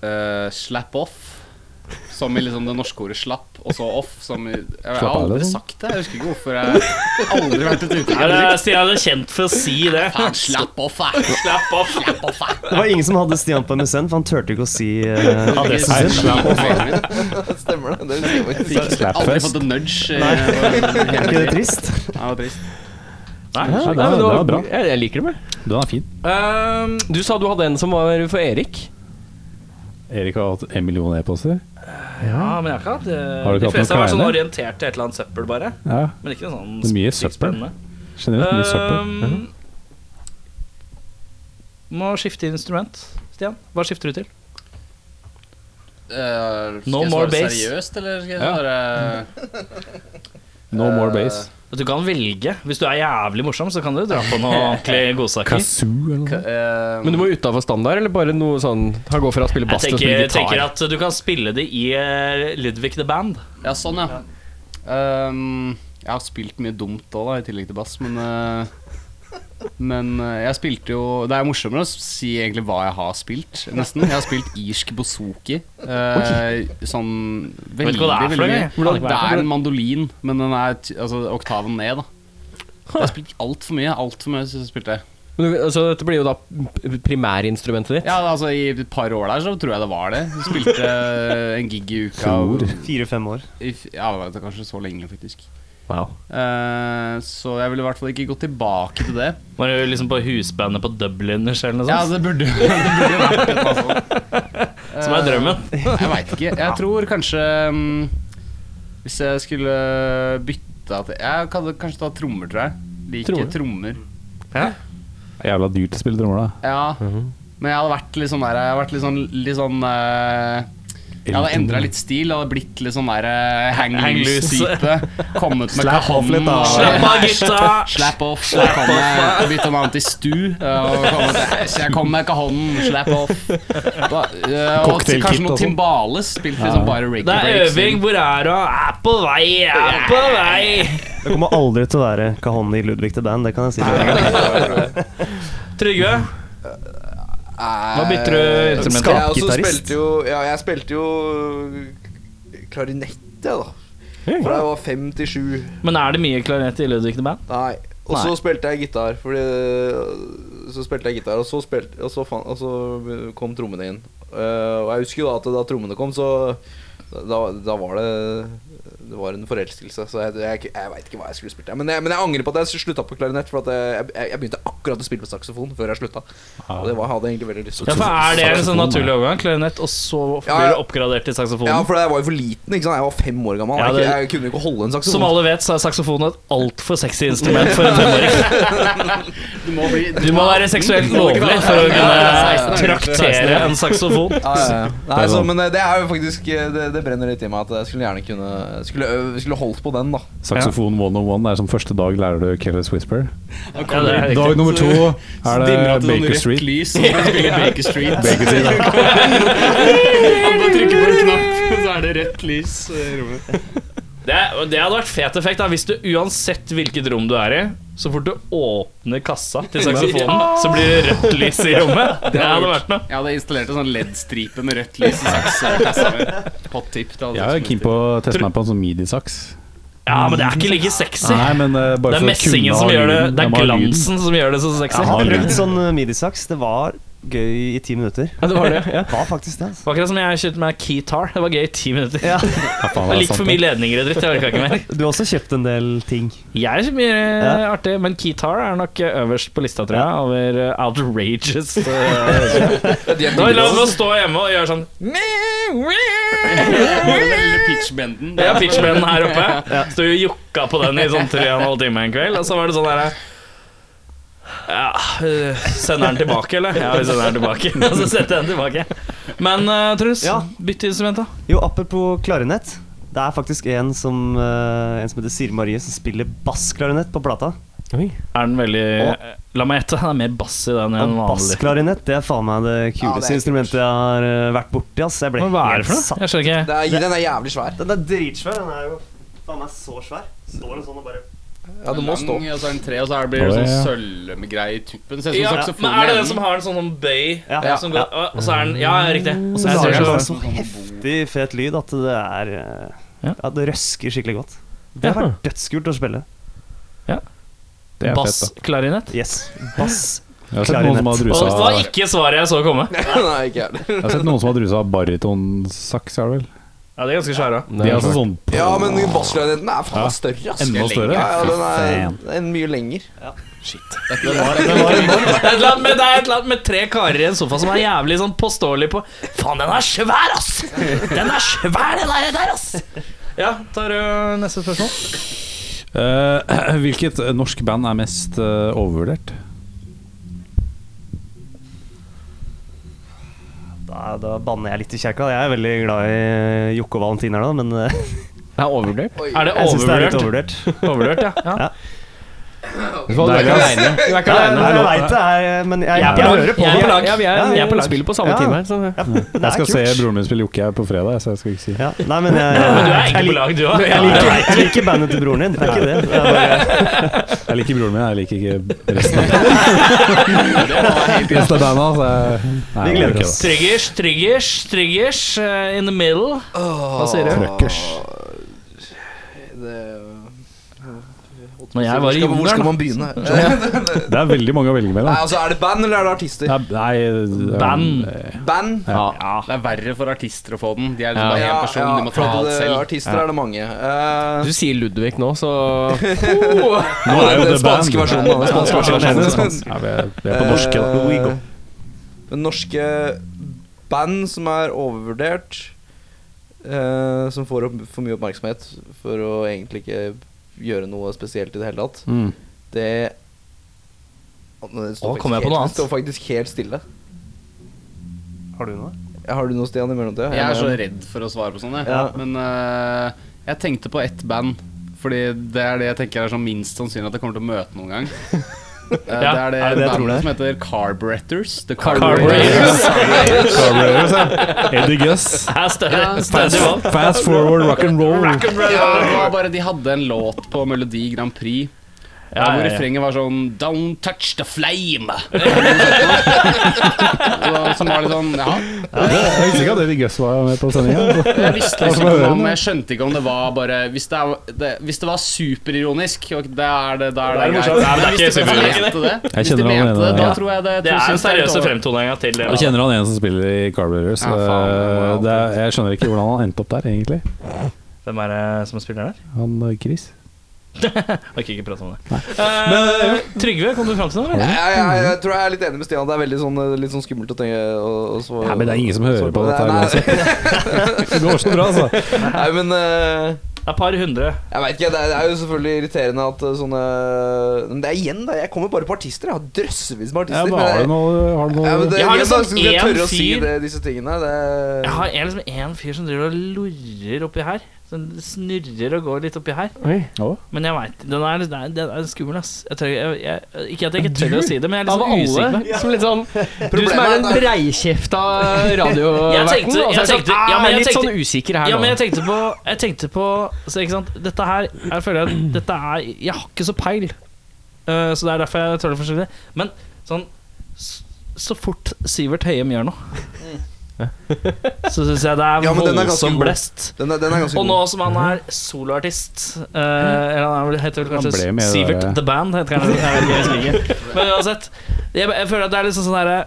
Speaker 5: eh, slap off, som i liksom det norske ordet slapp, og så off, som i Jeg, har
Speaker 1: Slapp av,
Speaker 5: aldri
Speaker 1: liksom.
Speaker 5: sagt det. Jeg husker ikke hvorfor jeg aldri vært et uttrykk.
Speaker 2: Ja,
Speaker 5: jeg
Speaker 2: det
Speaker 5: har
Speaker 2: er- Stian er kjent for å si det.
Speaker 5: brukt. Faen, slapp off, jeg.
Speaker 2: Slapp av.
Speaker 5: Slapp off, eh. jeg.
Speaker 4: Det var ingen som hadde Stian på MSN, for han turte ikke å si eh, adressen
Speaker 5: Nei,
Speaker 4: sin.
Speaker 5: slapp off, jeg.
Speaker 9: Stemmer det? det husker jeg
Speaker 5: Fikk
Speaker 9: faktisk.
Speaker 5: Aldri fått en nudge. eh,
Speaker 4: Er ikke det trist?
Speaker 5: Det var trist.
Speaker 1: Ja,
Speaker 3: Nei,
Speaker 1: det
Speaker 3: men
Speaker 1: er-
Speaker 3: det
Speaker 1: det
Speaker 3: var
Speaker 1: er bra.
Speaker 3: Jeg, jeg liker det med.
Speaker 1: Den er fin.
Speaker 2: Um,
Speaker 3: Du sa du hadde en som var for Erik.
Speaker 1: Erik har hatt en million e-poster.
Speaker 2: ja, men jeg har ikke hatt det.
Speaker 1: Har du ikke
Speaker 2: De
Speaker 1: hatt noen
Speaker 2: fleste har vært sånn
Speaker 1: kleine?
Speaker 2: orientert til et eller annet søppel, bare.
Speaker 1: Ja,
Speaker 2: Men ikke noe sånn
Speaker 1: Det er mye
Speaker 2: sykt
Speaker 1: søppel.
Speaker 2: spennende.
Speaker 1: generelt mye søppel.
Speaker 2: Um, Må skifte instrument, Stian. Hva skifter du til?
Speaker 5: Eh,
Speaker 2: No
Speaker 5: skal
Speaker 2: more
Speaker 5: jeg eh, svare
Speaker 2: bass.
Speaker 5: seriøst, eller skal jeg
Speaker 1: Ja.
Speaker 5: svare
Speaker 3: Eh,
Speaker 1: No more base.
Speaker 2: Du kan velge. Hvis du er jævlig morsom, så kan du dra på noe ordentlig godsaker.
Speaker 1: Kazoo eller noe sånt.
Speaker 5: eh,
Speaker 3: Men du må utafor standard, eller bare noe sånn Han går fra å spille
Speaker 2: Jeg
Speaker 3: bass til å
Speaker 2: tenker,
Speaker 3: spille
Speaker 2: tenker
Speaker 3: gitar.
Speaker 2: at du kan spille det i eh, Ludvig the Band.
Speaker 5: Ja, sånn, ja. Ehm, jeg har spilt mye dumt òg, da, i tillegg til bass, men eh, Men eh, jeg spilte jo Det er morsommere å si egentlig hva jeg har spilt, nesten. Jeg har spilt irsk bozuki. eh, sånn
Speaker 2: Vet
Speaker 5: veldig,
Speaker 2: ikke hva det er for
Speaker 5: veldig
Speaker 2: noe,
Speaker 5: mye.
Speaker 2: jeg. Hvordan-
Speaker 5: Det er en mandolin, men den er t- altså, oktaven ned, da. Jeg har spilt altfor mye. Altfor mye så spilte jeg.
Speaker 3: Men du, altså, dette blir jo da primærinstrumentet ditt.
Speaker 5: Ja, altså I et par år der så tror jeg det var det. Jeg spilte eh, en gig i uka. og-
Speaker 4: Fire-fem år.
Speaker 5: i f- Ja, det var kanskje så lenge, faktisk.
Speaker 3: Wow.
Speaker 5: Eh, så jeg ville i hvert fall ikke gå tilbake til det.
Speaker 2: Var du liksom på husbandet på Dubliners eller noe
Speaker 5: Ja,
Speaker 2: sånt?
Speaker 5: det burde det burde jo vært det, altså.
Speaker 2: Som er drømmen.
Speaker 5: Eh, Jeg veit ikke. Jeg tror kanskje mm, Hvis jeg skulle bytta til Jeg kan kanskje ta trommer, tror jeg. Liker
Speaker 3: Trommer?
Speaker 5: trommer.
Speaker 1: Jævla dyrt å spille trommer, da.
Speaker 5: Ja. Men jeg hadde vært litt sånn der Jeg hadde vært litt sånn, litt sånn eh, jeg hadde endra litt stil. Jeg hadde blitt litt sånn der eh, hang
Speaker 2: Hang
Speaker 5: loose-type. Kommet med
Speaker 4: Slap off litt, da.
Speaker 5: og-
Speaker 2: Slapp av, gutta!
Speaker 5: Slap off. Så jeg kom med bytta navn til Stu. eh, Og kom med, så jeg kom med kahonnen. Slap off. Da, eh, og
Speaker 1: Cocktailkit
Speaker 5: kanskje
Speaker 1: og
Speaker 5: noe
Speaker 1: sånn.
Speaker 5: timbales. Spilt liksom bare
Speaker 2: Det
Speaker 5: reggae
Speaker 2: er
Speaker 5: breaks.
Speaker 2: øving. Hvor er du? Er på vei, er på vei.
Speaker 4: Det kommer aldri til å være Kahon i Ludvig til band, det kan jeg si. med en gang.
Speaker 2: Trygve, hva bytter du instrument
Speaker 9: Skal
Speaker 2: til?
Speaker 9: jeg også
Speaker 4: Gitarist.
Speaker 9: spilte jo Ja, jeg spilte jo klarinett, jeg, da. Fra jeg var fem til sju.
Speaker 2: Men er det mye klarinett i Ludvig the Band?
Speaker 9: Nei. Og så
Speaker 2: Nei.
Speaker 9: spilte jeg gitar, fordi eh, Så spilte jeg gitar, og så, spilte, og så, fan, og så kom trommene inn. Eh, og jeg husker jo da at da trommene kom, så da, da var det Det var en forelskelse. Så jeg, jeg, jeg veit ikke hva jeg skulle spilt. Men jeg, men jeg angrer på at jeg slutta på klarinett, for at jeg, jeg, jeg begynte akkurat å spille på saksofon før jeg slutta. Og det var, jeg hadde egentlig veldig lyst
Speaker 2: Ah. Ja,
Speaker 9: til.
Speaker 2: for Er det en sånn naturlig overgang? Klarinett, og så
Speaker 9: Ja,
Speaker 2: blir
Speaker 9: ja.
Speaker 2: du oppgradert til
Speaker 9: Ja,
Speaker 2: saksofonen?
Speaker 9: for jeg var jo for liten. ikke sant? Jeg var fem år gammel.
Speaker 2: Ja,
Speaker 9: Jeg-
Speaker 2: det-
Speaker 9: Jeg, kunne jo ikke holde en saksofon.
Speaker 2: Som alle vet, så er saksofonen et altfor sexy instrument for en femåring.
Speaker 5: Du må bli
Speaker 2: Du må være seksuelt lovlig for å kunne traktere en saksofon.
Speaker 9: Ja, ja, ja. Nei, så, men eh, det er jo faktisk eh, det, det brenner litt i meg at jeg skulle gjerne kunne Skulle, ø- skulle holdt på den, da.
Speaker 1: Saksofon 101 er som første dag lærer du Keller's Whisper.
Speaker 2: Ja, det er
Speaker 1: Dag
Speaker 2: riktig.
Speaker 1: nummer to er det
Speaker 5: til sånn
Speaker 1: Baker Street.
Speaker 5: lys. Og spiller Baker Street.
Speaker 1: Baker Street ja.
Speaker 5: Han bare trykker på en knapp, så er det rødt lys i rommet.
Speaker 2: Det, er- det hadde vært fet effekt da hvis du uansett hvilket rom du er i, så fort du åpner kassa til saksofonen, så blir det rødt lys i rommet. Det hadde vært noe.
Speaker 5: Jeg hadde installert en sånn LED-stripe med rødt lys i saksa. Hot tip. Det hadde
Speaker 1: Jeg er
Speaker 5: vært
Speaker 1: keen på å teste meg på en sånn midi-saks.
Speaker 2: Ja, men det er ikke like sexy.
Speaker 1: Nei, men eh,
Speaker 2: Det
Speaker 1: bare for
Speaker 2: er
Speaker 1: å kunne
Speaker 2: messingen som
Speaker 1: ha
Speaker 2: gjør det
Speaker 1: lyden. Jeg
Speaker 2: Det er
Speaker 1: må ha lyden.
Speaker 2: glansen som gjør det så
Speaker 4: Jeg
Speaker 2: sexy.
Speaker 4: har
Speaker 1: Ja,
Speaker 2: Det
Speaker 1: det-
Speaker 4: prøvd sånn midisaks. Det var gøy i ti minutter.
Speaker 3: Ja, det var det. Ja.
Speaker 4: Det var faktisk det. altså.
Speaker 2: var akkurat som jeg kjøpte meg keytar. Det var gøy i ti minutter.
Speaker 4: Ja.
Speaker 1: Ja, faen,
Speaker 2: Det
Speaker 1: det
Speaker 2: er
Speaker 1: er
Speaker 2: litt
Speaker 1: sant,
Speaker 2: for mye ledninger og dritt. Jeg orka ikke mer.
Speaker 4: Du har også kjøpt en del ting.
Speaker 2: Jeg er så mye eh,
Speaker 4: Ja.
Speaker 2: artig, men keytar er nok eh, øverst på lista, tror jeg, over eh, outrageous eh, Nå La oss nå stå hjemme og gjøre sånn
Speaker 5: Eller pitchbenden.
Speaker 2: Ja, pitchbenden her oppe. Sto og jokka på den i sånn tre og en halv time en kveld, og så var det sånn derre ja, eh, Sender den tilbake, eller? Ja, vi sender den tilbake. Og så setter jeg den tilbake. Men eh, Truls,
Speaker 4: Ja.
Speaker 2: bytt instrument, da.
Speaker 4: Jo, apropos klarinett. Det er faktisk en som, eh, en som heter Siri Marie, som spiller bassklarinett på plata.
Speaker 2: Er den veldig
Speaker 4: Å.
Speaker 2: eh, La meg gjette, den er mer bass i den enn
Speaker 4: Og
Speaker 2: vanlig.
Speaker 4: bassklarinett det er faen meg det kuleste instrumentet jeg har eh, vært borti. ass. Jeg ble
Speaker 2: Men hva er
Speaker 4: helt
Speaker 2: det for noe?
Speaker 4: satt.
Speaker 2: Jeg skjønner ikke.
Speaker 9: Det er, den er jævlig svær.
Speaker 4: Den er dritsvær. Den er jo faen meg så svær. Står den sånn og bare
Speaker 9: Ja, du må stå.
Speaker 5: Lang, og så er den tre, og så er det blir det
Speaker 1: Ja,
Speaker 5: sånn
Speaker 1: ja.
Speaker 5: sølvgreie i tuppen. Ser ut som
Speaker 2: Ja,
Speaker 5: saksofon
Speaker 2: men er det
Speaker 5: i
Speaker 2: den som
Speaker 5: enden.
Speaker 2: har en sånn sånn bøy?
Speaker 4: Ja.
Speaker 2: som går, Og så er den Ja, riktig.
Speaker 4: Og så
Speaker 2: Jeg
Speaker 4: lager sånn
Speaker 2: ser
Speaker 4: den
Speaker 2: det.
Speaker 4: bare så heftig fet lyd at det er eh,
Speaker 2: Ja.
Speaker 4: Ja, det røsker skikkelig godt. Det har
Speaker 2: Ja.
Speaker 4: vært dødskult å spille.
Speaker 1: Det er fett, da.
Speaker 2: Bassklarinett.
Speaker 4: Yes. Bass.
Speaker 1: Jeg har sett noen som har
Speaker 2: Og
Speaker 1: drusa
Speaker 2: det var ikke svaret jeg så komme.
Speaker 9: Nei, ikke jeg heller.
Speaker 1: Jeg har sett noen som har drusa baritonsaks, er det vel?
Speaker 2: Ja, det er ganske svære.
Speaker 1: De er altså sånn
Speaker 9: Ja, men bassklarinetten er faen meg større, ass.
Speaker 1: enda større.
Speaker 9: Ja, ja, den
Speaker 1: Faen.
Speaker 9: er, den er mye lenger.
Speaker 2: Det er et eller annet med, det er et eller annet med tre karer i en sofa som er jævlig sånn påståelig på Faen, den er svær, ass! Den er svær, den der, der ass! Ja, tar du neste spørsmål?
Speaker 1: Eh, Hvilket norsk band er mest eh, overvurdert?
Speaker 4: Da, da banner jeg litt i kjerka. Jeg er veldig glad i Jokke og Valentin her, da, men eh,
Speaker 3: Det er overvurdert.
Speaker 10: Er det
Speaker 4: Jeg syns det er litt
Speaker 10: overvurdert?
Speaker 4: overvurdert.
Speaker 10: Overvurdert, ja. ja.
Speaker 3: Du er ikke aleine. Du er ikke
Speaker 4: Nei,
Speaker 3: alene.
Speaker 4: nei, jeg vet det er Men jeg,
Speaker 10: Jeg er på lag.
Speaker 4: hører på
Speaker 10: Jeg er
Speaker 4: det.
Speaker 10: på lag.
Speaker 3: Ja, vi er,
Speaker 4: Ja,
Speaker 3: vi
Speaker 4: ja.
Speaker 3: er på lag. spiller på samme
Speaker 4: Ja.
Speaker 3: time her.
Speaker 10: sånn,
Speaker 3: Så.
Speaker 4: Ja, men det
Speaker 1: Jeg
Speaker 4: er
Speaker 1: skal
Speaker 4: kult.
Speaker 1: se broren min spille jokke her på fredag, så jeg skal ikke si
Speaker 4: Ja, nei, men jeg,
Speaker 10: Men du er
Speaker 4: jeg,
Speaker 10: egentlig på
Speaker 4: lik-
Speaker 10: lag, du òg.
Speaker 4: jeg, liker, jeg liker bandet til broren din. Det er ikke det. det er bare,
Speaker 1: Jeg liker broren min, jeg liker ikke resten av resten av banda. Så jeg, nei, jeg
Speaker 4: Vi gleder
Speaker 1: gjør ikke det.
Speaker 4: oss.
Speaker 1: altså
Speaker 10: Triggers, triggers, triggers
Speaker 2: øh,
Speaker 10: eh, in the middle. Hva sier du? Når jeg var i
Speaker 9: Hvor skal
Speaker 10: jungelen,
Speaker 9: man begynne?
Speaker 1: Det er veldig mange å velge
Speaker 9: Nei,
Speaker 1: mellom.
Speaker 9: altså, er det band eller er det artister?
Speaker 1: Nei, nei eh, det er-
Speaker 10: Band.
Speaker 9: Band.
Speaker 5: Det er verre for artister å få den. De er
Speaker 3: Ja.
Speaker 5: liksom bare én person, de må ta
Speaker 9: for
Speaker 5: alt
Speaker 9: at, eh,
Speaker 5: selv.
Speaker 9: Artister er det mange. Eh,
Speaker 3: Du sier Ludvig nå, så
Speaker 1: Nå er jo
Speaker 9: den
Speaker 1: det band.
Speaker 9: spanske versjonen av den spanske
Speaker 1: Nei, det er
Speaker 9: versjonen.
Speaker 1: spansk. Ja, vi er vi er på norske, da.
Speaker 9: Eh, Den norske band som er overvurdert, eh, som får opp for mye oppmerksomhet for å egentlig ikke gjøre noe spesielt i det hele tatt,
Speaker 1: Mm.
Speaker 9: det Å, det står
Speaker 10: Å,
Speaker 9: faktisk
Speaker 10: kom jeg på
Speaker 9: helt-
Speaker 10: noe annet?
Speaker 9: Det står faktisk helt stille.
Speaker 4: har du noe?
Speaker 9: Har du noe, Stian, i mellomtida?
Speaker 5: Jeg er så redd for å svare på sånne.
Speaker 9: Ja.
Speaker 5: Men eh, jeg tenkte på ett band. Fordi det er det jeg tenker er sånn minst sannsynlig at jeg kommer til å møte noen gang. Eh, det er det,
Speaker 4: er det det jeg tror det er?
Speaker 5: bandet som heter Carburetors. The
Speaker 10: Carburetors.
Speaker 1: Carburetors, ja. Eddie Guss.
Speaker 10: er større.
Speaker 5: Ja.
Speaker 10: Større valg.
Speaker 1: Fast forward rock and roll.
Speaker 5: Ja, det var bare De hadde en låt på Melodi Grand Prix
Speaker 10: Ja,
Speaker 5: hvor
Speaker 10: ja, ja.
Speaker 5: refrenget var sånn Don't touch the flame. Og Som var litt sånn Ja,
Speaker 1: Jeg visste ikke at Eddie Guss var med på sendinga.
Speaker 5: jeg visste
Speaker 1: Det var som å
Speaker 5: liksom
Speaker 1: høre
Speaker 5: om
Speaker 1: den.
Speaker 5: Jeg skjønte ikke om det var bare Hvis det, er, det, hvis det var superironisk, og det er det, da er det,
Speaker 10: Da er det morsomt.
Speaker 5: greit.
Speaker 10: Nei, men det er
Speaker 5: Men hvis de
Speaker 10: ikke superironisk.
Speaker 5: mente det,
Speaker 1: Jeg
Speaker 5: hvis de
Speaker 1: kjenner han
Speaker 5: mente det,
Speaker 1: ene-
Speaker 5: da
Speaker 1: ja.
Speaker 5: tror jeg det
Speaker 10: Det er den
Speaker 5: synes jeg
Speaker 10: seriøse
Speaker 5: over.
Speaker 10: fremtoninga til det.
Speaker 1: Jeg
Speaker 10: da.
Speaker 1: kjenner han en som spiller i Carburetors.
Speaker 5: Ja, faen, det må jeg
Speaker 1: det er, jeg skjønner ikke hvordan han endte opp der, egentlig.
Speaker 10: Hvem er det som spiller der?
Speaker 1: Han eh, Chris.
Speaker 10: Orker ikke prate om det. Eh, Trygve, kom du fram til noe?
Speaker 9: Jeg,
Speaker 10: eller?
Speaker 9: jeg, jeg tror jeg er litt enig med Stian. Det er veldig sånn, eh, litt sånn skummelt å tenke og, og så,
Speaker 1: Nei, men det er ingen som hører
Speaker 9: så-
Speaker 1: på dette her
Speaker 9: Nei,
Speaker 1: uansett. Det går så bra, altså.
Speaker 9: Nei, nei, men eh,
Speaker 10: Det er Et par hundre.
Speaker 9: Jeg vet ikke, det er, det er jo selvfølgelig irriterende at eh, sånne Men det er igjen, da. Jeg kommer bare på artister. Jeg har drøssevis med
Speaker 1: Ja,
Speaker 9: artister.
Speaker 1: men
Speaker 9: men
Speaker 1: har
Speaker 9: jeg-
Speaker 1: du noe, har du
Speaker 9: Ja, men
Speaker 1: noe
Speaker 9: det,
Speaker 10: Jeg har
Speaker 9: igjen,
Speaker 10: liksom
Speaker 9: da, skal jeg
Speaker 10: en
Speaker 9: tørre å si
Speaker 10: fyr-
Speaker 9: det, disse tingene. Det,
Speaker 10: Jeg har en, liksom en fyr som driver og lurrer oppi her. Som snurrer og går litt oppi her.
Speaker 1: Å?
Speaker 10: Men jeg veit Den er, den er, den er skummel, ass. Jeg tør, jeg, jeg, ikke at jeg ikke tør å si det, men jeg er
Speaker 3: Av
Speaker 10: liksom usikker.
Speaker 3: alle som litt sånn Du
Speaker 9: Problemet
Speaker 3: som er
Speaker 9: er
Speaker 3: den
Speaker 9: at-
Speaker 3: breikjefta
Speaker 10: Jeg
Speaker 3: radioverten.
Speaker 10: tenkte-
Speaker 3: og så er
Speaker 10: jeg
Speaker 3: det sånn,
Speaker 10: tenkte- ja,
Speaker 3: «Ah,
Speaker 10: men
Speaker 3: jeg er
Speaker 10: jeg
Speaker 3: litt sånn
Speaker 10: tenkte-
Speaker 3: usiker her
Speaker 10: Ja, men
Speaker 3: nå.
Speaker 10: jeg tenkte på, jeg tenkte på så, ikke sant? Dette her Jeg føler at dette er Jeg har ikke så peil, Eh, så det er derfor jeg tør det forskjellig. Men sånn s- Så fort Sivert Høyem gjør noe, så syns jeg det er
Speaker 9: Ja, men den er ganske
Speaker 10: voldsom
Speaker 9: god.
Speaker 10: blest.
Speaker 9: den, er, den er ganske
Speaker 10: Og
Speaker 9: god.
Speaker 10: nå som han er soloartist eh, Eller han er vel- heter vel
Speaker 1: Han
Speaker 10: kanskje
Speaker 1: ble med i det
Speaker 10: Sivert
Speaker 1: der-
Speaker 10: The Band, heter han. Jeg vet ikke, jeg husker ikke. Men uansett. Jeg, jeg føler at det er litt sånn sånn herre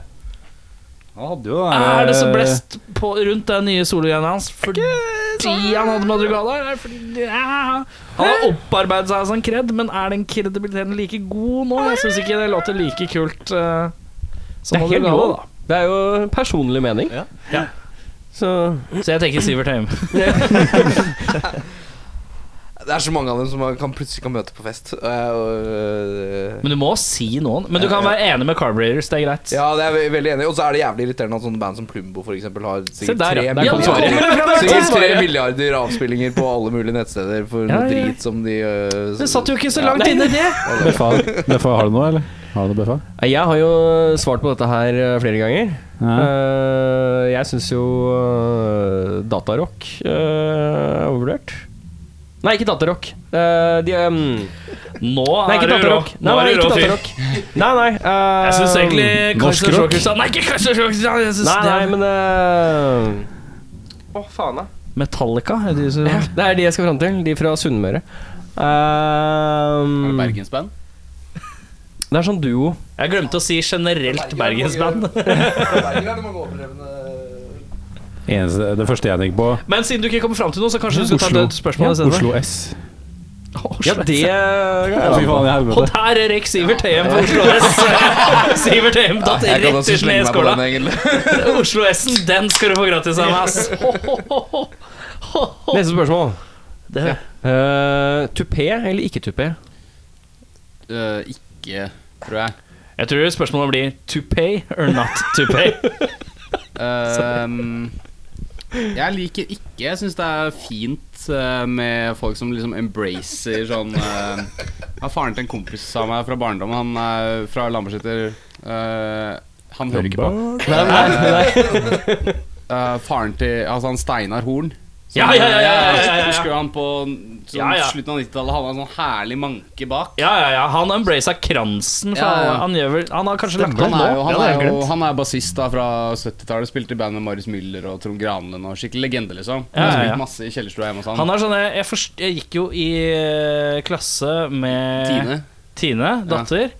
Speaker 10: er det så
Speaker 1: eh,
Speaker 10: blest på, rundt den nye sologreiene hans fordi
Speaker 1: sånn?
Speaker 10: han hadde madrigaler? Er det Fordi, ja. Han har opparbeidet seg en sånn kred, men er den kredibiliteten like god nå? Jeg syns ikke det låter like kult eh,
Speaker 3: Det
Speaker 10: som
Speaker 3: er helt lov,
Speaker 10: madrigaler.
Speaker 3: da. Det er jo personlig mening.
Speaker 10: Ja.
Speaker 3: Så
Speaker 10: Så jeg tenker Sivert Heim.
Speaker 9: Det er så mange av dem som man kan, plutselig kan møte på fest. og eh, jeg- og,
Speaker 10: Men du må si noen. Men du kan være enig med Carburetors, det er greit.
Speaker 9: ja, det er jeg veldig enig i. Og så er det jævlig irriterende at sånne band som Plumbo for eksempel, har sikkert
Speaker 3: der,
Speaker 9: tre
Speaker 3: ja. Der kom svaret.
Speaker 9: milliarder, sikkert tre
Speaker 10: svaret.
Speaker 9: milliarder avspillinger på alle mulige nettsteder for
Speaker 10: Ja,
Speaker 9: noe
Speaker 10: ja, ja.
Speaker 9: drit som de øh,
Speaker 10: Du satt jo ikke så langt inne i det.
Speaker 1: Beffa, Beffa, har du noe, eller? Har du noe Beffa?
Speaker 3: Nei, jeg har jo svart på dette her eh, flere ganger.
Speaker 1: Ja.
Speaker 3: Eh, jeg syns jo eh, datarock eh, er overvurdert. Nei, ikke datarock. Eh, de ehm,
Speaker 10: Nå
Speaker 3: Nei,
Speaker 10: er
Speaker 3: ikke
Speaker 10: du rå.
Speaker 3: datarock. Nei,
Speaker 10: Nå
Speaker 3: nei,
Speaker 10: er du
Speaker 3: ikke
Speaker 10: rå fyr.
Speaker 3: datarock. Nei, nei. eh,
Speaker 10: Jeg syns egentlig
Speaker 1: Norsk
Speaker 10: Kaiser
Speaker 1: rock.
Speaker 10: Sjokkerstad Nei, ikke Kaiser Sjokkerstad! Jeg synes
Speaker 3: Nei,
Speaker 10: det
Speaker 3: nei,
Speaker 10: er-
Speaker 3: men eh, Å, faen, da.
Speaker 10: Metallica? Er det de som-
Speaker 3: Ja, det er de jeg skal fram til. De fra Sunnmøre.
Speaker 5: Er det
Speaker 3: Um, det
Speaker 5: Bergensband?
Speaker 3: er sånn duo.
Speaker 10: Jeg glemte å si generelt bergensband.
Speaker 1: Eneste, det første jeg tenker på
Speaker 10: Men siden du ikke kommer fram til noe, så kanskje du skal ta
Speaker 1: Oslo.
Speaker 10: et spørsmål
Speaker 1: ja, Oslo S.
Speaker 3: Ja, det
Speaker 1: Ja, fy faen i
Speaker 10: Og
Speaker 1: helvete.
Speaker 10: der er Rex Sivert Heim på Oslo S. Sivert Heim datt
Speaker 9: Jeg kan
Speaker 10: rett
Speaker 9: også
Speaker 10: ut ned i
Speaker 9: slenge meg på
Speaker 10: E skåla.
Speaker 9: den, egentlig.
Speaker 10: Oslo S-en, den skal du få gratis av meg, ass. Ho, ho, ho, ho. Ho, ho.
Speaker 3: Neste spørsmål.
Speaker 10: Det-
Speaker 3: Uh, tupé eller ikke tupé?
Speaker 5: Eh, ikke, tror jeg.
Speaker 10: Jeg tror spørsmålet blir to pay or not to pay.
Speaker 5: Ehm, Jeg liker ikke Jeg syns det er fint eh, med folk som liksom embracer sånn eh, ja, Faren til en kompis av meg fra barndommen, han er fra Lambertseter eh, Han hører ikke på. Eh, faren til Altså han Steinar Horn. som-
Speaker 10: Ja, ja, ja, ja, ja, ja, ja.
Speaker 5: Husker du han på sånn,
Speaker 10: Ja, ja.
Speaker 5: slutten av 90-tallet hadde han en sånn herlig manke bak?
Speaker 10: Ja, ja, ja. Han embracet kransen.
Speaker 5: Ja,
Speaker 10: faen.
Speaker 5: ja.
Speaker 10: Han, gjør vel, han har kanskje lagt
Speaker 5: Han
Speaker 10: opp nå.
Speaker 5: er jo, han
Speaker 10: Ja, det har jeg
Speaker 5: er jo
Speaker 10: glemt.
Speaker 5: han er bassist da fra 70-tallet. Spilte i band med Marius Müller og Trond Granlund. Og skikkelig legende, liksom. Han
Speaker 10: Ja,
Speaker 5: har
Speaker 10: ja, ja.
Speaker 5: spilt masse i kjellerstua hjemme hos han.
Speaker 10: Han er sånn, jeg, forst, jeg gikk jo i eh, klasse med
Speaker 5: Tine.
Speaker 10: Tine, datter.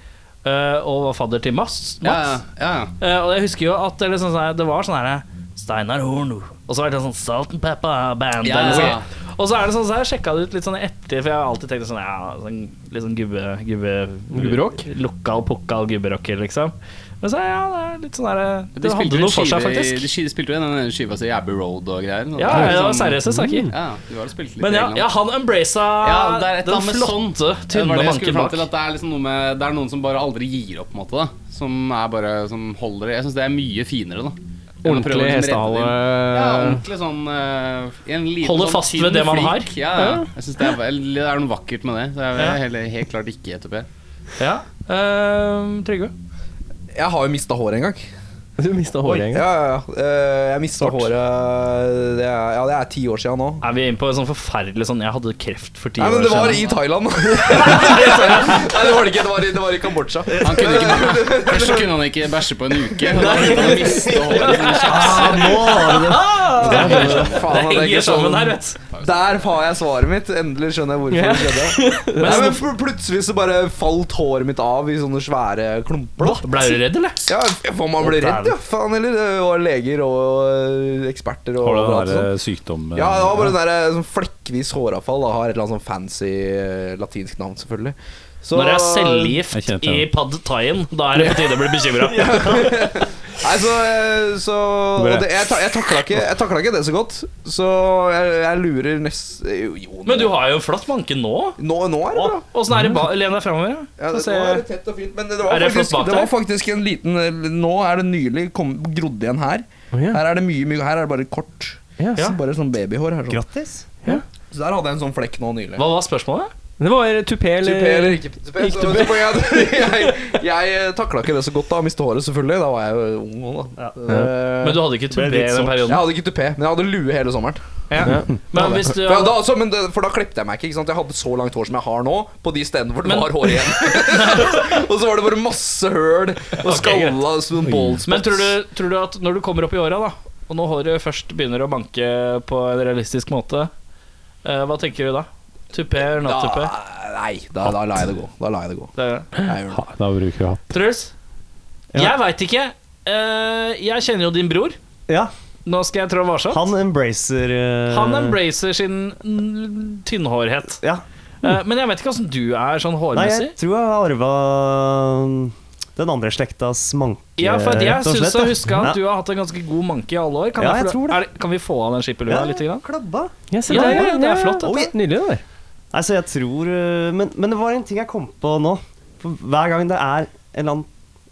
Speaker 10: eh, og var fadder til Mats.
Speaker 5: Ja,
Speaker 10: Mats.
Speaker 5: ja, ja.
Speaker 10: Eh, og jeg husker jo at det, liksom, sånn her- det var sånn her Steinar Horn. Og så var det sånn Salt and Pepper Band.
Speaker 5: Ja,
Speaker 10: eller noe
Speaker 5: ja,
Speaker 10: sånt. Og så er det sånn, så har jeg sjekka det ut litt sånn etter, for jeg har alltid tenkt sånn ja, sånn, litt sånn gubbe... gubbe
Speaker 3: Gubberock?
Speaker 10: Lokal pukkal gubberocker, liksom. Men så ja, det er litt sånn her
Speaker 5: De
Speaker 10: Det
Speaker 5: spilte
Speaker 10: hadde
Speaker 5: jo
Speaker 10: noe for seg,
Speaker 5: skive i-
Speaker 10: faktisk.
Speaker 5: De ski- spilte jo i den skiva si Abbey Road og greier.
Speaker 10: Ja, ja, det var seriøse saker.
Speaker 5: Ja, du har spilt litt
Speaker 10: Men ja,
Speaker 5: i England.
Speaker 10: ja han embracet
Speaker 5: Ja, det er et
Speaker 10: den
Speaker 5: eller annet med sånn.
Speaker 10: flotte,
Speaker 5: Det var
Speaker 10: tynne
Speaker 5: det jeg skulle
Speaker 10: manken
Speaker 5: fram
Speaker 10: bak.
Speaker 5: til. At det, er liksom noe med, det er noen som bare aldri gir opp, på en måte. Da. Som er bare Som holder Jeg syns det er mye finere, da. enn å
Speaker 3: Ordentlig
Speaker 5: prøve å liksom redde
Speaker 3: hestehale.
Speaker 5: det inn. Ja, ordentlig sånn eh, en liten,
Speaker 10: Holder
Speaker 5: sånn
Speaker 10: fast
Speaker 5: tynn
Speaker 10: ved det man har.
Speaker 5: flik. Ja, ja. Jeg synes det, er, vel- det er noe vakkert med det. Så jeg er helt, helt klart ikke ETP.
Speaker 10: Ja. ehm, Trygve?
Speaker 9: Jeg har jo mista håret en gang.
Speaker 3: Du mista håret
Speaker 9: Ja, ja, ja. Eh, Jeg mista håret det er, Ja, det er ti år siden nå.
Speaker 10: Er vi inne på en sånn forferdelig sånn Jeg hadde kreft for ti
Speaker 9: Nei,
Speaker 10: år
Speaker 9: men
Speaker 10: siden.
Speaker 9: det var i Thailand. Nei, det var det ikke. Det var i, det var i Kambodsja.
Speaker 5: Han kunne ikke, først kunne han ikke bæsje på en uke. Og da begynte han å miste håret som en kjeks.
Speaker 9: Faen,
Speaker 10: Det
Speaker 9: hadde jeg
Speaker 10: henger
Speaker 9: ikke sånn-
Speaker 10: sammen her, vet du.
Speaker 9: Der har jeg svaret mitt. Endelig skjønner jeg hvorfor det skjedde. Nei, men
Speaker 1: sånn-
Speaker 9: pl- plutselig så bare falt håret mitt av i sånne svære klumper. da.
Speaker 10: Ble du redd, eller?
Speaker 9: Ja, for man ble redd, ja. Faen heller. Det var leger og øh, eksperter og
Speaker 1: Har du
Speaker 9: overalt
Speaker 1: den
Speaker 9: og sånn.
Speaker 1: der eh, sykdom
Speaker 9: Ja, det var bare den der sånn flekkvis håravfall. Da. Har et eller annet sånn fancy øh, latinsk navn, selvfølgelig. Så-
Speaker 10: Når det er
Speaker 1: Jeg kjente
Speaker 10: cellegift i
Speaker 1: det.
Speaker 10: pad thaien, da er det på tide å bli bekymra.
Speaker 9: Nei, så, eh, så og det, Jeg, ta- jeg takla ikke, jeg takla ikke det så godt, så jeg, jeg lurer nest... eh, Jo, jo nå-
Speaker 10: Men du har jo en flott manke nå.
Speaker 9: nå, nå er det bra.
Speaker 10: Åssen er det ba Len deg framover?
Speaker 9: Ja,
Speaker 10: Få
Speaker 9: det,
Speaker 10: se.
Speaker 9: nå er det tett og fint, men det, det, var,
Speaker 10: Er det
Speaker 9: faktisk,
Speaker 10: flott bak
Speaker 9: det var
Speaker 10: der?
Speaker 9: faktisk en liten eh, Nå er det nylig kom, grodd igjen her. Her er det mye, mye Her er det bare kort.
Speaker 3: Ja.
Speaker 9: Så Bare sånn babyhår. Her, sånn.
Speaker 4: Grattis.
Speaker 9: Så der hadde jeg en sånn flekk nå nylig.
Speaker 10: Hva var spørsmålet?
Speaker 3: Det var tupé eller
Speaker 9: Tupé eller ikke tupé? Så, så poenget er at jeg, jeg eh, takla ikke det så godt da. Miste håret, selvfølgelig. Da var jeg jo ung òg, da. Eh,
Speaker 10: Men du hadde ikke
Speaker 4: ble
Speaker 10: tubé i
Speaker 4: litt
Speaker 10: den
Speaker 4: sårt.
Speaker 9: jeg
Speaker 10: perioden.
Speaker 9: hadde ikke tupé, men jeg hadde lue hele sommeren.
Speaker 10: Men hvis du
Speaker 9: For, da, altså, men det, for da klippte jeg meg ikke. ikke sant? Jeg hadde så langt hår som jeg har nå, på de stedene hvor det var hår igjen. og så var det bare masse høl og sånn skalla som balls.
Speaker 10: Men tror du, tror du at når du kommer opp i åra, da, og når håret først begynner å banke på en realistisk måte, eh, hva tenker du da? Tupé eller
Speaker 9: da,
Speaker 10: not tupé?
Speaker 9: Nei, da, da lar jeg det gå. Da lar jeg det gå.
Speaker 10: Det er det.
Speaker 9: Jeg gjør det.
Speaker 1: Ah, Da bruker vi hatt.
Speaker 10: Truls, jeg veit ikke. Eh, jeg kjenner jo din bror.
Speaker 4: Ja,
Speaker 10: Nå skal jeg trå varsomt.
Speaker 4: han embracer eh,
Speaker 10: Han embracer sin mm, tynnhårhet.
Speaker 4: Ja.
Speaker 10: Eh, men jeg vet ikke åssen du er sånn
Speaker 4: Nei, jeg
Speaker 10: hårmessig.
Speaker 4: tror jeg har arva den andre slektas manke,
Speaker 10: Ja, for at jeg
Speaker 4: rett og
Speaker 10: syns
Speaker 4: slett,
Speaker 10: å
Speaker 4: ja.
Speaker 10: huske at
Speaker 4: Ja.
Speaker 10: du har hatt en ganske god manke i alle år. Kan,
Speaker 4: Ja,
Speaker 10: jeg,
Speaker 4: jeg tror det.
Speaker 10: Er, kan vi få av den skipperlua
Speaker 4: Ja,
Speaker 10: litt? Grann?
Speaker 4: Klabba.
Speaker 3: Ja, se
Speaker 10: Ja,
Speaker 3: der,
Speaker 10: ja,
Speaker 3: ja,
Speaker 10: det er flott, dette.
Speaker 3: Oi, Nydelig, det der.
Speaker 4: Nei, så jeg tror eh, men, men det var en ting jeg kom på nå. For hver gang det er en eller annen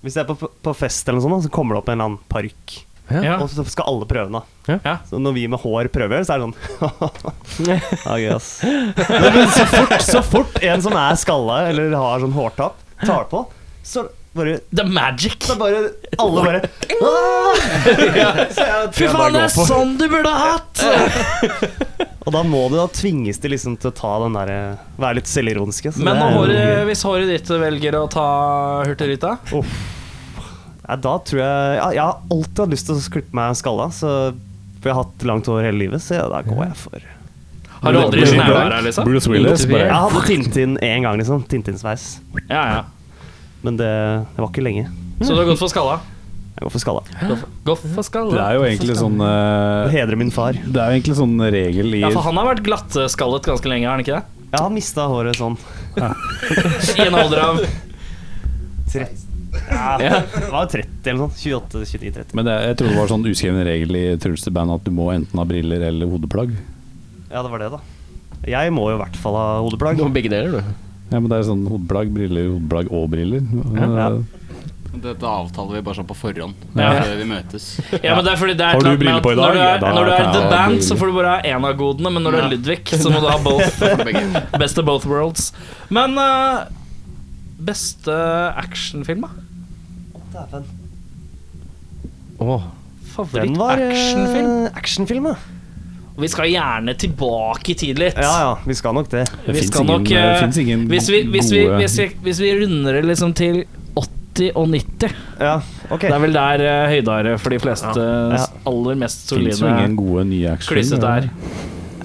Speaker 4: Hvis jeg er på, på fest, eller noe sånt, da, så kommer det opp en eller annen parykk.
Speaker 10: Ja.
Speaker 4: Og så skal alle prøve den. da.
Speaker 10: Ja.
Speaker 4: Så når vi med hår prøver, så er det sånn Ja, gøy, ass. Men så fort, så fort en som er skalla eller har sånn hårtapp, tar på, så bare
Speaker 10: The magic!
Speaker 4: så bare Alle bare
Speaker 10: Fy faen, det er sånn du burde ha hatt!
Speaker 4: Og da må du da tvinges til liksom til å ta den derre Være litt selvironiske. så
Speaker 10: Men
Speaker 4: det
Speaker 10: når
Speaker 4: er jo-
Speaker 10: håret, hvis håret ditt velger å ta Hurtigruta
Speaker 4: Nei, da tror jeg ja, Jeg har alltid hatt lyst til å klippe meg skalla, så for jeg har hatt langt hår hele livet, så ja, da går jeg for Jeg
Speaker 10: Har du aldri
Speaker 1: Bruce-
Speaker 10: snaua deg, liksom?
Speaker 1: Bruce Willis. Bare.
Speaker 4: hadde Tintin én gang, liksom. Tintinsveis.
Speaker 10: Ja, ja.
Speaker 4: Men det, det var ikke lenge.
Speaker 10: Så du har gått for skalla?
Speaker 4: Jeg går for skalla.
Speaker 10: Gå for skalla.
Speaker 1: Det er jo egentlig sånn eh,
Speaker 4: Hedre min far.
Speaker 1: Det er jo egentlig sånn regel i
Speaker 10: Ja, for han har vært glatteskallet ganske lenge, har han ikke det?
Speaker 4: Jeg har mista håret sånn.
Speaker 10: I en alder av
Speaker 4: Trett- Ja, det var 30 eller sånn. 28-29-30.
Speaker 1: Men det, jeg trodde det var sånn uskreven regel i Truls til band at du må enten ha briller eller hodeplagg.
Speaker 4: Ja, det var det, da. Jeg må jo i hvert fall ha hodeplagg.
Speaker 10: Eh,
Speaker 1: Ja, men det er sånn hodeplagg, briller, hodeplagg og briller.
Speaker 4: Ja.
Speaker 5: Dette avtaler vi bare sånn på forhånd.
Speaker 10: Ja.
Speaker 5: Før vi møtes.
Speaker 10: Ja, men det er fordi det er
Speaker 1: Har
Speaker 10: et
Speaker 1: du
Speaker 10: eller annet med
Speaker 1: briller på i
Speaker 10: at
Speaker 1: dag?
Speaker 10: Når du
Speaker 1: Ja,
Speaker 10: er,
Speaker 1: da
Speaker 10: når du er
Speaker 1: kan jeg
Speaker 10: The
Speaker 1: ha
Speaker 10: Band,
Speaker 1: briller.
Speaker 10: så får du bare ha én av godene, men når du er Ludvig, så må du ha both.
Speaker 5: For begge.
Speaker 10: Best of both worlds. Men eh, beste actionfilm, da?
Speaker 4: Dæven. Den var eh,
Speaker 10: Favoritt-actionfilm?
Speaker 4: actionfilm, ja.
Speaker 10: Vi skal gjerne tilbake i tid litt.
Speaker 4: ja. Ja, vi skal nok det.
Speaker 1: Det
Speaker 10: Vi
Speaker 1: finnes
Speaker 10: skal
Speaker 1: ingen,
Speaker 10: nok,
Speaker 1: det
Speaker 10: eh,
Speaker 1: finnes ingen
Speaker 10: Hvis vi, hvis vi,
Speaker 1: gode
Speaker 10: hvis vi, hvis vi runder det liksom til 80 og 90
Speaker 4: Ja, ok.
Speaker 10: Det er vel der uh, høydare for de fleste
Speaker 4: Ja.
Speaker 10: s- aller mest
Speaker 1: finnes jo
Speaker 10: solide
Speaker 1: ingen gode nye
Speaker 4: eh.
Speaker 1: action
Speaker 10: klysset er.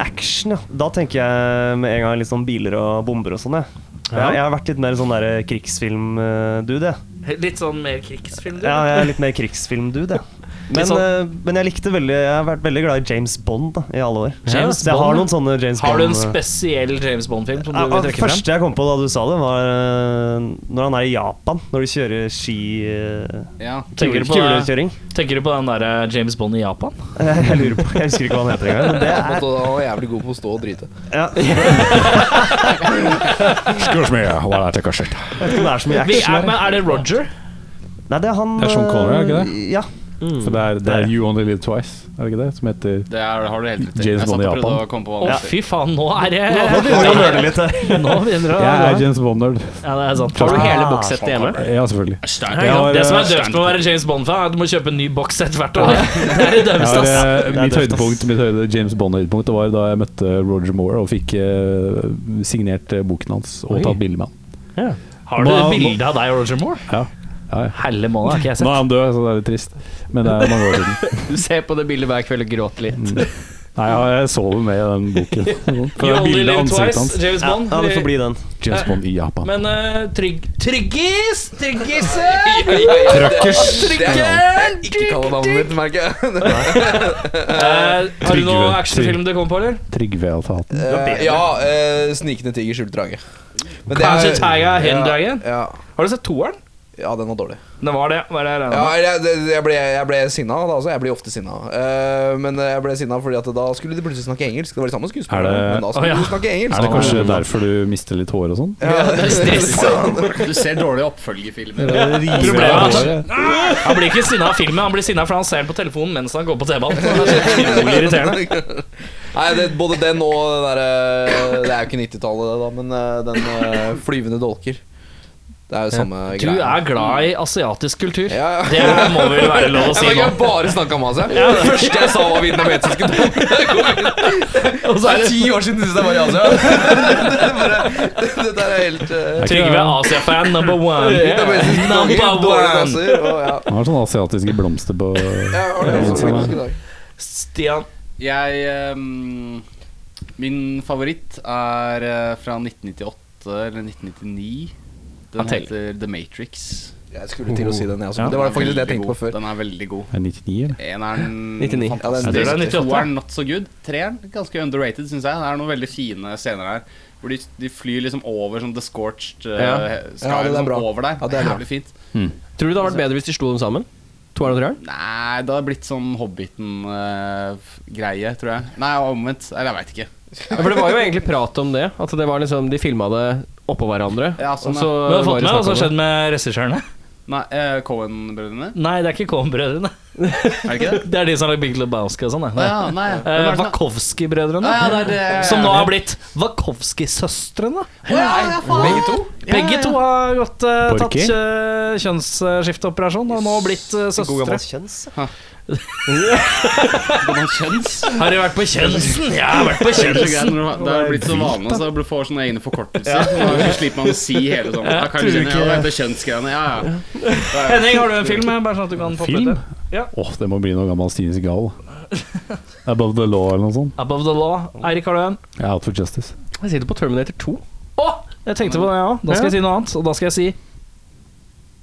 Speaker 4: Action, ja. Da tenker jeg med en gang litt sånn biler og bomber og sånn, jeg. Jeg, jeg har vært litt mer sånn der krigsfilm-dude, jeg.
Speaker 10: Litt sånn mer krigsfilm?
Speaker 4: Ja, jeg er litt mer krigsfilm-dude, jeg. Men,
Speaker 10: sånn-
Speaker 4: eh, men jeg likte veldig Jeg har vært veldig glad i James Bond da, i alle år.
Speaker 10: James
Speaker 4: Så jeg har
Speaker 10: Bond,
Speaker 4: noen sånne James
Speaker 10: Har du en
Speaker 4: Bond-
Speaker 10: spesiell James Bond-film som du
Speaker 4: eh, Ja,
Speaker 10: vil
Speaker 4: Det
Speaker 10: trekke frem?
Speaker 4: første jeg kom på da du sa det, var eh, når han er i Japan. Når de kjører ski eh,
Speaker 5: Ja.
Speaker 10: Tenker
Speaker 4: kule-
Speaker 10: du på det?
Speaker 4: kulekjøring.
Speaker 10: Tenker du på den der eh, James Bond i Japan?
Speaker 4: Jeg, jeg lurer på Jeg husker ikke hva han heter engang. men Det er,
Speaker 9: Måtte han var jævlig god på å stå og drite.
Speaker 4: ja, jeg
Speaker 1: Excuse me, I wanna take a shit.
Speaker 4: vet ikke om det er så mye
Speaker 10: Vi er,
Speaker 4: action. her.
Speaker 10: men er det Roger?
Speaker 4: Nei, det er han
Speaker 1: Det er Sean Connery, er det ikke
Speaker 4: det? Ja.
Speaker 1: For det er, det er You Only Live Twice, er det ikke det? Som heter
Speaker 5: Det er, har du helt rett i.
Speaker 1: James
Speaker 5: Jeg satt
Speaker 1: Bond i
Speaker 5: og prøvde
Speaker 1: Japan.
Speaker 5: å komme på
Speaker 10: Å,
Speaker 5: hva det
Speaker 10: fy faen, nå er det
Speaker 4: Nå begynner jeg å nøle litt her.
Speaker 10: Nå begynner det
Speaker 1: Jeg er
Speaker 10: å
Speaker 1: James Bond-nerd.
Speaker 10: Ja, det er sant.
Speaker 1: Har du
Speaker 4: hele
Speaker 10: bokssettet hjemme?
Speaker 1: Ja, selvfølgelig.
Speaker 5: er.
Speaker 1: Jeg har,
Speaker 10: Det som er
Speaker 1: eh,
Speaker 10: døvt med å være James Bond-fan, er at du må kjøpe en ny bokssett hvert år. Det er det
Speaker 1: jeg
Speaker 10: døveste,
Speaker 1: har,
Speaker 10: ass.
Speaker 1: eh,
Speaker 4: Det er
Speaker 1: mitt
Speaker 4: døft, ass.
Speaker 1: høydepunkt, mitt høyde James Bond-høydepunkt det var da jeg møtte Roger Moore og fikk eh, signert eh, boken hans og
Speaker 10: Oi.
Speaker 1: tatt bilde med han.
Speaker 10: Har du
Speaker 1: Nå-
Speaker 10: bilde av deg og Roger Moore?
Speaker 1: Ja. Ja, ja.
Speaker 10: Helle måned, har ikke jeg
Speaker 1: Nå er
Speaker 10: sett.
Speaker 1: han død, så det er litt trist. Men det er mange år siden.
Speaker 3: Du ser på det bildet hver kveld og gråter litt.
Speaker 1: Nei, ja, jeg sover med i den boken. For
Speaker 10: You
Speaker 1: det er
Speaker 10: only
Speaker 1: bilde av
Speaker 10: live
Speaker 1: ansiktet
Speaker 10: twice,
Speaker 1: hans.
Speaker 10: James
Speaker 4: Ja,
Speaker 10: Bond.
Speaker 4: ja, det får bli den.
Speaker 1: James Bond i Japan.
Speaker 10: Men eh, trygg... Tryggis! Tryggisse!
Speaker 1: Trøkkers!
Speaker 9: Ikke kall navnet mitt, merker jeg.
Speaker 10: Eh, har du noen
Speaker 1: Trygve.
Speaker 10: actionfilm du kommer på, eller?
Speaker 1: Trygve hadde tatt den.
Speaker 9: Eh, ja, eh, Snikende tiger skjulte drage. Men det
Speaker 10: Kanskje
Speaker 9: er-
Speaker 10: Tiger Hidden
Speaker 9: Ja,
Speaker 10: Dragon?
Speaker 9: Ja,
Speaker 10: Har du sett toeren?
Speaker 9: ja, den var dårlig.
Speaker 10: Det var det. Var det jeg regnet
Speaker 9: Ja,
Speaker 10: med.
Speaker 9: jeg, det- jeg ble, jeg ble sinna da, altså. Jeg blir ofte sinna. Eh, men jeg ble sinna fordi at da skulle de plutselig snakke engelsk. Det var de samme skuespillerne,
Speaker 1: Er det-
Speaker 9: men da
Speaker 10: Å,
Speaker 9: skulle
Speaker 10: ja.
Speaker 9: de snakke engelsk.
Speaker 1: Er det kanskje derfor du mister litt hår og sånn?
Speaker 9: Ja, det er stressende.
Speaker 5: Du ser dårlige oppfølgefilmer.
Speaker 10: Problemet er at-
Speaker 1: Problemet
Speaker 10: Han blir ikke sinna av filmen, han blir sinna fordi han ser den på telefonen mens han går på T-banen. Det er så utrolig irriterende.
Speaker 9: Nei, det, både den og den derre Det er jo ikke 90-tallet, det da, men eh, den eh, flyvende dolker. Det er jo samme
Speaker 10: Du
Speaker 9: greia.
Speaker 10: er glad i asiatisk kultur.
Speaker 9: ja, ja.
Speaker 10: Det må vel være lov å si
Speaker 9: Jeg
Speaker 10: nå.
Speaker 9: har bare snakka med Asia. Det første jeg sa, var vietnamesiske
Speaker 10: Og så er det
Speaker 9: ti år siden sist jeg var i Asia. Det, bare- det, det der er helt eh,
Speaker 10: Trygve Asia-fan number one.
Speaker 9: Vietnamesisk dårlig-
Speaker 10: Number
Speaker 9: dårlige
Speaker 10: one.
Speaker 9: danser, og ja.
Speaker 1: Han har sånne asiatiske blomster på
Speaker 9: Ja, og det er
Speaker 1: Ja,
Speaker 9: også
Speaker 1: sånn.
Speaker 9: faktisk i dag.
Speaker 10: Stian
Speaker 5: Jeg ehm, Min favoritt er eh, fra 1998 eller 1999. Den
Speaker 10: Attell.
Speaker 5: heter The Matrix.
Speaker 9: Jeg skulle til å si den, jeg også.
Speaker 1: Ja.
Speaker 9: men Det var faktisk det jeg
Speaker 5: Veldig
Speaker 9: tenkte på
Speaker 5: god.
Speaker 9: før.
Speaker 5: Den er veldig god.
Speaker 1: Er det 99, eller?
Speaker 5: Eneren
Speaker 3: 99.
Speaker 9: Ja,
Speaker 5: fantastisk.
Speaker 9: det er
Speaker 10: en 98.
Speaker 5: Toeren not so good. Treeren ganske underrated, syns jeg. Det er noen veldig fine scener her. Hvor de, de flyr liksom over sånn The Scorched uh, Sky
Speaker 9: Ja, det er
Speaker 5: liksom,
Speaker 9: bra.
Speaker 5: over der.
Speaker 9: Ja, det er bra.
Speaker 5: Jævlig fint.
Speaker 3: Tror du det hadde vært bedre hvis de slo dem sammen? Toeren og treeren?
Speaker 5: Nei, det hadde blitt sånn Hobbiten-greie, tror jeg. Nei, omvendt. Eller jeg veit ikke.
Speaker 3: Ja, for det var jo egentlig prat om det. At det var liksom de filma det oppå hverandre.
Speaker 5: Ja, sånn,
Speaker 3: og så
Speaker 10: Du har
Speaker 3: var
Speaker 10: fått
Speaker 3: det
Speaker 10: med hva som har
Speaker 3: snakk om det.
Speaker 10: skjedd med regissørene?
Speaker 5: Nei, eh, Cohen-brødrene?
Speaker 10: Nei, det er ikke Cohen-brødrene.
Speaker 5: Er det ikke det?
Speaker 10: Det er de som har lagd Big Lebowski og sånn.
Speaker 5: Å
Speaker 10: det.
Speaker 5: ja, nei. Hvem
Speaker 10: Eh,
Speaker 5: er det som-
Speaker 10: Wachowski-brødrene.
Speaker 5: Å ja, det er eh, det.
Speaker 10: Som nå har blitt Wachowski-søstrene.
Speaker 9: Begge to?
Speaker 10: Begge to har gått, eh, tatt
Speaker 1: Borki?
Speaker 10: uh, kjønnsskifteoperasjon og nå blitt eh,
Speaker 4: God
Speaker 10: søstre.
Speaker 4: gammel kjønns.
Speaker 10: Har de vært på Kjønnsen? Jeg har vært på
Speaker 5: Det er så greit
Speaker 10: Kjønnsen!
Speaker 5: når du- det er blitt så vanlig så du får sånne egne forkortelser. Så slipper man å si hele sånn ja,
Speaker 4: tror du
Speaker 5: Kanskje
Speaker 4: ikke-
Speaker 5: ja, det er kjønnsgreiene. Ja, ja.
Speaker 10: Henning, har du en film? eh, Bare sånn at du kan poppe
Speaker 1: Film?
Speaker 10: ut
Speaker 1: Åh,
Speaker 10: der. Ja.
Speaker 1: det må bli noe gammel Stines Gal. Above the law eller noe sånt.
Speaker 10: Above the Law. Eirik, har du en?
Speaker 1: Ja, Out for Justice.
Speaker 3: Jeg sitter på Terminator 2.
Speaker 10: Å! Jeg tenkte på det, ja. Da skal jeg si noe annet. Og da skal jeg si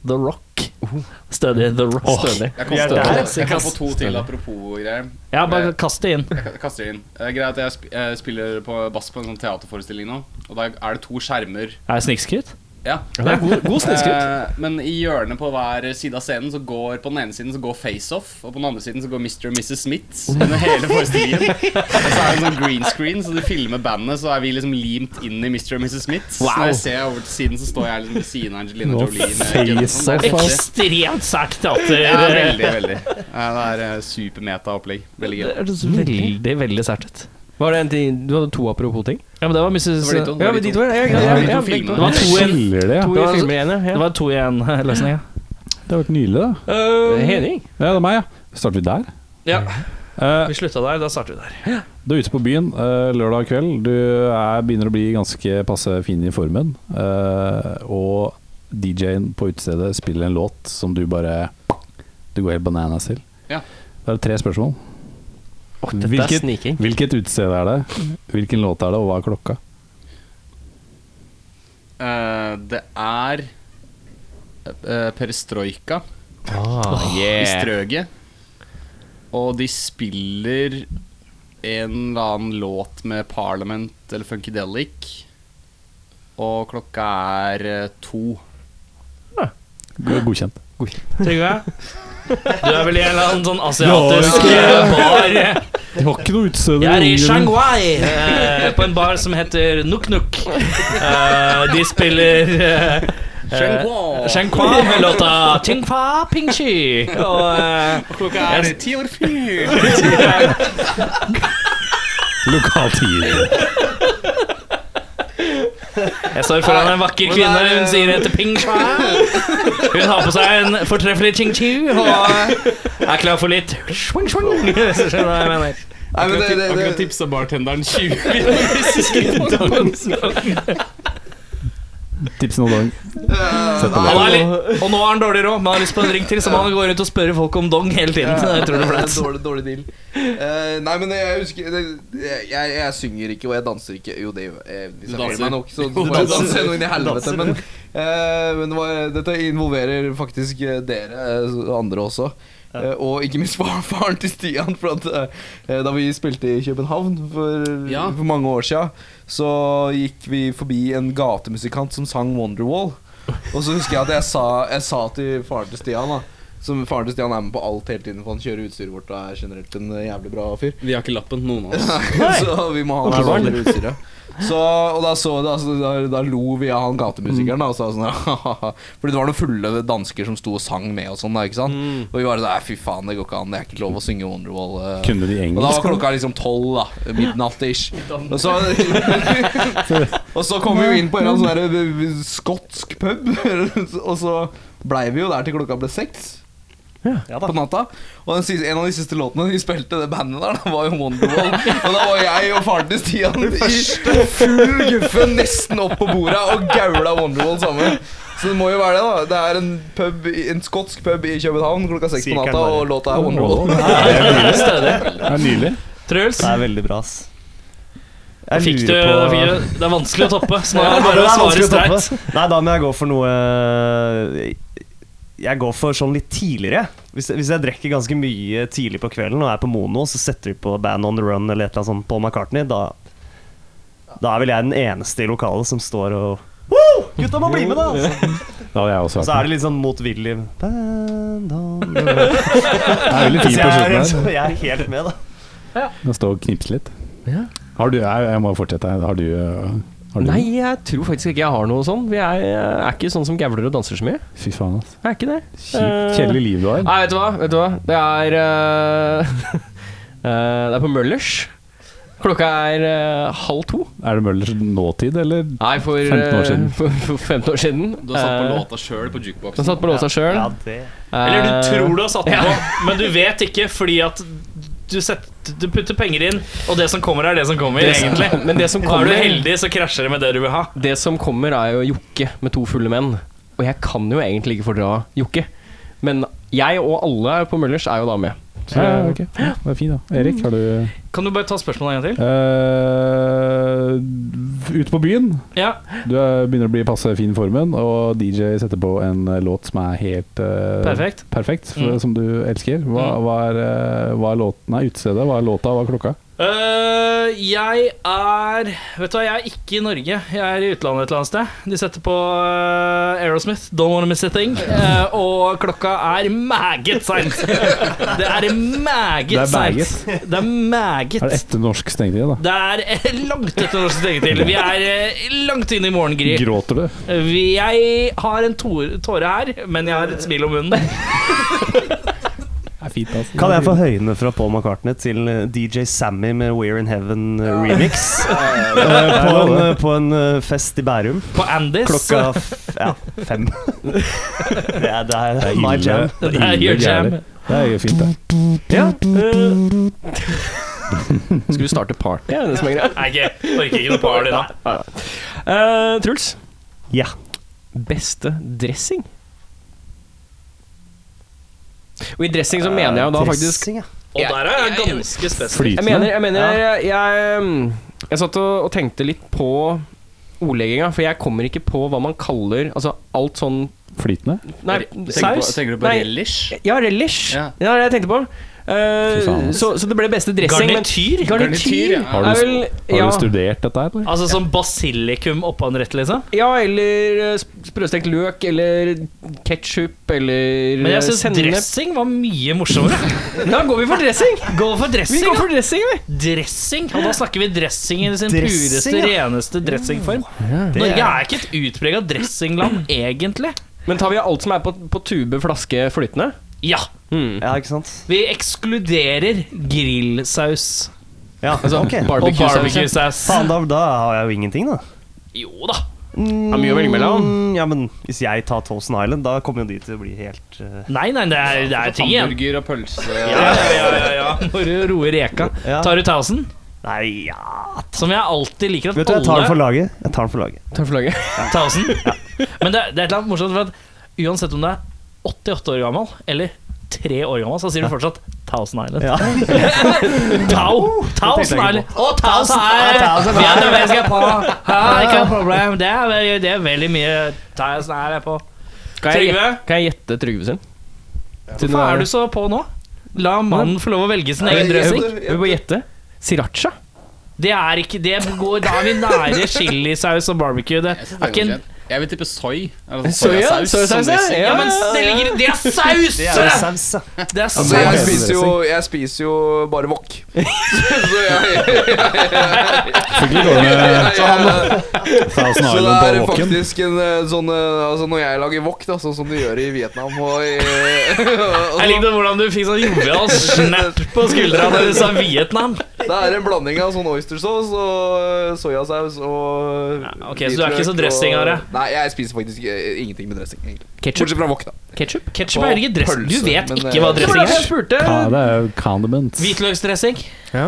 Speaker 10: The Rock.
Speaker 3: Uh.
Speaker 10: Stødig. The Rock.
Speaker 3: Stødig.
Speaker 5: Jeg kom,
Speaker 4: Vi er
Speaker 5: på,
Speaker 4: der.
Speaker 5: jeg kom på to til apropos greier.
Speaker 10: Ja, bare kast det inn.
Speaker 5: Jeg kaster inn. Eh, Greit at jeg sp- eh, spiller på bass på en sånn teaterforestilling nå, og da er det to skjermer
Speaker 10: Er det snikskryt?
Speaker 5: Ja.
Speaker 3: Det er god, god sniskutt.
Speaker 5: Eh, men i hjørnet på hver side av scenen så går på den ene siden så går FaceOff, og på den andre siden så går Mr. og Mrs. Smith under hele forestillingen. Og så er det en sånn green screen, så du filmer bandet, så er vi liksom limt inn i Mr. og Mrs. Smith. Så når jeg ser over til siden, så står jeg liksom ved siden av Angelina
Speaker 1: Nå
Speaker 5: Jolie. med
Speaker 1: FaceOff.
Speaker 5: Jonathan. Det er kjempe-
Speaker 10: Eh, Ekstremt sært teater.
Speaker 5: Ja, veldig, veldig. Ja, Det er eh, supermeta-opplegg. Veldig gøy.
Speaker 10: Det hørtes veldig, veldig sært ut.
Speaker 3: Var det en ting Du hadde to apropos ting?
Speaker 10: Ja, men det var Mrs.
Speaker 5: Det var de to.
Speaker 10: Det
Speaker 5: Ja, men de to-
Speaker 3: ja,
Speaker 5: ja, ja, ja,
Speaker 10: Det var to igjen.
Speaker 1: Skiller det, ja.
Speaker 3: To
Speaker 10: Det
Speaker 3: i
Speaker 10: var-
Speaker 3: filmer igjen, ja. altså,
Speaker 10: var to i eh, én-løsning.
Speaker 1: Det har vært nydelig, da.
Speaker 3: Henning.
Speaker 1: Ja, det er meg, ja. Starter vi der?
Speaker 10: Ja.
Speaker 1: Eh,
Speaker 10: Vi slutta der. Da starter vi der.
Speaker 1: Du er ute på byen eh, lørdag kveld. Du er, begynner å bli ganske passe fin i formen. eh, og DJ-en på utestedet spiller en låt som du bare Du går helt bananas til.
Speaker 5: Ja.
Speaker 1: Da er det tre spørsmål.
Speaker 3: Dette
Speaker 1: Hvilket-
Speaker 3: er sniking.
Speaker 1: Hvilket utested er det? Hvilken låt er det, og hva er klokka?
Speaker 5: Eh, det er uh, Perestrojka Ah. i
Speaker 3: yeah.
Speaker 5: Strøget. Og de spiller en eller annen låt med Parliament eller Funkydelic. Og klokka er eh, to.
Speaker 1: Du er Godkjent.
Speaker 10: Trygve? Du er vel i en eller annen sånn asiatisk eh, bar.
Speaker 1: De har ikke noe utested
Speaker 10: Jeg er i Shanghai, eh, på en bar som heter Nuk Nuk. Eh, de spiller eh, eh, Shanghai med låta Tingfa Pingxi. Og eh,
Speaker 5: Klokka
Speaker 10: er
Speaker 5: er ti over fire!
Speaker 1: Lokaltid.
Speaker 10: jeg står foran en vakker kvinne. Hun sier heter Ping Sha. Hun har på seg en fortreffelig ching chu og er klar for litt swing swing. Hvis du skjønner hva jeg mener.
Speaker 9: Nei, men det, det,
Speaker 5: Akkurat
Speaker 9: det,
Speaker 5: tipsa bartenderen 20 minutter.
Speaker 1: Tipsen og dong. Sett på
Speaker 10: Han
Speaker 1: det.
Speaker 10: er litt, og nå har han dårlig råd, men han har lyst på en drink til, så må han gå rundt og spørre folk om dong hele tiden. Jeg tror det er
Speaker 9: det er
Speaker 10: flaut.
Speaker 9: en dårlig, dårlig deal. Eh, nei, men jeg husker det, jeg, jeg, jeg synger ikke, og jeg danser ikke. Jo, det gjør jeg. Eh,
Speaker 5: Du
Speaker 9: Hvis jeg føler
Speaker 5: danser.
Speaker 9: meg nok, så får jeg danse noe inn i helvete. Men, eh, men det var, dette involverer faktisk eh, dere eh, og andre også. Eh, og ikke minst far, faren til Stian. For at, eh, da vi spilte i København for,
Speaker 5: Ja.
Speaker 9: for mange år sia, så gikk vi forbi en gatemusikant som sang Wonderwall. Og så husker jeg at jeg sa, jeg sa til faren til Stian da som faren til Stian er med på alt hele tiden, for han kjører utstyret vårt og er generelt en eh, jævlig bra fyr.
Speaker 5: Vi har ikke lappen, noen av oss.
Speaker 9: så vi må ha med vanligere utstyret. Så, og da, så, da, da, da lo vi av han gatemusikeren, da, og sa sånn «Hahaha». Fordi det var noen fulle dansker som sto og sang med og sånn, da, ikke sant. Og vi bare sånn «Nei, Fy faen, det går ikke an, det er ikke lov å synge Wonderwall. eh».
Speaker 1: Kunne de
Speaker 9: Og da var
Speaker 1: engelsk?
Speaker 9: klokka liksom tolv, da. Midnatt-ish. Og så, og så kom vi jo inn på en eller annen sånn der, eh, skotsk pub, og så blei vi jo der til klokka ble seks. På natta Og den siste, en av de siste låtene de spilte, det bandet der, da, var jo Wonderwall. Og da var jeg og faren til Stian i full guffe nesten opp på bordet og gaula Wonderwall sammen. Så det må jo være det, da. Det er en, pub, i- en skotsk pub i København klokka seks på
Speaker 4: Sikkert
Speaker 9: natta,
Speaker 4: bare.
Speaker 9: og låta er Wonderwall.
Speaker 1: Det er nydelig.
Speaker 10: Truls,
Speaker 4: Det er veldig bra, ass. Jeg
Speaker 10: fikk du,
Speaker 4: lurer på-
Speaker 10: fikk du Det er vanskelig å toppe, så nå
Speaker 4: Ja,
Speaker 10: er det
Speaker 4: det
Speaker 10: bare
Speaker 4: er
Speaker 10: å svare
Speaker 4: vanskelig å toppe.
Speaker 10: streit.
Speaker 4: Nei, da må jeg gå for noe eh, Jeg går for sånn litt tidligere. Hvis, hvis jeg drikker ganske mye tidlig på kvelden og er på mono, så setter vi på Band on the Run eller et eller annet sånt Paul McCartney, da, da er vel jeg den eneste i lokalet som står og Woo! Gutta må bli med, da!
Speaker 1: Det hadde jeg også
Speaker 4: Og så er
Speaker 1: vært.
Speaker 4: det litt sånn motvillig Band on the Run.
Speaker 1: Det er veldig fint
Speaker 4: Så
Speaker 1: på
Speaker 4: jeg,
Speaker 1: slutten
Speaker 4: er,
Speaker 1: her.
Speaker 4: så jeg er helt med, da.
Speaker 1: Kan stå og knipse litt. Har du, jeg, jeg må fortsette. her. Har du, øh, har du
Speaker 3: Nei, jeg tror faktisk ikke jeg har noe sånn. Jeg er, jeg er ikke sånn som gavler og danser så mye.
Speaker 1: Fy faen, altså.
Speaker 3: Jeg er ikke det. Eh,
Speaker 1: Kjipt kjedelig liv du har.
Speaker 3: Nei, vet du hva? Vet du hva? Det er eh, eh, Det er på Møllers. Klokka er eh, halv to.
Speaker 1: Er det Møllers nåtid, eller?
Speaker 3: Nei, for
Speaker 1: 15 år siden.
Speaker 3: eh, For, for 15 år siden.
Speaker 5: Du har satt på
Speaker 3: Eh,
Speaker 5: låta sjøl på
Speaker 3: Du har
Speaker 5: jukeboksen.
Speaker 3: satt på Eh, låta sjøl.
Speaker 4: Ja, det
Speaker 10: Eller du tror du har satt den på, men du vet ikke fordi at du, setter, du putter penger inn, og det som kommer, er det som kommer, egentlig.
Speaker 3: Men det som
Speaker 10: Er
Speaker 3: kommer,
Speaker 10: du heldig, så krasjer det med det du vil ha.
Speaker 3: Det som kommer er jo Jokke med to fulle menn. Og jeg kan jo egentlig ikke fordra Jokke. Men jeg og alle på Møllers er jo da med. Så-
Speaker 1: Ja, Mm. ok. ja, det er fint, da. Erik, har du
Speaker 10: Kan du bare ta spørsmålet en gang til?
Speaker 1: øh, Ute på byen.
Speaker 10: Ja.
Speaker 1: Du er, begynner å bli passe fin i formen, og DJ setter på en øh, låt som er helt øh,
Speaker 10: Perfekt.
Speaker 1: perfekt, for,
Speaker 10: Mm.
Speaker 1: som du elsker. Hva, eh,
Speaker 10: Mm.
Speaker 1: hva er, øh, hva er låten Nei, utestedet, hva er låta, hva er klokka?
Speaker 10: Øh, jeg er Vet du hva, jeg er ikke i Norge. Jeg er i utlandet et eller annet sted. De setter på øh, Aerosmith, Don't Wanna Miss a Thing, øh, og klokka er meget seint. Det er
Speaker 1: Det er
Speaker 10: meget
Speaker 1: meget.
Speaker 10: seint. Det er meget.
Speaker 1: Er det etter norsk stengtid, da?
Speaker 10: Det er eh, langt etter norsk stengetid. Vi er eh, langt inn i morgengry.
Speaker 1: Gråter du?
Speaker 10: Vi- Jeg har en tår- tåre her, men jeg har et smil om munnen.
Speaker 1: Det er fint, altså.
Speaker 4: Kan jeg få høyene fra Paul McCartney til eh, DJ Sammy med We're In Heaven eh, remix? Eh, på, en, eh, på en eh, fest i Bærum
Speaker 10: På Andis.
Speaker 4: klokka f ja, fem. det er, det er,
Speaker 1: Det er
Speaker 4: my
Speaker 1: ille.
Speaker 4: jam.
Speaker 1: Det er
Speaker 10: Det er
Speaker 1: ille
Speaker 10: your jam.
Speaker 1: gærlig. Det er fint, det.
Speaker 10: Ja. øh,
Speaker 9: Skal vi starte party?
Speaker 3: Det er det som er greia.
Speaker 10: Nei, ikke. Orker ikke noe party nå.
Speaker 3: Eh, Truls.
Speaker 4: Ja.
Speaker 3: Beste dressing? Og i dressing
Speaker 9: Eh,
Speaker 3: så mener jeg jo da faktisk
Speaker 4: Dressing, ja.
Speaker 10: Og der er jeg ganske spesifikk.
Speaker 3: Jeg
Speaker 1: Flytende.
Speaker 3: mener, jeg, mener, jeg, jeg, mm, jeg satt og, og tenkte litt på ordlegginga, for jeg kommer ikke på hva man kaller Altså alt sånn
Speaker 1: Flytende?
Speaker 3: Nei,
Speaker 5: Tenker,
Speaker 3: saus?
Speaker 5: på, tenker du på
Speaker 3: Nei,
Speaker 5: relish?
Speaker 3: Ja, relish.
Speaker 5: Ja.
Speaker 3: Ja. det er det jeg tenkte på. Eh,
Speaker 1: Fy faen, ass.
Speaker 3: så, så det ble beste dressing. men-
Speaker 10: Garnityr?
Speaker 5: Garnityr,
Speaker 3: Garnityr
Speaker 5: ja.
Speaker 1: Har du-
Speaker 3: er vel
Speaker 1: Har
Speaker 3: ja,
Speaker 1: du studert dette her, eller?
Speaker 10: Altså som basilikum oppå en rett, liksom?
Speaker 3: ja, eller eh, sp- sprøstekt løk, eller ketsjup, eller
Speaker 10: Men
Speaker 3: eh,
Speaker 10: jeg syns
Speaker 3: sennep.
Speaker 10: dressing var mye morsommere.
Speaker 3: Da går vi for dressing!
Speaker 10: Gå for
Speaker 3: Vi
Speaker 10: dressing,
Speaker 3: går
Speaker 10: da!
Speaker 3: for dressing, vi.
Speaker 10: Dressing, og da snakker vi dressing i sin pureste,
Speaker 4: Dressing, ja.
Speaker 10: reneste dressingform. Norge er ikke et utprega dressingland, egentlig.
Speaker 3: Men tar vi alt som er på, på tube, flaske, flytende?
Speaker 10: Ja,
Speaker 3: Hmm.
Speaker 4: ja, ikke sant?
Speaker 10: vi ekskluderer grillsaus
Speaker 4: Ja, altså, ok.
Speaker 10: og
Speaker 3: Barbecue-saus.
Speaker 10: barbecuesaus.
Speaker 4: Faen, da, da har jeg jo ingenting, da.
Speaker 10: Jo da.
Speaker 3: Det er mye å velge mellom.
Speaker 4: Mm, Ja, men hvis jeg tar Thousand Island, da kommer jo de til å bli helt eh,
Speaker 10: Nei, nei, det er, det er ting igjen.
Speaker 5: Hamburger og pølse og
Speaker 10: Ja, ja, ja, ja, ja. Når du roer reka.
Speaker 4: Ja.
Speaker 10: Tar du 1000?
Speaker 4: Nei, ja
Speaker 10: Som jeg alltid liker at
Speaker 4: Vet du, jeg tar den for
Speaker 10: alle
Speaker 4: laget. Jeg tar den for laget.
Speaker 3: Takk for laget.
Speaker 10: 1000. Men det, er- det er et eller annet morsomt, for at uansett om du er 88 år gammel eller 3 år gammel, så sier du fortsatt 1000 Island.
Speaker 4: Ja.
Speaker 10: Tau! Thousand
Speaker 4: ikke
Speaker 10: Island! Å, Thousand Island! Vet du hva jeg skal på? Ja, ikke noe problem. Det er, veldig- det er veldig mye Thousand Island på.
Speaker 3: Kan jeg,
Speaker 10: Trygve?
Speaker 3: kan jeg gjette Trygve sin? Siden
Speaker 10: Hva
Speaker 3: det-
Speaker 10: er du så på nå? La mannen få lov å velge sin egen dressing.
Speaker 3: Vi må gjette. Siracha?
Speaker 10: Det er ikke det går, Da er vi nære chilisaus og barbecue. Det
Speaker 5: Jeg synes
Speaker 10: er
Speaker 5: det
Speaker 10: ikke
Speaker 5: er
Speaker 10: en
Speaker 5: godkjent. Jeg vil tippe soy. eller sånn
Speaker 3: Soya?
Speaker 5: soyasaus som
Speaker 3: Soyasaus, ja.
Speaker 5: dressing.
Speaker 10: Ja, men det ligger Det er saus!
Speaker 4: Det er jo saus, ja.
Speaker 10: Det er
Speaker 9: Altså, jeg,
Speaker 10: saus.
Speaker 9: spiser jo, jeg spiser jo bare wok. Så jeg,
Speaker 1: Selvfølgelig går det med
Speaker 9: jeg, jeg
Speaker 1: Thousand
Speaker 9: Så det
Speaker 1: Island
Speaker 9: er
Speaker 1: på walken.
Speaker 9: faktisk en eh, sånn eh, Altså Når jeg lager wok, da, sånn som de gjør i Vietnam og i og
Speaker 10: Jeg
Speaker 9: sånn,
Speaker 10: likte hvordan du fikk sånn jovial snap på skuldra da du sa Vietnam.
Speaker 9: Det er en blanding av sånn oystersaus og eh, soyasaus og
Speaker 10: Ja, ok, så du er ikke så
Speaker 9: hvitløk og-
Speaker 10: dressingare?
Speaker 9: Nei, jeg spiser faktisk eh, ingenting med dressing. egentlig
Speaker 3: Ketchup?
Speaker 9: Bortsett fra wok, da.
Speaker 3: Ketchup?
Speaker 10: Ketchup er ikke dressing. Du
Speaker 9: Pølse,
Speaker 10: vet
Speaker 9: men,
Speaker 10: ikke hva
Speaker 9: eh,
Speaker 3: Det var
Speaker 10: dressing
Speaker 3: derfor jeg
Speaker 10: er.
Speaker 3: spurte.
Speaker 1: Ja, det er jo condiments.
Speaker 10: Hvitløksdressing.
Speaker 3: Ja.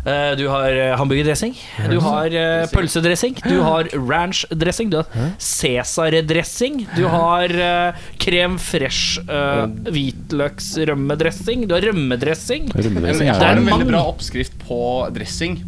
Speaker 10: Eh, Du har eh, hamburgerdressing. Du har eh, pølsedressing. Du har ranchdressing. Du har cæsardressing. Du har eh, krem fresh eh, hvitløksrømmedressing. Du har rømmedressing.
Speaker 1: Rundreising
Speaker 5: Jeg
Speaker 1: er
Speaker 5: har
Speaker 1: det.
Speaker 5: en
Speaker 10: mann.
Speaker 5: veldig bra oppskrift på dressing.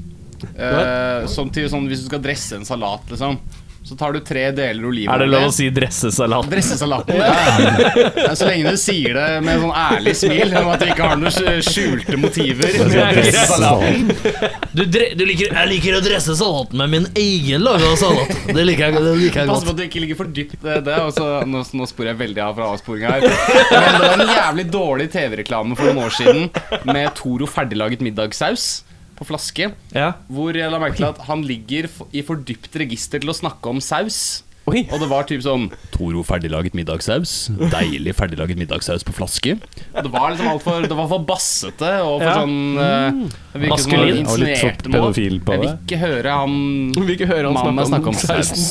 Speaker 5: Eh, som til sånn Hvis du skal dresse en salat, liksom, så tar du tre deler olivenolje.
Speaker 10: si dressesalat?
Speaker 5: Dressesalaten. Ja. Så lenge du sier det med sånn ærlig smil om at du ikke har noen skjulte motiver.
Speaker 1: Det er
Speaker 5: med
Speaker 1: dressesalaten.
Speaker 10: Du, dre du liker, jeg liker å dresse salaten med min egen laga salat. Det liker jeg, det liker jeg
Speaker 5: Pass
Speaker 10: godt.
Speaker 5: på at du ikke ligger for dypt eh, det. Og så, nå, nå spor jeg veldig av fra avsporinga her. Men det var en jævlig dårlig TV-reklame for noen år siden med Toro ferdiglaget middagssaus på flaske.
Speaker 10: Ja.
Speaker 5: Hvor jeg la merke til at han ligger f- i for dypt register til å snakke om saus.
Speaker 3: Oi.
Speaker 5: Og det var typ sånn Toro ferdiglaget middagssaus. Deilig ferdiglaget middagssaus på flaske. Og Det var liksom alt for, det var for bassete og for
Speaker 10: Ja.
Speaker 5: sånn eh, det virket som
Speaker 10: Maskulin.
Speaker 5: han
Speaker 1: Og litt så
Speaker 5: insinuerte noe.
Speaker 1: pedofil på
Speaker 5: Jeg vil
Speaker 1: det.
Speaker 5: ikke høre han
Speaker 3: vil ikke høre
Speaker 5: mannen snakke om saus.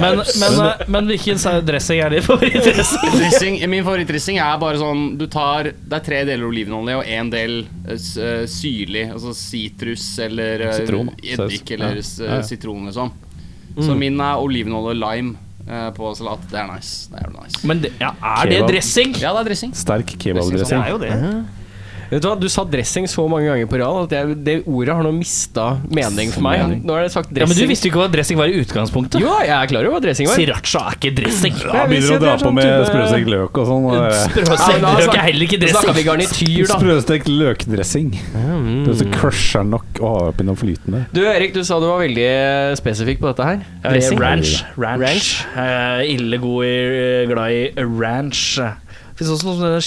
Speaker 10: Men, men, eh, men hvilken sa- dressing er din favorittdressing?
Speaker 5: Dressing, min favorittdressing er bare sånn du tar, Det er tre deler olivenolje og én del eh, s- eh, syrlig, altså sitrus eller eh,
Speaker 1: Sitron, da. Saus.
Speaker 5: eddik
Speaker 1: Ja.
Speaker 5: eller s-
Speaker 1: Ja, ja.
Speaker 5: sitron, liksom. Så min er olivenolje og lime eh, på salat. Det er nice. Det er jævlig nice.
Speaker 10: Men det, ja, er det
Speaker 1: Kebab.
Speaker 10: dressing?
Speaker 5: Ja, det sånn er dressing.
Speaker 1: Sterk
Speaker 4: Det
Speaker 1: kebabdressing.
Speaker 4: er jo det.
Speaker 3: Vet Du hva, du sa dressing så mange ganger på rad at jeg, det ordet har nå mista mening for meg.
Speaker 10: Mening.
Speaker 3: Nå har jeg sagt
Speaker 10: Ja,
Speaker 3: dressing.
Speaker 10: men du visste jo ikke hva dressing var i utgangspunktet.
Speaker 3: Jo, jeg er klar over hva dressing var.
Speaker 10: Sriracha er ikke dressing.
Speaker 1: Han
Speaker 3: vil si
Speaker 1: begynner å
Speaker 3: at det
Speaker 1: dra
Speaker 3: er
Speaker 1: på
Speaker 3: sånn
Speaker 1: med
Speaker 3: type-
Speaker 1: sprøstekt løk og sånn. og,
Speaker 10: Sprøstekt
Speaker 3: Ja, da
Speaker 10: løk
Speaker 3: snakker-
Speaker 10: er heller ikke
Speaker 3: Da snakker vi
Speaker 10: dressing.
Speaker 1: eh,
Speaker 3: garnityr, da.
Speaker 1: Sprøstekt løkdressing.
Speaker 3: Mm.
Speaker 1: Du vet, Du crusher nok å ha oppi noe flytende.
Speaker 3: Du Erik, du sa du var veldig eh, spesifikk på dette her.
Speaker 10: Eh,
Speaker 3: Dressing.
Speaker 10: Ranch. ranch.
Speaker 3: Ranch.
Speaker 10: Eh, ille god i, eh, glad i ranch. Det fins også noe som heter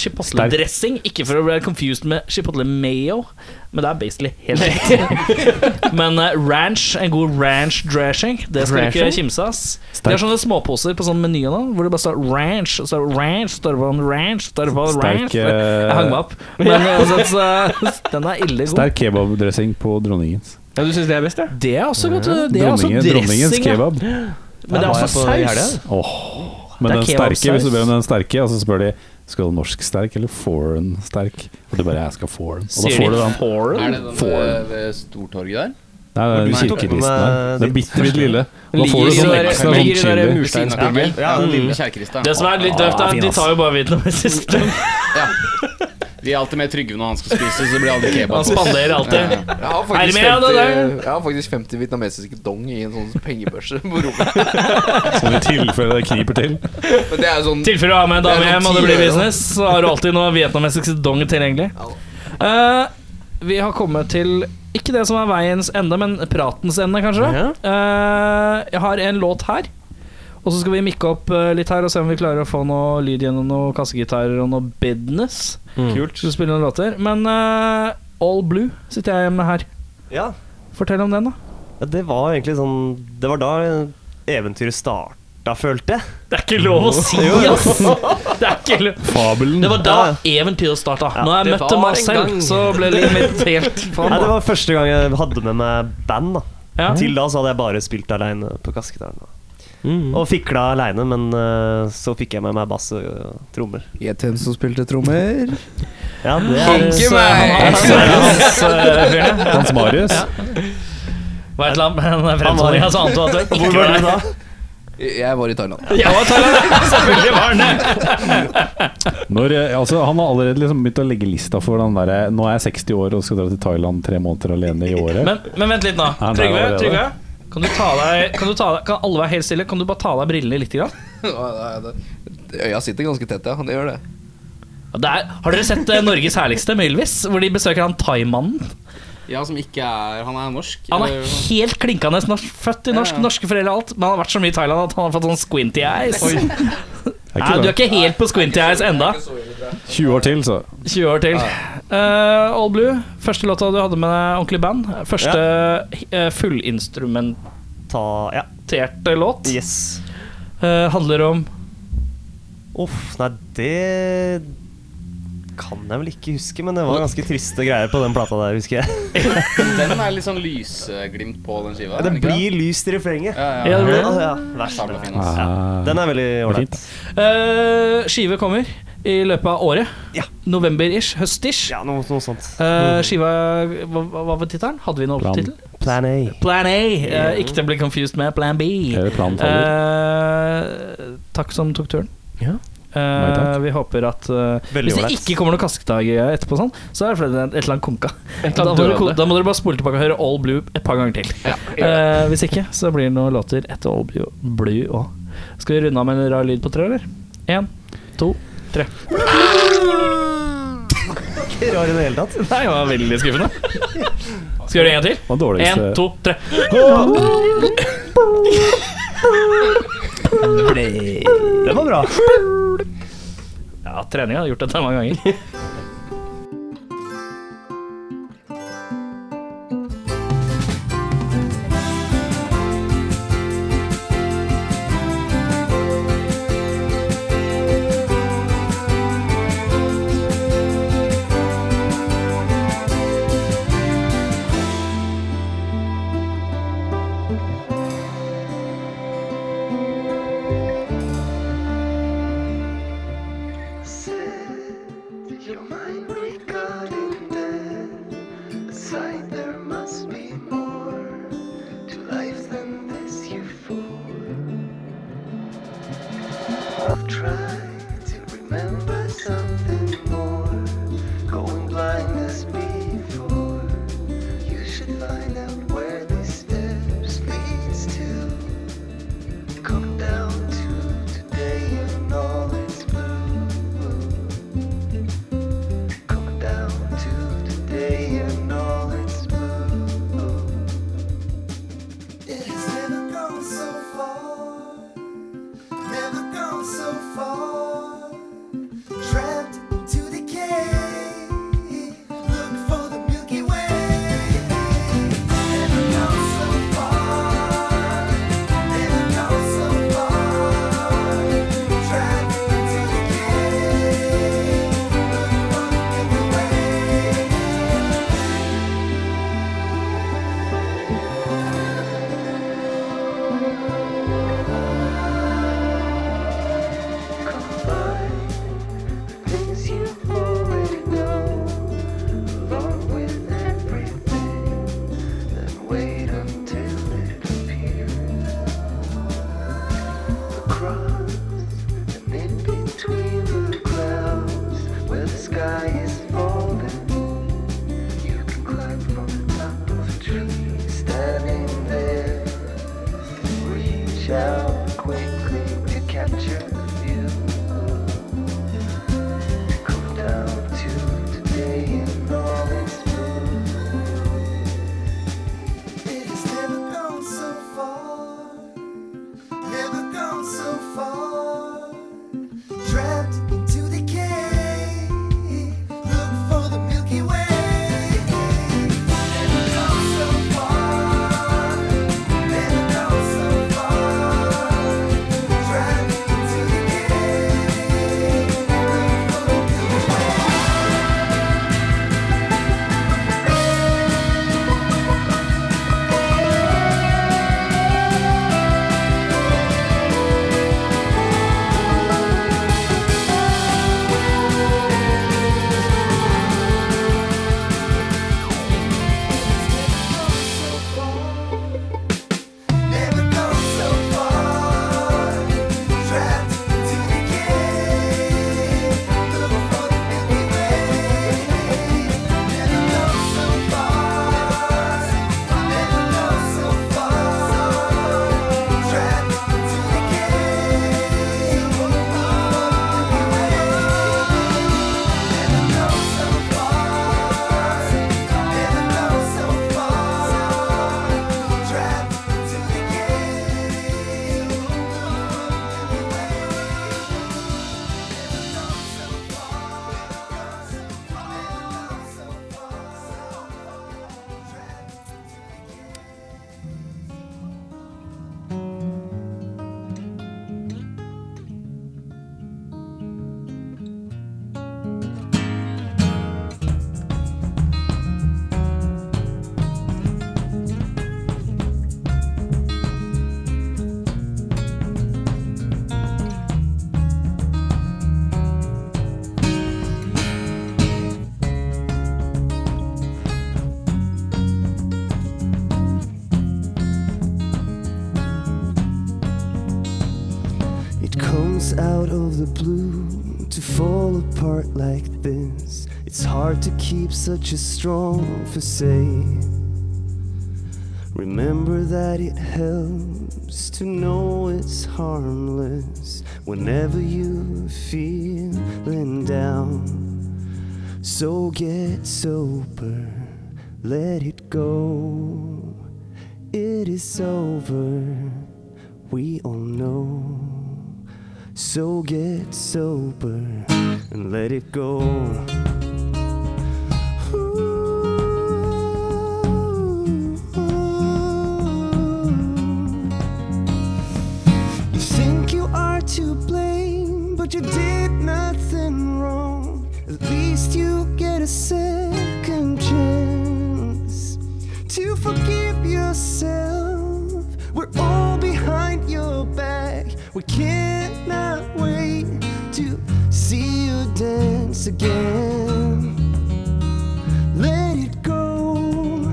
Speaker 10: chipotle-dressing. Ikke for å bli confused med chipotle-mayo, men det er basically helt riktig. men eh, ranch, en god ranch-dressing, det skal du ikke
Speaker 3: Dressing?
Speaker 10: kimse av. ass. De har sånne småposer på sånn meny nå, hvor det bare står ranch, og så er det ranch, så står det bare ranch, så står det bare
Speaker 1: Sterk,
Speaker 10: ranch. Jeg hang meg
Speaker 1: eh,
Speaker 10: opp. sånn. Men eh, så, så, den er ille god.
Speaker 1: sterk kebabdressing på dronningens.
Speaker 3: Ja, du syns det er best, ja?
Speaker 10: Det er også godt. eh, Det er også
Speaker 1: Dronningen, dronningens
Speaker 10: dressing. ja.
Speaker 1: kebab.
Speaker 10: Men det er også saus.
Speaker 1: Men
Speaker 10: Det er
Speaker 1: den
Speaker 10: kebabsaus.
Speaker 1: sterke, hvis du ber om den sterke, og så spør de skal du ha norsk sterk eller foreign sterk, og du bare jeg skal ha foreign. Og da
Speaker 10: Sier
Speaker 1: får du
Speaker 10: de
Speaker 1: den.
Speaker 10: foreign?
Speaker 5: Er det den ved, ved Stortorget der?
Speaker 1: Nei, det er den
Speaker 4: Nei,
Speaker 1: kirkeristen der.
Speaker 4: men,
Speaker 1: Den er bitte litt lille. Og Da får du
Speaker 3: Ligger i
Speaker 1: sånn
Speaker 3: det der-
Speaker 1: ekstra sånn
Speaker 3: ligger i det der
Speaker 1: chili.
Speaker 5: Ja, vel.
Speaker 3: mursteinsbygget.
Speaker 5: ja, den lille
Speaker 10: Det som
Speaker 5: kjerkerista.
Speaker 10: er litt døvt, er at de tar jo bare vietnamesisk strøm.
Speaker 5: Vi er alltid med Trygve når han skal spise, så blir det aldri
Speaker 10: Han
Speaker 5: kebab.
Speaker 10: spanderer alltid.
Speaker 5: Ja,
Speaker 9: Jeg har
Speaker 10: Er det
Speaker 9: faktisk,
Speaker 10: med, ja,
Speaker 9: 50,
Speaker 10: det der?
Speaker 9: jeg har faktisk 50 vietnamesiske dong i en sånn pengebørse på rommet.
Speaker 1: Sånn i tilfelle det kniper til.
Speaker 9: Men det er jo sånn
Speaker 10: I tilfelle du har med en
Speaker 9: Det
Speaker 10: dame
Speaker 9: er
Speaker 10: hjem
Speaker 9: sånn
Speaker 10: og det blir
Speaker 9: ti øre, da.
Speaker 10: business, så har du alltid noe vietnamesisk dong tilgjengelig. Eh, vi har kommet til ikke det som er veiens ende, men pratens ende, kanskje. Eh, jeg har en låt her. Og så skal vi mikke opp eh, litt her og se om vi klarer å få noe lyd gjennom noen kassegitarer og noe business.
Speaker 9: Mm.
Speaker 10: Kult. Skal spille noen låter. Men eh, All Blue sitter jeg igjen med her.
Speaker 4: ja.
Speaker 10: Fortell om den, da.
Speaker 4: Ja, Det var egentlig sånn Det var da eventyret starta, følte jeg.
Speaker 10: Det er ikke lov å si, ass! Det er ikke lov.
Speaker 1: Fabelen.
Speaker 10: Det var da eventyret starta. Når jeg
Speaker 3: det
Speaker 10: møtte
Speaker 3: var en
Speaker 10: Marcel,
Speaker 3: gang.
Speaker 10: så ble livet mitt helt faen.
Speaker 4: Nei, det var første gang jeg hadde med meg band. da
Speaker 10: Ja.
Speaker 4: Til da så hadde jeg bare spilt aleine på kassegitaren. da. Og fikla aleine, men eh, så fikk jeg med meg bass og og trommer.
Speaker 9: Gjett hvem som spilte trommer.
Speaker 4: Ja, det er
Speaker 9: Ikke
Speaker 10: Han
Speaker 9: meg!
Speaker 10: var
Speaker 1: Hans Marius.
Speaker 10: et eller annet med den altså, fremtoningen, så ante du at det ikke var det.
Speaker 9: Jeg var i Thailand.
Speaker 10: Ja, Thailand. Selvfølgelig var den det.
Speaker 1: Når, eh, altså, han har allerede liksom begynt å legge lista for den derre Nå er jeg 60 år og skal dra til Thailand tre måneder alene i året.
Speaker 10: Men, men vent litt nå.
Speaker 1: Ja, det er
Speaker 10: Trygve,
Speaker 1: allerede.
Speaker 10: Trygve. Kan, du ta deg, kan, du ta deg, kan alle være helt stille? Kan du bare ta av deg brillene litt? Grann?
Speaker 9: Øya sitter ganske tett, ja. Det gjør det.
Speaker 10: Ja, Det er, har dere sett eh, Norges herligste med Ylvis? Hvor de besøker han thaimannen?
Speaker 5: Ja, som ikke er Han er norsk.
Speaker 10: Han er
Speaker 5: eller-
Speaker 10: helt klinkende norsk, født i norsk,
Speaker 5: Ja.
Speaker 10: norske foreldre og alt, men han har vært så mye i Thailand at han har fått sånn squinty eyes.
Speaker 1: Er
Speaker 10: Nei,
Speaker 1: ikke
Speaker 10: du er
Speaker 1: det.
Speaker 10: ikke helt på squinty eyes enda.
Speaker 1: 20 år til, så.
Speaker 10: 20 år til. Eh, All Blue, første låta du hadde med deg ordentlig band. Første eh, fullinstrumenterte
Speaker 4: Ta Ja.
Speaker 10: låt.
Speaker 4: Yes.
Speaker 10: Eh, handler om
Speaker 4: Uff, nei, det kan jeg vel ikke huske, men det var ganske triste greier på den plata der, husker jeg.
Speaker 5: Den er litt sånn lysglimt på den
Speaker 4: Ja,
Speaker 5: skiva. er
Speaker 4: det
Speaker 5: ikke
Speaker 4: blir lyst i refrenget.
Speaker 5: ja, ja.
Speaker 10: Ja, det blir-
Speaker 4: Ja, ja, vær så
Speaker 5: Sabla
Speaker 4: snill.
Speaker 5: fin, ass.
Speaker 1: Ah.
Speaker 4: Den er veldig ålreit.
Speaker 10: Eh, Skive kommer i løpet av året.
Speaker 4: Ja.
Speaker 10: November-ish. Høst-ish.
Speaker 4: Ja, Mm. noe, noe sånt.
Speaker 10: Eh, skiva Hva, hva var tittelen? Hadde vi noe
Speaker 1: Plan.
Speaker 10: tittel?
Speaker 4: Plan A.
Speaker 10: Plan A. eh, ikke til å bli confused med Plan B.
Speaker 1: Eller planen faller.
Speaker 10: Eh, takk som tok turen.
Speaker 3: Ja.
Speaker 10: Eh,
Speaker 1: Nei, takk.
Speaker 10: vi håper at eh,
Speaker 4: Veldig
Speaker 10: Hvis det
Speaker 4: ålreit.
Speaker 10: ikke kommer noen kaskedag etterpå, sånn, så er det fordi det er et eller annet konka. Da må, dere, ko-
Speaker 2: døde.
Speaker 10: da må dere bare spole tilbake og høre All Blue et par ganger til. Eh, hvis ikke, så blir det noen låter etter All Blue- Blue òg. Skal vi runde av med en rar lyd på tre, eller? Én, to, tre.
Speaker 4: Ikke rar i det hele tatt.
Speaker 10: Nei, det var veldig skuffende. Skal vi gjøre det en gang til?
Speaker 1: Det var
Speaker 10: Én,
Speaker 1: dårligste
Speaker 10: to, tre.
Speaker 4: Den var bra.
Speaker 10: Ja, treninga har gjort dette mange ganger.
Speaker 6: Your mind regarding death. Aside, there must be more to life than this, you fool. I've tried to remember something more. Going blind the blue to fall apart like this. It's hard to keep such a strong facade. Remember that it helps to know it's harmless whenever you feeling down. So get sober, let it go. It is over, we all know. So get sober and let it go. You think you are to blame, but you did nothing wrong. At least you get a second chance to forgive yourself. We're all behind your back. We cannot wait to see you dance again. Let it go.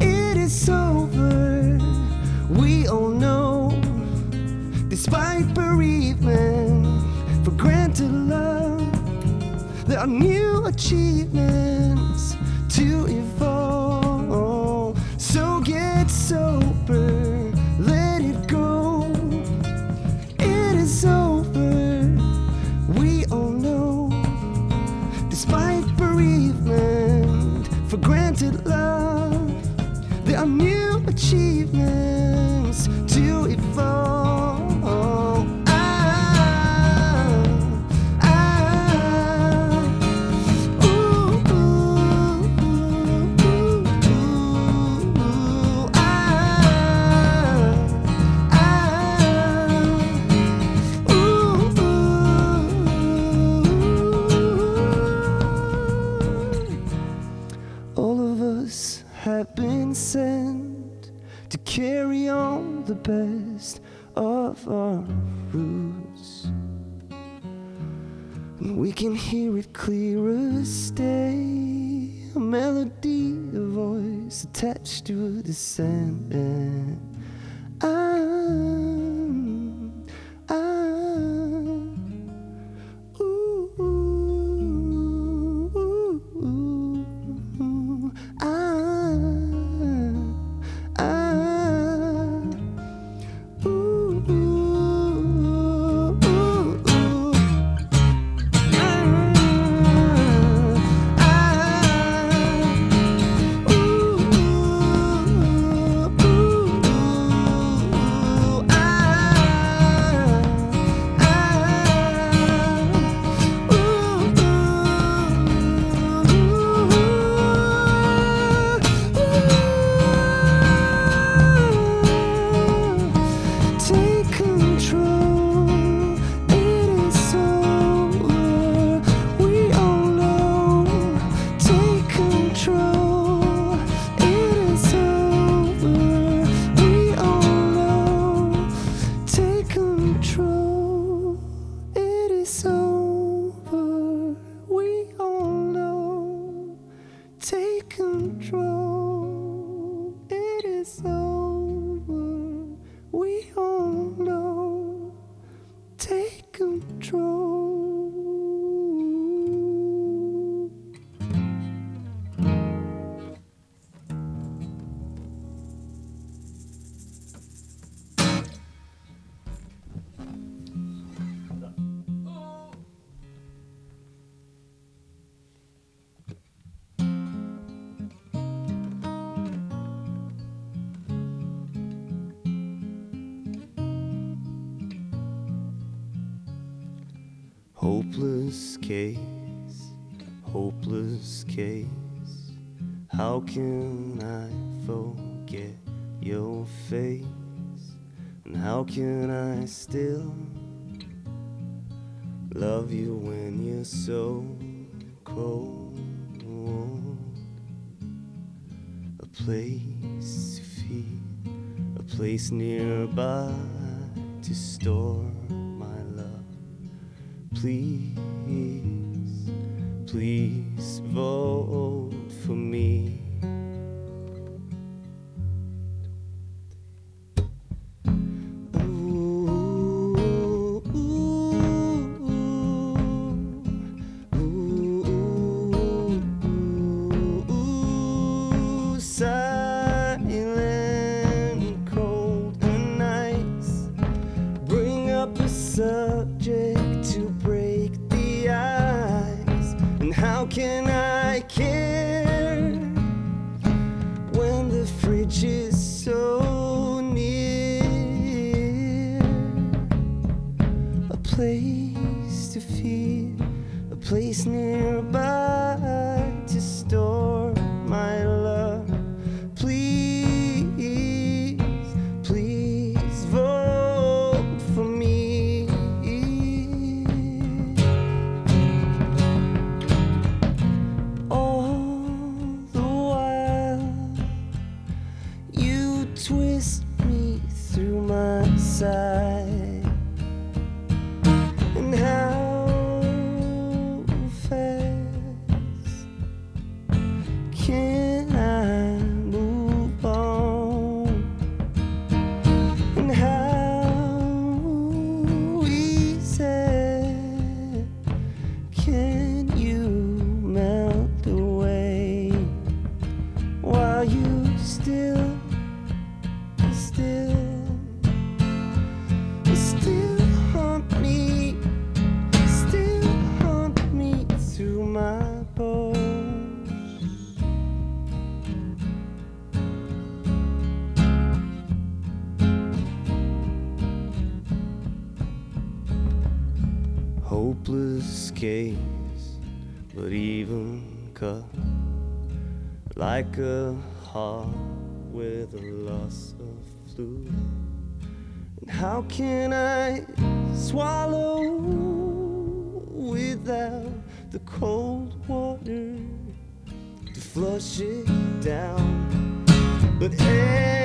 Speaker 6: It is over. We all know. Despite bereavement, for granted love, there are new achievements to evolve. So get sober, let it go. It is over, we all know. Despite bereavement, for granted love, there are new achievements to evolve. Ah, ah, ah, ah. all of us have been sent to carry on the best of our roots. And we can hear it clear as day. A melody, a voice attached to the sand. And I'm, I'm, Ah, ooh, ooh, ooh, ah, I'm, I'm, ooh, ooh, ooh, ooh. ah. Take control, it is over. We all know. Take control, it is over. We all know. Take control, it is over. We all know. Take control, it is over. We all know. Take control. Hopeless case, hopeless case. How can I forget your face? And how can I still love you when you're so cold? A place to feed, a place nearby to store my love. Please, please vote for me. Ooh, ooh,
Speaker 4: can I care when the fridge is so near? A place to feed, a place nearby to store my love. Please, please vote for me. All the while, you twist me through my side. And how fast can I move on? And how easy can you melt away while you still, still, still haunt me, still haunt me through my bones? hopeless case, but even cut like a heart with a loss of fluid. And how can I swallow without the cold water to flush it down? But. Every